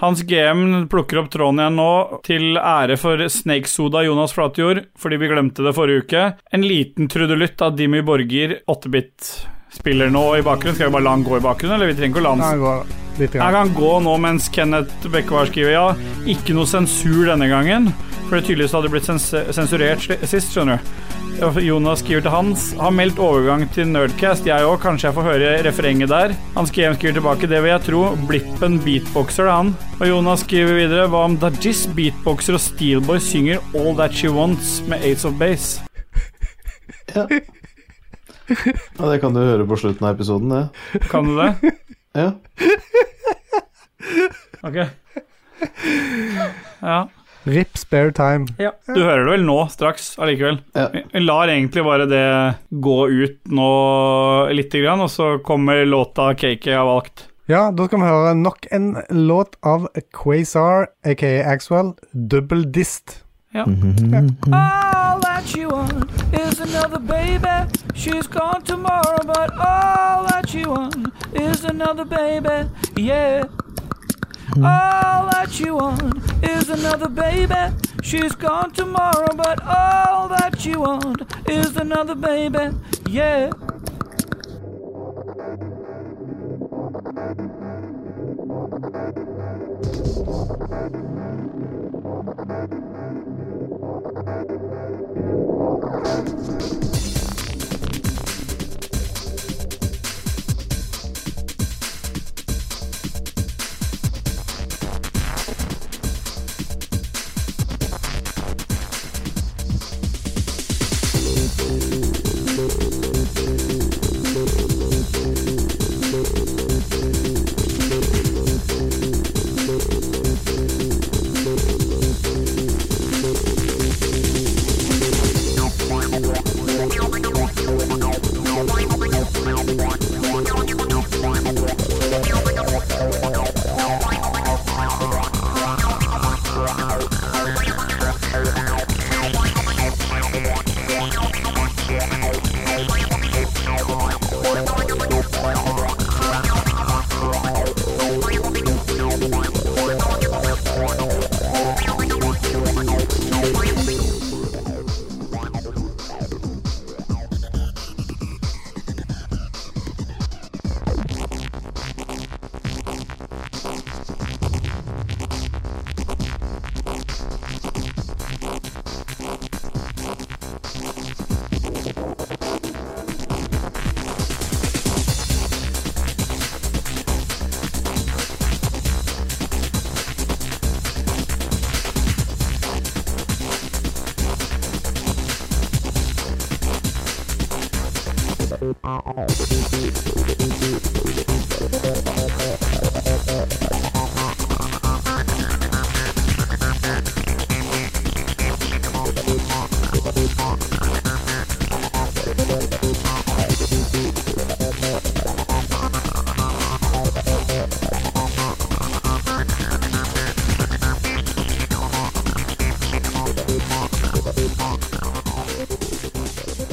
Speaker 2: Hans GM plukker opp tråden igjen nå, til ære for Snake Soda Jonas Flatjord, fordi vi glemte det forrige uke. En liten trudelutt av Dimmy Borger, 8-bit, spiller nå i bakgrunnen. Skal vi bare la han gå i bakgrunnen, eller vi trenger ikke å la han
Speaker 3: Da går litt
Speaker 2: Jeg
Speaker 3: grann.
Speaker 2: kan gå nå mens Kenneth Bekkevar skriver ja. Ikke noe sensur denne gangen. For det tydeligvis hadde blitt sens sensurert sli- sist, skjønner du. Jonas skriver til Hans. Har meldt overgang til Nerdcast, jeg òg. Kanskje jeg får høre refrenget der. Hans GM skriver tilbake, det vil jeg tro. Blippen beatboxer, det er han. Og Jonas skriver videre, hva om Dajis beatboxer og Steelboy synger All That She Wants med Ace of Base?
Speaker 1: Ja, det kan du høre på slutten av episoden, det.
Speaker 2: Kan du det?
Speaker 1: Ja.
Speaker 2: Ok. Ja.
Speaker 3: Rip spare time.
Speaker 2: Du hører det vel nå, straks, allikevel.
Speaker 1: Ja.
Speaker 2: Vi vi lar egentlig bare det gå ut nå lite grann, og så kommer låta Cakey har valgt.
Speaker 3: Ja, da skal vi høre nok en låt av Quasar, aka Axwell, Double Dist. (laughs)
Speaker 10: All that she wants is another baby. She's gone tomorrow, but all that she wants is another baby. Yeah. All that she wants is another baby. She's gone tomorrow, but all that she wants is another baby. Yeah.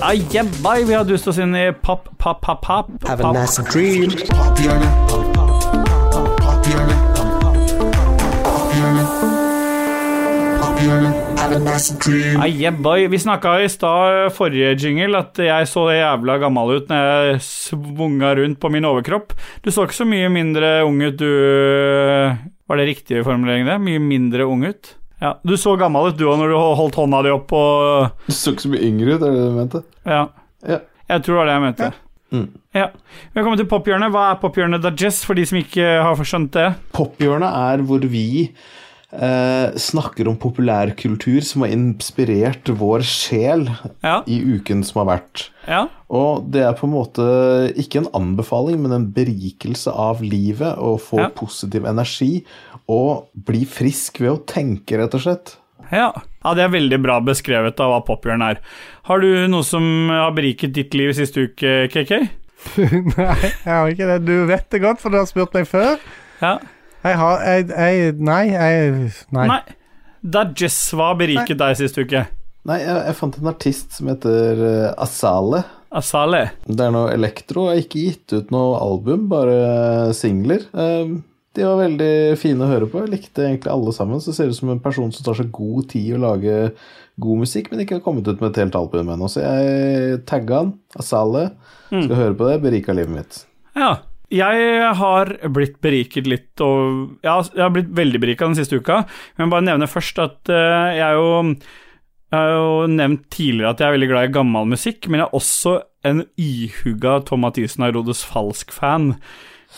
Speaker 2: Ah, yeah, bye. Vi har dust oss inn i pop, pop, pop, pop. pop.
Speaker 11: dream.
Speaker 2: Ah, yeah, boy. Vi snakka i stad, forrige jingle, at jeg så jævla gammel ut når jeg svunga rundt på min overkropp. Du så ikke så mye mindre ung ut, du Var det riktige formulering, det? Mye mindre ung ut? Ja, Du så gammel ut, du òg, når du holdt hånda di opp og
Speaker 1: Du så ikke så mye yngre ut, er det det du mente?
Speaker 2: Ja.
Speaker 1: Ja.
Speaker 2: Jeg tror det var det jeg mente.
Speaker 1: Mm.
Speaker 2: Ja. Velkommen til pophjørnet. Hva er pophjørnet, Dajess, for de som ikke har skjønt det?
Speaker 1: Pophjørnet er hvor vi eh, snakker om populærkultur som har inspirert vår sjel
Speaker 2: Ja.
Speaker 1: i uken som har vært.
Speaker 2: ja.
Speaker 1: Og det er på en måte ikke en anbefaling, men en berikelse av livet. Å få
Speaker 2: Ja.
Speaker 1: positiv energi og bli frisk ved å tenke, rett og slett.
Speaker 2: Ja. ja, det er veldig bra beskrevet av hva pophjørn er. Har du noe som har beriket ditt liv siste uke, KK?
Speaker 3: nei, jeg har ikke det. Du vet det godt, for du har spurt meg før.
Speaker 2: Ja.
Speaker 3: Jeg har jeg, jeg, Nei, jeg Nei.
Speaker 2: Nei. Dajess, hva har beriket deg siste uke?
Speaker 1: Nei, jeg, jeg fant en artist som heter eh, Asale.
Speaker 2: Asale.
Speaker 1: Det er noe elektro. Jeg har ikke gitt ut noe album, bare singler. Eh, De var veldig fine å høre på. Jeg likte egentlig alle sammen. Så ser det ut som en person som tar seg god tid i å lage god musikk, men ikke har kommet ut med et helt album ennå. Så jeg tagga han, Asale. Skal høre på det. Berika livet mitt.
Speaker 2: Ja. Jeg har blitt beriket litt og Ja, jeg har blitt veldig berika den siste uka. Men bare nevne først at eh, jeg er jo jeg har jo nevnt tidligere at jeg er veldig glad i gammel musikk, men jeg er også en ihuga Tom Mathisen og Herodes Falsk-fan.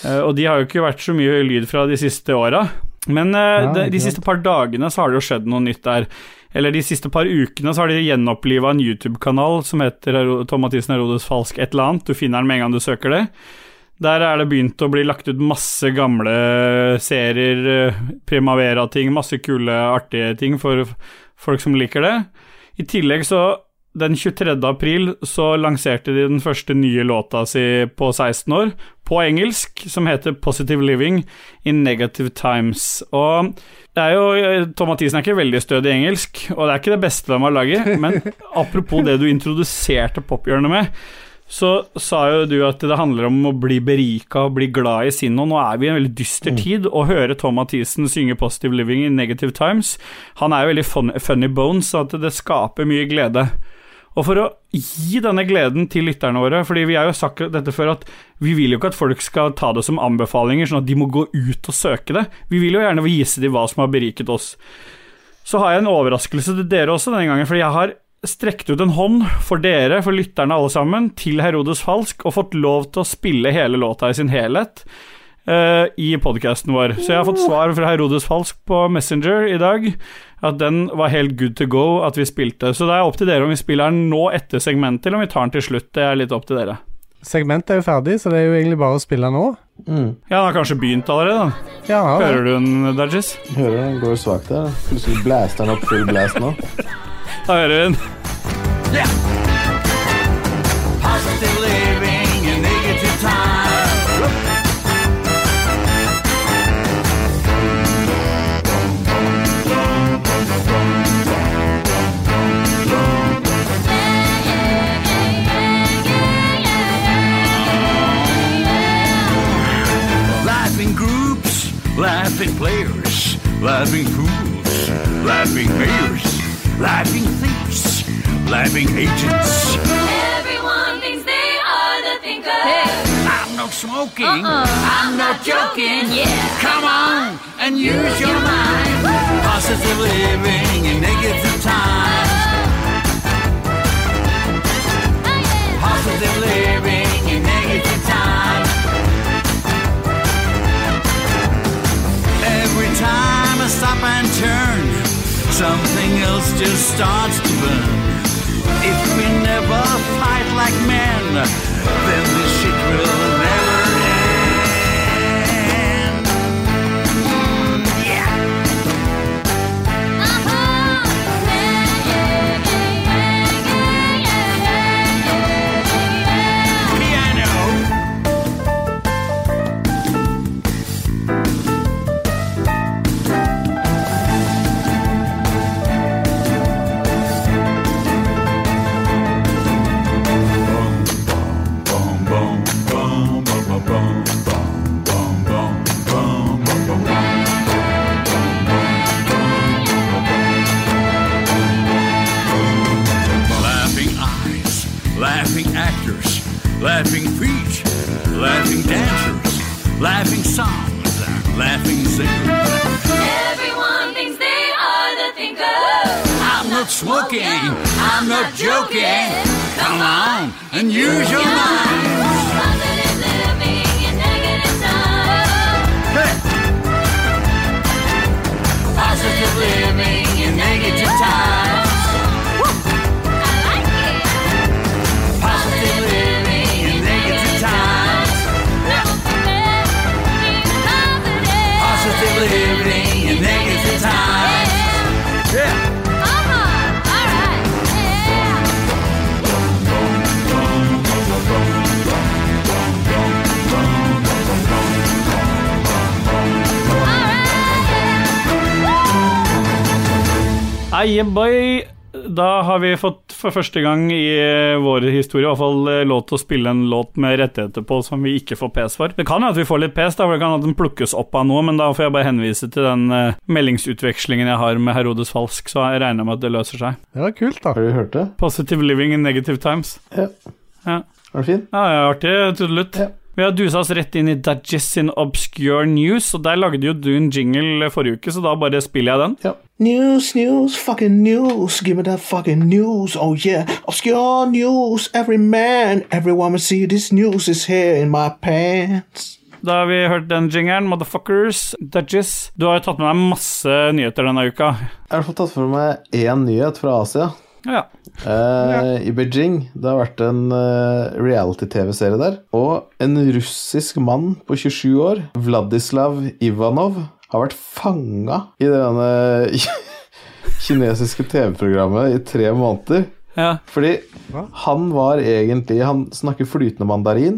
Speaker 2: Eh, og de har jo ikke vært så mye lyd fra de siste åra. Men eh,
Speaker 3: Nei,
Speaker 2: de,
Speaker 3: ikke
Speaker 2: de
Speaker 3: sant.
Speaker 2: siste par dagene så har det jo skjedd noe nytt der. Eller de siste par ukene så har de gjenoppliva en YouTube-kanal som heter Hero- Tom Mathisen og Herodes Falsk et eller annet. Du finner den med en gang du søker det. Der er det begynt å bli lagt ut masse gamle serier, eh, Primavera-ting, masse kule, artige ting for f- folk som liker det. I tillegg så, den 23. april, så lanserte de den første nye låta si på 16 år, på engelsk, som heter Positive Living in Negative Times. Og det er jo, eh, Tom Mathisen er ikke veldig stødig i engelsk, og det er ikke det beste de har laget, men apropos det du introduserte pophjørnet med, så sa jo du at det handler om å bli berika og bli glad i sinnet, og nå er vi i en veldig dyster tid. Å høre Tom Mathisen synge 'Positive Living in Negative Times' Han er jo veldig fun, funny bones, så at det skaper mye glede. Og for å gi denne gleden til lytterne våre, fordi vi har jo sagt dette før, at vi vil jo ikke at folk skal ta det som anbefalinger, sånn at de må gå ut og søke det. Vi vil jo gjerne vise dem hva som har beriket oss. Så har jeg en overraskelse til dere også denne gangen, fordi jeg har strekt ut en hånd for dere, for lytterne alle sammen, til Herodes Falsk, og fått lov til å spille hele låta i sin helhet eh, i podkasten vår. Så jeg har fått svar fra Herodes Falsk på Messenger i dag, at den var helt good to go at vi spilte. Så det er opp til dere om vi spiller den nå etter segmentet, eller om vi tar den til slutt. Det er litt opp til dere.
Speaker 3: Segmentet er jo ferdig, så det er jo egentlig bare å spille nå.
Speaker 2: Ja, den har kanskje begynt allerede, da.
Speaker 3: Ja,
Speaker 2: Hører du den, Dajis?
Speaker 6: Hører du den går svakt der? Plutselig blaster den opp full blast nå.
Speaker 2: Da hører vi den.
Speaker 12: Laughing groups, laughing players, laughing fools, laughing mayors, laughing thieves, laughing agents.
Speaker 13: Everyone thinks they are the thinkers.
Speaker 12: I'm not smoking.
Speaker 13: Uh-uh.
Speaker 12: I'm not joking.
Speaker 13: Yeah.
Speaker 12: Come on and use your mind. Positive living in negative times. Positive living in negative times. Every time I stop and turn, something else just starts to burn. If we never fight like men, then this shit will never end. Mm, yeah. Piano. Laughing eyes, laughing actors, laughing feet, laughing dancers, laughing songs, laughing singers.
Speaker 13: Everyone thinks they are the thinkers.
Speaker 12: I'm not smoking. I'm not joking. Come on and use your mind.
Speaker 13: Positive living in negative times.
Speaker 12: Positive living in negative times.
Speaker 13: I like it.
Speaker 12: Positive living in negative times.
Speaker 13: Never forget, be positive.
Speaker 12: Positive living in negative times.
Speaker 13: Yeah.
Speaker 12: Yeah.
Speaker 13: Uh-huh. All right. Yeah.
Speaker 2: Eie boy. Da har vi fått for første gang i eh, vår historie i hvert fall eh, lov til å spille en låt med rettigheter på som vi ikke får PS for. Det kan jo at vi får litt PS, da, for det kan at den plukkes opp av noe, men da får jeg bare henvise til den eh, meldingsutvekslingen jeg har med Herodes Falsk, så jeg regner med at det løser seg.
Speaker 3: Det var kult, da.
Speaker 6: Har du hørt det?
Speaker 2: Positive living in negative times.
Speaker 6: Er det fin?
Speaker 2: Ja, ja, artig trudelutt.
Speaker 6: Ja.
Speaker 2: Vi har dusa oss rett inn i Dudges sin Obscure News, og der lagde jo du en jingle forrige uke, så da bare spiller jeg den.
Speaker 7: News, news, fucking news. Give me that fucking news. Oh yeah, obscure news. Every man, every woman see this news is here in my pants.
Speaker 2: Da har vi hørt den jingeren, motherfuckers, Dudges. Du har jo tatt med deg masse nyheter denne uka.
Speaker 6: Jeg har i hvert fall tatt for meg én nyhet fra Asia.
Speaker 2: Ja.
Speaker 1: Eh, I Beijing. Det har vært en eh, reality-TV-serie der. Og en russisk mann på 27 år, Vladislav Ivanov, har vært fanga i det denne (laughs) kinesiske TV-programmet i tre måneder. Fordi han var egentlig Han snakker flytende mandarin.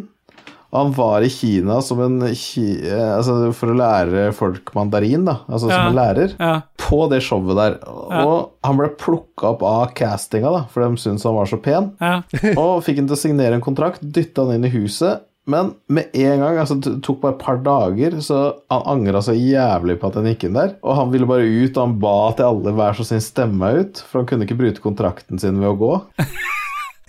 Speaker 1: Og han var i Kina som en ki, eh, altså for å lære folk mandarin, da. Altså som
Speaker 2: Ja.
Speaker 1: en lærer.
Speaker 2: Ja.
Speaker 1: På det showet der. Og han ble plukka opp av castinga, da, for de syntes han var så pen.
Speaker 2: (laughs)
Speaker 1: og fikk han til å signere en kontrakt, dytta han inn i huset. Men med en gang, altså det tok bare et par dager, så han angra så jævlig på at han gikk inn der. Og han ville bare ut, og han ba til alle hver så sin stemme ut, for han kunne ikke bryte kontrakten sin ved å gå.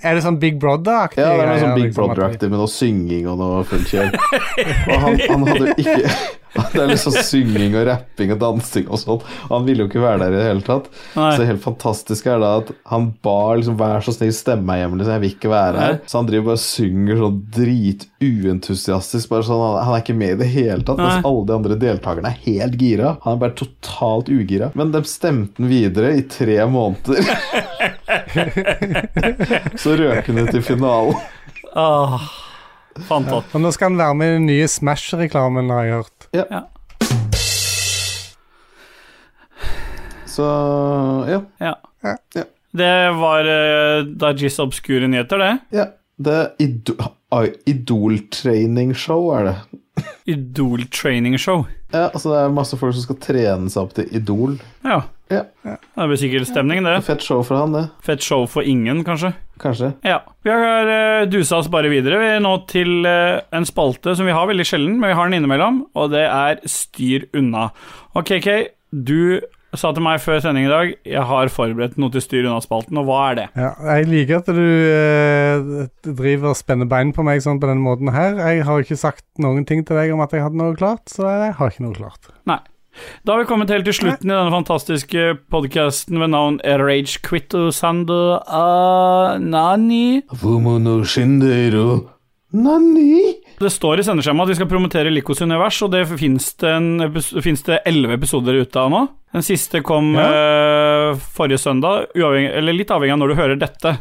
Speaker 3: Er det sånn Big Brother-aktig?
Speaker 1: Ja, det er noe sånn Big
Speaker 3: liksom, at vi-
Speaker 1: Brother-aktig med noe synging og noe fullt kjør. Og han, han hadde jo ikke (laughs) Det er liksom synging og rapping og dansing og sånn. Han ville jo ikke være der i det hele tatt.
Speaker 2: Nei.
Speaker 1: Så det helt fantastiske er da at han ba liksom 'vær så snill, stemme meg hjem', liksom. Jeg vil ikke være her.
Speaker 2: Nei.
Speaker 1: Så han driver bare og synger sånn drituentusiastisk. Bare sånn, han, han er ikke med i det hele tatt. Mens
Speaker 2: Nei.
Speaker 1: alle de andre deltakerne er helt gira. Han er bare totalt ugira. Men de stemte han videre i tre måneder. (laughs) så røk han ut i finalen.
Speaker 2: Åh, fantastisk.
Speaker 3: Og nå skal han være med i den nye Smash-reklamen, har jeg hørt.
Speaker 1: Ja. Så ja.
Speaker 2: Ja. Det var uh, Dajis obskure nyheter, det.
Speaker 1: ja. Det er ido ai- Idol-training-show, er det.
Speaker 2: Idol-training-show.
Speaker 1: Ja, altså Det er masse folk som skal trene seg opp til Idol.
Speaker 2: Ja.
Speaker 1: Ja.
Speaker 2: Det blir sikkert stemning, det.
Speaker 1: Fett show for han, det.
Speaker 2: Fett show for ingen, kanskje.
Speaker 1: Kanskje.
Speaker 2: Ja. Vi har eh, dusa oss bare videre. Vi er nå til eh, en spalte som vi har veldig sjelden, men vi har den innimellom, og det er Styr unna. Og KK, du sa til meg før sending i dag jeg har forberedt noe til Styr unna-spalten, og hva er det?
Speaker 3: Ja, jeg liker at du eh, driver og spenner bein på meg sånn på den måten her. Jeg har ikke sagt noen ting til deg om at jeg hadde noe klart, så jeg har ikke noe klart.
Speaker 2: Nei. Da har vi kommet helt til slutten i denne fantastiske podkasten ved navn Rage Quitto Sando Anani.
Speaker 1: Nani?
Speaker 2: Det står i sendeskjemaet at vi skal promotere Likos univers, og det fins det en epis- finnes det elleve episoder ute av nå. Den siste kom eh, forrige søndag, uavhengig, eller litt avhengig av når du hører dette.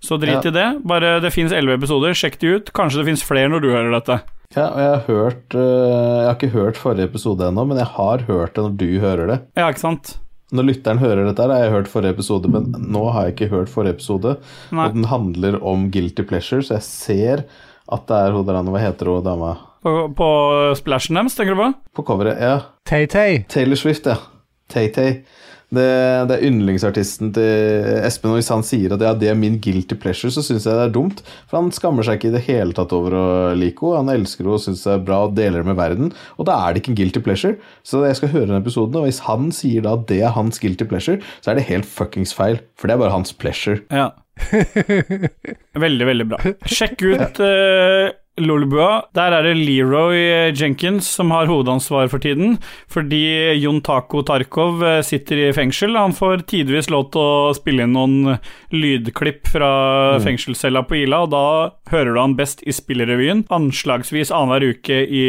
Speaker 2: Så drit
Speaker 1: Ja.
Speaker 2: i det. Bare det fins elleve episoder, sjekk de ut. Kanskje det fins flere når du hører dette.
Speaker 1: Ja, og jeg har hørt eh, Jeg har ikke hørt forrige episode ennå, men jeg har hørt det når du hører det.
Speaker 2: Ja, ikke sant?
Speaker 1: Når lytteren hører dette, her, har jeg hørt forrige episode, men nå har jeg ikke hørt forrige episode.
Speaker 2: Nei.
Speaker 1: Og den handler om guilty pleasure, så jeg ser at det er hun der andre, hva heter hun dama?
Speaker 2: På, på splashen deres, tenker du på?
Speaker 1: På coveret, ja.
Speaker 3: Tay-Tay.
Speaker 1: Taylor Swift, ja. Tay-Tay. Det, det er yndlingsartisten til Espen, og hvis han sier at ja, det er min guilty pleasure, så syns jeg det er dumt. For han skammer seg ikke i det hele tatt over å like henne. Han elsker henne og syns det er bra og deler det med verden. Og da er det ikke en guilty pleasure. Så jeg skal høre den episoden, og hvis han sier da at det er hans guilty pleasure, så er det helt fuckings feil. For det er bare hans pleasure.
Speaker 2: Ja. Veldig, veldig bra. Sjekk ut uh, Lolbua. Der er det Leroy eh, Jenkins som har hovedansvar for tiden, fordi Jon Taco Tarkov eh, sitter i fengsel. Han får tidvis lov til å spille inn noen lydklipp fra fengselscella på Ila, og da hører du han best i spillrevyen. Anslagsvis annenhver uke i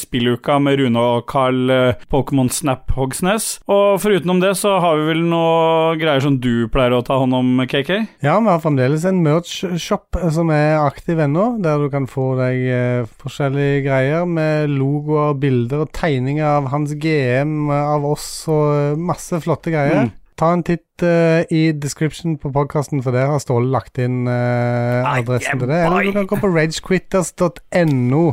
Speaker 2: spilluka med Rune og Carl eh, Pokémon Snap Hogsnes. Og forutenom det så har vi vel noe greier som du pleier å ta hånd om, KK?
Speaker 3: Ja, vi har fremdeles en merch-shop eh, som er aktiv ennå, der du kan få deg eh, forskjellige greier med logoer, bilder og tegninger av hans GM, eh, av oss og eh, masse flotte greier.
Speaker 2: Mm.
Speaker 3: Ta en titt eh, i description på podkasten, for der har Ståle lagt inn eh, adressen til det. Eller du kan gå på ragequitters.no.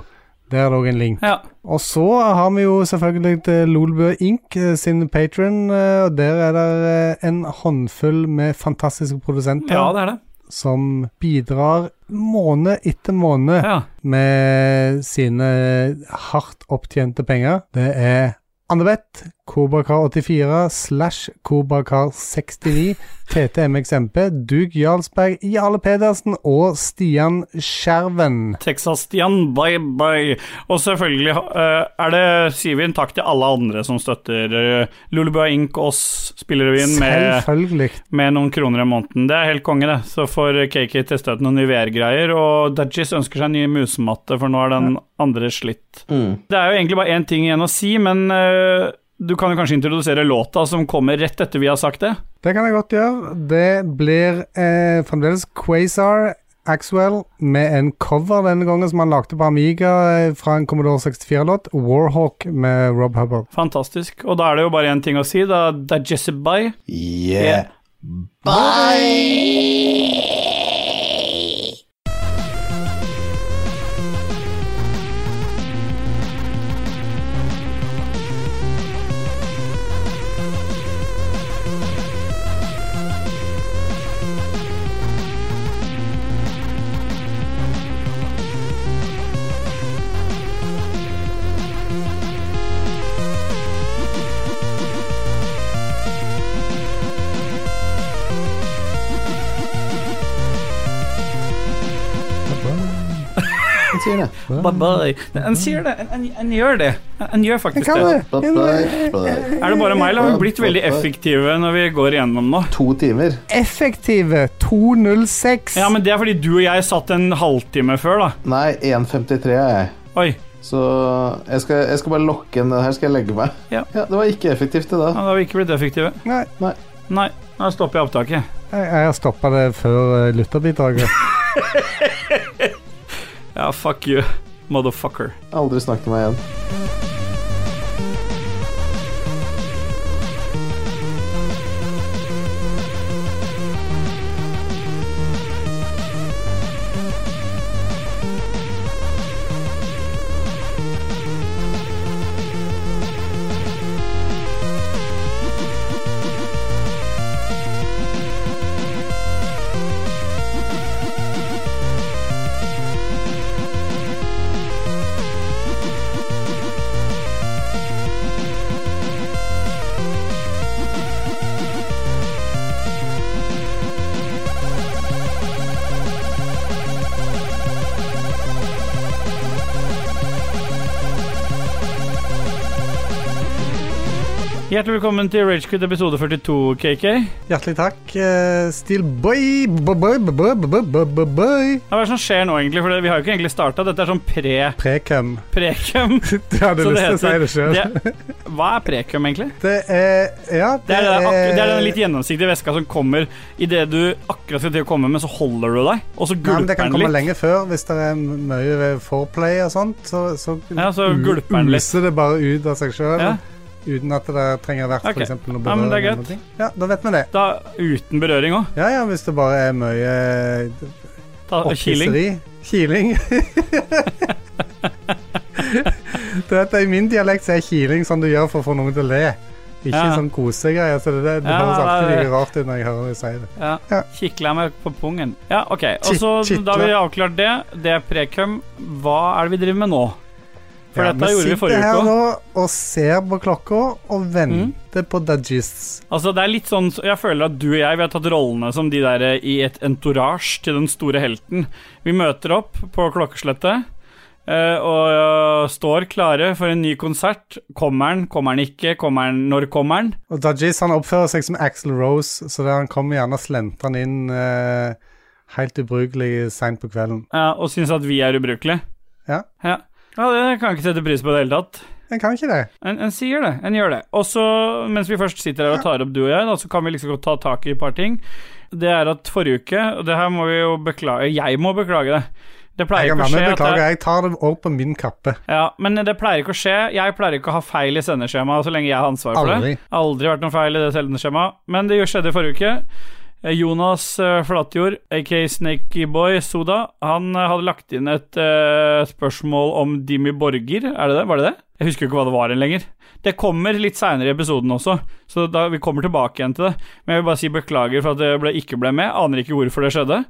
Speaker 3: Der er det òg en link.
Speaker 2: Ja.
Speaker 3: Og så har vi jo selvfølgelig eh, Lolbø Inc. eh, sin patron, og der er det eh, en håndfull med fantastiske produsenter
Speaker 2: Ja, det er det.
Speaker 3: som bidrar måned etter måned
Speaker 2: Ja.
Speaker 3: med sine hardt opptjente penger. Det er Andebeth, Kobrakar84 slash
Speaker 2: (laughs)
Speaker 3: Kobrakar69, TTMXMP, Dug Jarlsberg, Jarle Pedersen og Stian Skjerven.
Speaker 2: Texas-Stian, bye bye. Og selvfølgelig eh, er det, sier vi en takk til alle andre som støtter uh, Lulebua Inc., oss, Spillerevyen, med,
Speaker 3: Selvfølgelig.
Speaker 2: med noen kroner i måneden. Det er helt konge, det. Så får KK testa ut noen nye VR-greier, og Dudgies ønsker seg en ny musematte, for nå er den andre slitt. Det er jo egentlig bare én ting igjen å si, men eh, du kan jo kanskje introdusere låta som kommer rett etter vi har sagt det?
Speaker 3: Det kan jeg godt gjøre. Det blir eh, fremdeles Quasar Axwell med en cover denne gangen som han lagde på Amiga eh, fra en Commodore 64-låt, Warhawk med Rob Hubbard.
Speaker 2: Fantastisk. Og da er det jo bare én ting å si. Da, det er Jesse Bye.
Speaker 6: Yeah. Han sier det.
Speaker 2: Bye-bye. Han sier det. Han- Han han gjør det. Han han gjør faktisk
Speaker 3: Han kan
Speaker 2: det.
Speaker 3: det.
Speaker 2: Er det bare meg, eller har vi blitt veldig effektive når vi går igjennom nå?
Speaker 6: To timer.
Speaker 3: Effektive 206.
Speaker 2: Ja, men det er fordi du og jeg satt en halvtime før, da.
Speaker 6: Nei, 1,53 er jeg.
Speaker 2: Oi.
Speaker 6: Så jeg skal, jeg skal bare lokke inn den her, skal jeg legge meg.
Speaker 2: Ja.
Speaker 6: Det var ikke effektivt, det
Speaker 2: Ja,
Speaker 6: da.
Speaker 2: da har vi ikke blitt effektive.
Speaker 3: Nei,
Speaker 6: Nei.
Speaker 2: Nei, da stopper jeg opptaket.
Speaker 3: jeg, jeg har stoppa det før eh, lytterbidraget.
Speaker 2: Ja, fuck you, motherfucker.
Speaker 6: Aldri snakk til meg igjen.
Speaker 2: Hjertelig velkommen til Ragequit episode 42, KK.
Speaker 3: (laughs) Hjertelig takk, eh, Steelboy. Boy, boy, boy, boy, boy, boy.
Speaker 2: Ja, Hva er det som skjer nå, egentlig? For det- vi har jo ikke egentlig starta. Dette er sånn pre
Speaker 3: (laughs) Precum.
Speaker 2: prekum.
Speaker 3: Du hadde
Speaker 2: Så det
Speaker 3: lyst til å si
Speaker 2: heter-
Speaker 3: det sjøl.
Speaker 2: det- Hva er prekum, egentlig?
Speaker 3: Det er Ja,
Speaker 2: Det er, det, ak- det er
Speaker 3: Eh,
Speaker 2: den litt gjennomsiktige væska som kommer idet du akkurat skal til å komme, men så holder du deg, og så
Speaker 3: Nei, men
Speaker 2: gulper
Speaker 3: det
Speaker 2: den
Speaker 3: kan komme
Speaker 2: litt.
Speaker 3: lenge før. Hvis det er mye ved foreplay og sånt, så, så,
Speaker 2: Ja, så
Speaker 3: u-
Speaker 2: gulper den litt.
Speaker 3: user det bare ut av seg sjøl.
Speaker 2: Ja.
Speaker 3: Uten at det trenger å
Speaker 2: Ok.
Speaker 3: være for eksempel noe
Speaker 2: Ja, men det er
Speaker 3: berøring. eller
Speaker 2: greit.
Speaker 3: noe. Ja, da vet vi det.
Speaker 2: Da, uten berøring òg.
Speaker 3: Ja, ja, hvis det bare er mye
Speaker 2: Kiling. Ah,
Speaker 3: opphisseri. Kiling.
Speaker 2: (laughs)
Speaker 3: du vet, I min dialekt så er kiling sånn du gjør for å få noen til å le. Ikke
Speaker 2: Ja.
Speaker 3: sånn kosegreier. Så det, det, det
Speaker 2: Ja,
Speaker 3: høres alltid
Speaker 2: det er-
Speaker 3: like rart ut når jeg hører deg si det.
Speaker 2: Ja.
Speaker 3: Ja.
Speaker 2: Kikla meg på pungen. Ja, OK. Og
Speaker 3: Kit-
Speaker 2: så, da har vi
Speaker 3: kitla.
Speaker 2: avklart det. Det er prekum. Hva er det vi driver med nå? For
Speaker 3: Ja,
Speaker 2: dette gjorde vi forrige uke
Speaker 3: sitter her
Speaker 2: også.
Speaker 3: nå og ser på klokka og venter
Speaker 2: Mm.
Speaker 3: på Dudgists.
Speaker 2: Altså, det er litt sånn Jeg føler at du og jeg Vi har tatt rollene som de der eh, i et entourage til den store helten. Vi møter opp på klokkeslettet eh, og eh, står klare for en ny konsert. Kommer han, kommer han ikke, kommer han, når kommer han?
Speaker 3: Og Dudgies han oppfører seg som Axel Rose, så der han kommer gjerne og slentrer han inn eh, helt ubrukelig seint på kvelden.
Speaker 2: Ja, Eh, og syns at vi er ubrukelige.
Speaker 3: Ja.
Speaker 2: ja. Ja, det kan jeg ikke sette pris på i det hele tatt.
Speaker 3: En kan ikke det.
Speaker 2: En, en sier det, en gjør det. Og så, mens vi først sitter her og tar opp du og jeg, da, så kan vi liksom godt ta tak i et par ting. Det er at forrige uke, og det her må vi jo beklage Jeg må beklage det. Det
Speaker 3: Jeg
Speaker 2: pleier
Speaker 3: kan
Speaker 2: ikke å
Speaker 3: være med
Speaker 2: skje. at
Speaker 3: beklager,
Speaker 2: jeg-
Speaker 3: jeg tar det òg på min kappe.
Speaker 2: Ja, men det pleier ikke å skje. Jeg pleier ikke å ha feil i sendeskjemaet så lenge jeg har ansvar for
Speaker 3: Aldri.
Speaker 2: det. Aldri vært noen feil i det sendeskjemaet. Men det jo skjedde i forrige uke. Eh, Jonas eh, Flatjord, aka Snakeyboy Soda, han eh, hadde lagt inn et eh, spørsmål om Dimmy Borger. Er det det? Var det det? Jeg husker jo ikke hva det var igjen lenger. Det kommer litt seinere i episoden også, så da vi kommer tilbake igjen til det. Men jeg vil bare si beklager for at det ble, ikke ble med. Aner ikke hvorfor det skjedde.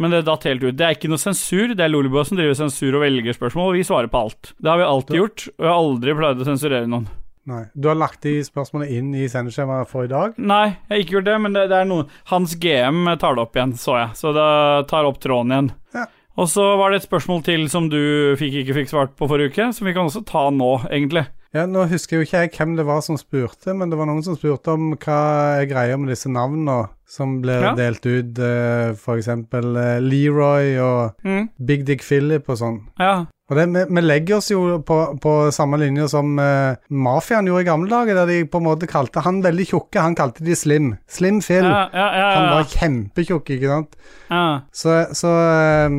Speaker 2: Men det datt helt ut. Det er ikke noe sensur. Det er Lolebua som driver sensur og velger spørsmål, og vi svarer på alt. Det har vi alltid gjort, og jeg har aldri pleid å sensurere noen.
Speaker 3: Nei. Du har lagt de spørsmålene inn i sendeskjemaet for i dag.
Speaker 2: Nei, jeg har ikke gjort det, men det, det er noe Hans GM tar det opp igjen, så jeg. Så det tar opp tråden igjen.
Speaker 3: Ja.
Speaker 2: Og så var det et spørsmål til som du fikk, ikke fikk svart på forrige uke, som vi kan også ta nå, egentlig.
Speaker 3: Ja, Nå husker jeg jo ikke jeg hvem det var som spurte, men det var noen som spurte om hva er greia med disse navnene som blir
Speaker 2: Ja.
Speaker 3: delt ut, eh, for f.eks. Leroy og
Speaker 2: Mm.
Speaker 3: Big Dick Philip og sånn.
Speaker 2: Ja.
Speaker 3: Og det, vi, vi legger oss jo på, på samme linje som eh, mafiaen gjorde i gamle dager, der de på en måte kalte han veldig tjukke, han kalte de Slim. Slim Phil.
Speaker 2: Ja, ja, ja, ja,
Speaker 3: Han
Speaker 2: ja.
Speaker 3: var kjempetjukk, ikke sant.
Speaker 2: Ja.
Speaker 3: Så, så eh,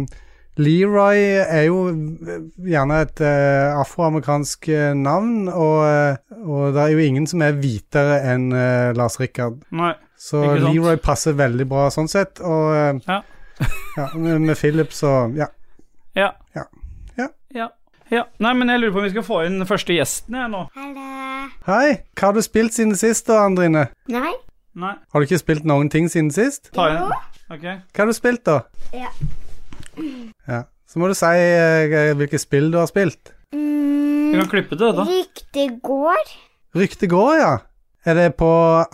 Speaker 3: Leroy er jo gjerne et eh, afroamerikansk eh, navn, og, eh, og det er jo ingen som er hvitere enn eh, Lars Rikard.
Speaker 2: Nei.
Speaker 3: Så
Speaker 2: Ikke sant?
Speaker 3: Leroy passer veldig bra sånn sett, og eh,
Speaker 2: Ja.
Speaker 3: ja, med, med Philip så ja.
Speaker 2: Ja.
Speaker 3: Ja.
Speaker 2: ja. ja. Nei, men jeg lurer på om vi skal få inn den første gjesten jeg nå.
Speaker 3: Hei, hva har du spilt siden sist da, Andrine?
Speaker 14: Nei.
Speaker 2: Nei.
Speaker 3: Har du ikke spilt noen ting siden sist?
Speaker 2: Ta inn. Ok.
Speaker 3: Hva har du spilt da?
Speaker 14: Ja.
Speaker 3: Ja. Så må du si eh, hvilke spill du har spilt.
Speaker 14: Mm,
Speaker 2: kan klippe det,
Speaker 14: Ryktet går.
Speaker 3: Rykte går, ja. Er det på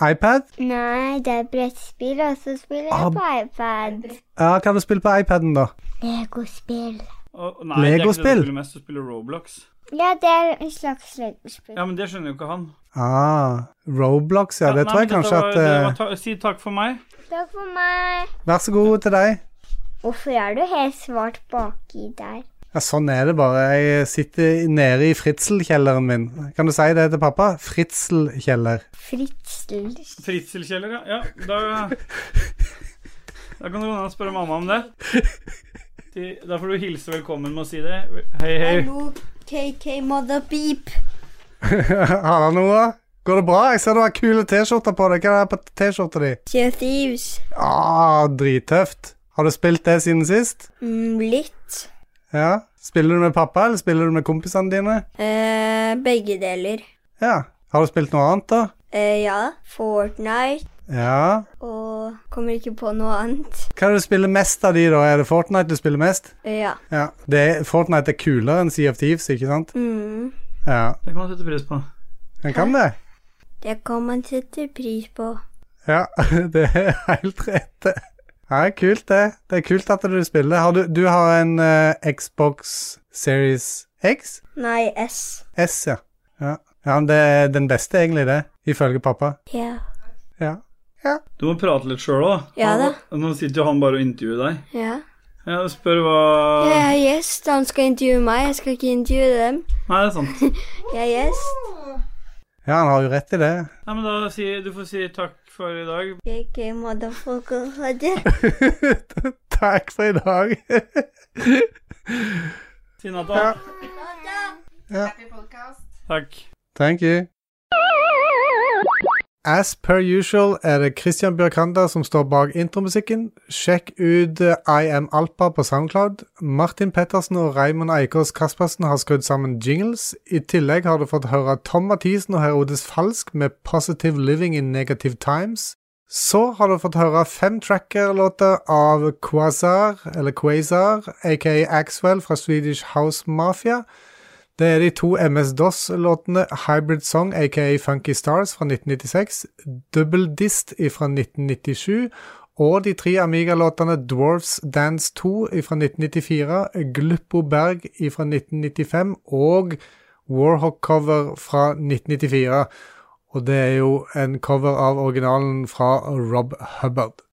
Speaker 3: iPad?
Speaker 14: Nei, det er brettspill, og så spiller jeg
Speaker 3: Ah.
Speaker 14: på iPad.
Speaker 3: Ja, hva har du spilt på iPaden da?
Speaker 14: Legospill.
Speaker 2: Å, nei, det er ikke det du
Speaker 3: Legospill?
Speaker 2: spiller mest, du spiller Roblox.
Speaker 14: Ja, det er en slags legospill.
Speaker 2: Ja, men det skjønner jo ikke han.
Speaker 3: Ah, Roblox, ja. Det
Speaker 2: Nei,
Speaker 3: tror
Speaker 2: men
Speaker 3: jeg
Speaker 2: dette
Speaker 3: kanskje
Speaker 2: var-
Speaker 3: at
Speaker 2: det
Speaker 3: eh,
Speaker 2: var ta Si takk for meg.
Speaker 14: Takk for meg.
Speaker 3: Vær så god til deg.
Speaker 14: Hvorfor er du helt svart baki der?
Speaker 3: Ja, sånn er det bare. Jeg sitter nede i fritselkjelleren min. Kan du si det til pappa? Fritselkjeller.
Speaker 14: Fritzel.
Speaker 2: Fritzelkjeller, ja. ja da, da kan du gå ned og spørre mamma om det. De- Da får du hilse velkommen med å si det. Hei, hei.
Speaker 15: Hallo, KK Mother Beep.
Speaker 3: (laughs) Har han noe? Går det bra? Jeg ser du har kule T-skjorter på deg. Hva er det på T-skjorta di?
Speaker 15: Sea of Thieves.
Speaker 3: Ah, drittøft. Har du spilt det siden sist?
Speaker 15: Mm, litt.
Speaker 3: Ja. Spiller du med pappa, eller spiller du med kompisene dine?
Speaker 15: Eh, begge deler.
Speaker 3: Ja. Har du spilt noe annet, da?
Speaker 15: Eh, ja. Fortnite.
Speaker 3: Ja.
Speaker 15: Og kommer ikke på noe annet.
Speaker 3: Hva er det du spiller mest av de, da? Er det Fortnite du spiller mest?
Speaker 15: Eh, ja.
Speaker 3: Ja. Det er, Fortnite er kulere enn Sea of Thieves, ikke sant?
Speaker 15: Mm.
Speaker 3: Ja.
Speaker 2: Det kan man sette pris på.
Speaker 3: Den kan det.
Speaker 15: Det kan man sette pris på.
Speaker 3: Ja, (laughs) det er helt rett. det. Ja, kult det. Det er kult at du spiller. Har du, du har en eh, Xbox Series X?
Speaker 15: Nei, S.
Speaker 3: S, ja. ja. Ja, men det er den beste egentlig det, ifølge pappa.
Speaker 15: Ja.
Speaker 3: Ja.
Speaker 2: Du må prate litt sjøl òg, da.
Speaker 15: Ja da.
Speaker 2: Nå sitter jo han bare og intervjuer deg.
Speaker 15: Ja.
Speaker 2: Ja, spør hva
Speaker 15: Jeg er gjest. Han skal intervjue meg. Jeg skal ikke intervjue dem.
Speaker 2: Nei, det er sant.
Speaker 15: Jeg er gjest.
Speaker 3: Ja, han har jo rett i det. (laughs)
Speaker 2: Nei, men da si, Du får si takk for i dag.
Speaker 15: KK Motherfucker. (laughs) Ha det.
Speaker 3: Takk for i dag. (laughs)
Speaker 2: Si natta.
Speaker 3: Ja.
Speaker 2: Takk.
Speaker 3: Thank you. As per usual er det Christian Bjørkander som står bak intromusikken. Sjekk ut eh, I Am Alpa på Soundcloud. Martin Pettersen og Raymond Eikås Kaspersen har skrudd sammen jingles. I tillegg har du fått høre Tom Mathisen og Herodes Falsk med Positive Living in Negative Times. Så har du fått høre fem tracker-låter av Quasar, eller Quasar, aka Axwell fra Swedish House Mafia. Det er de to MS-DOS-låtene Hybrid Song, aka Funky Stars fra 1996, Double Dist fra 1997, og de tre Amiga-låtene Dwarfs Dance 2 fra 1994, Gluppo Berg fra 1995 og Warhawk-cover fra 1994. Og det er jo en cover av originalen fra Rob Hubbard.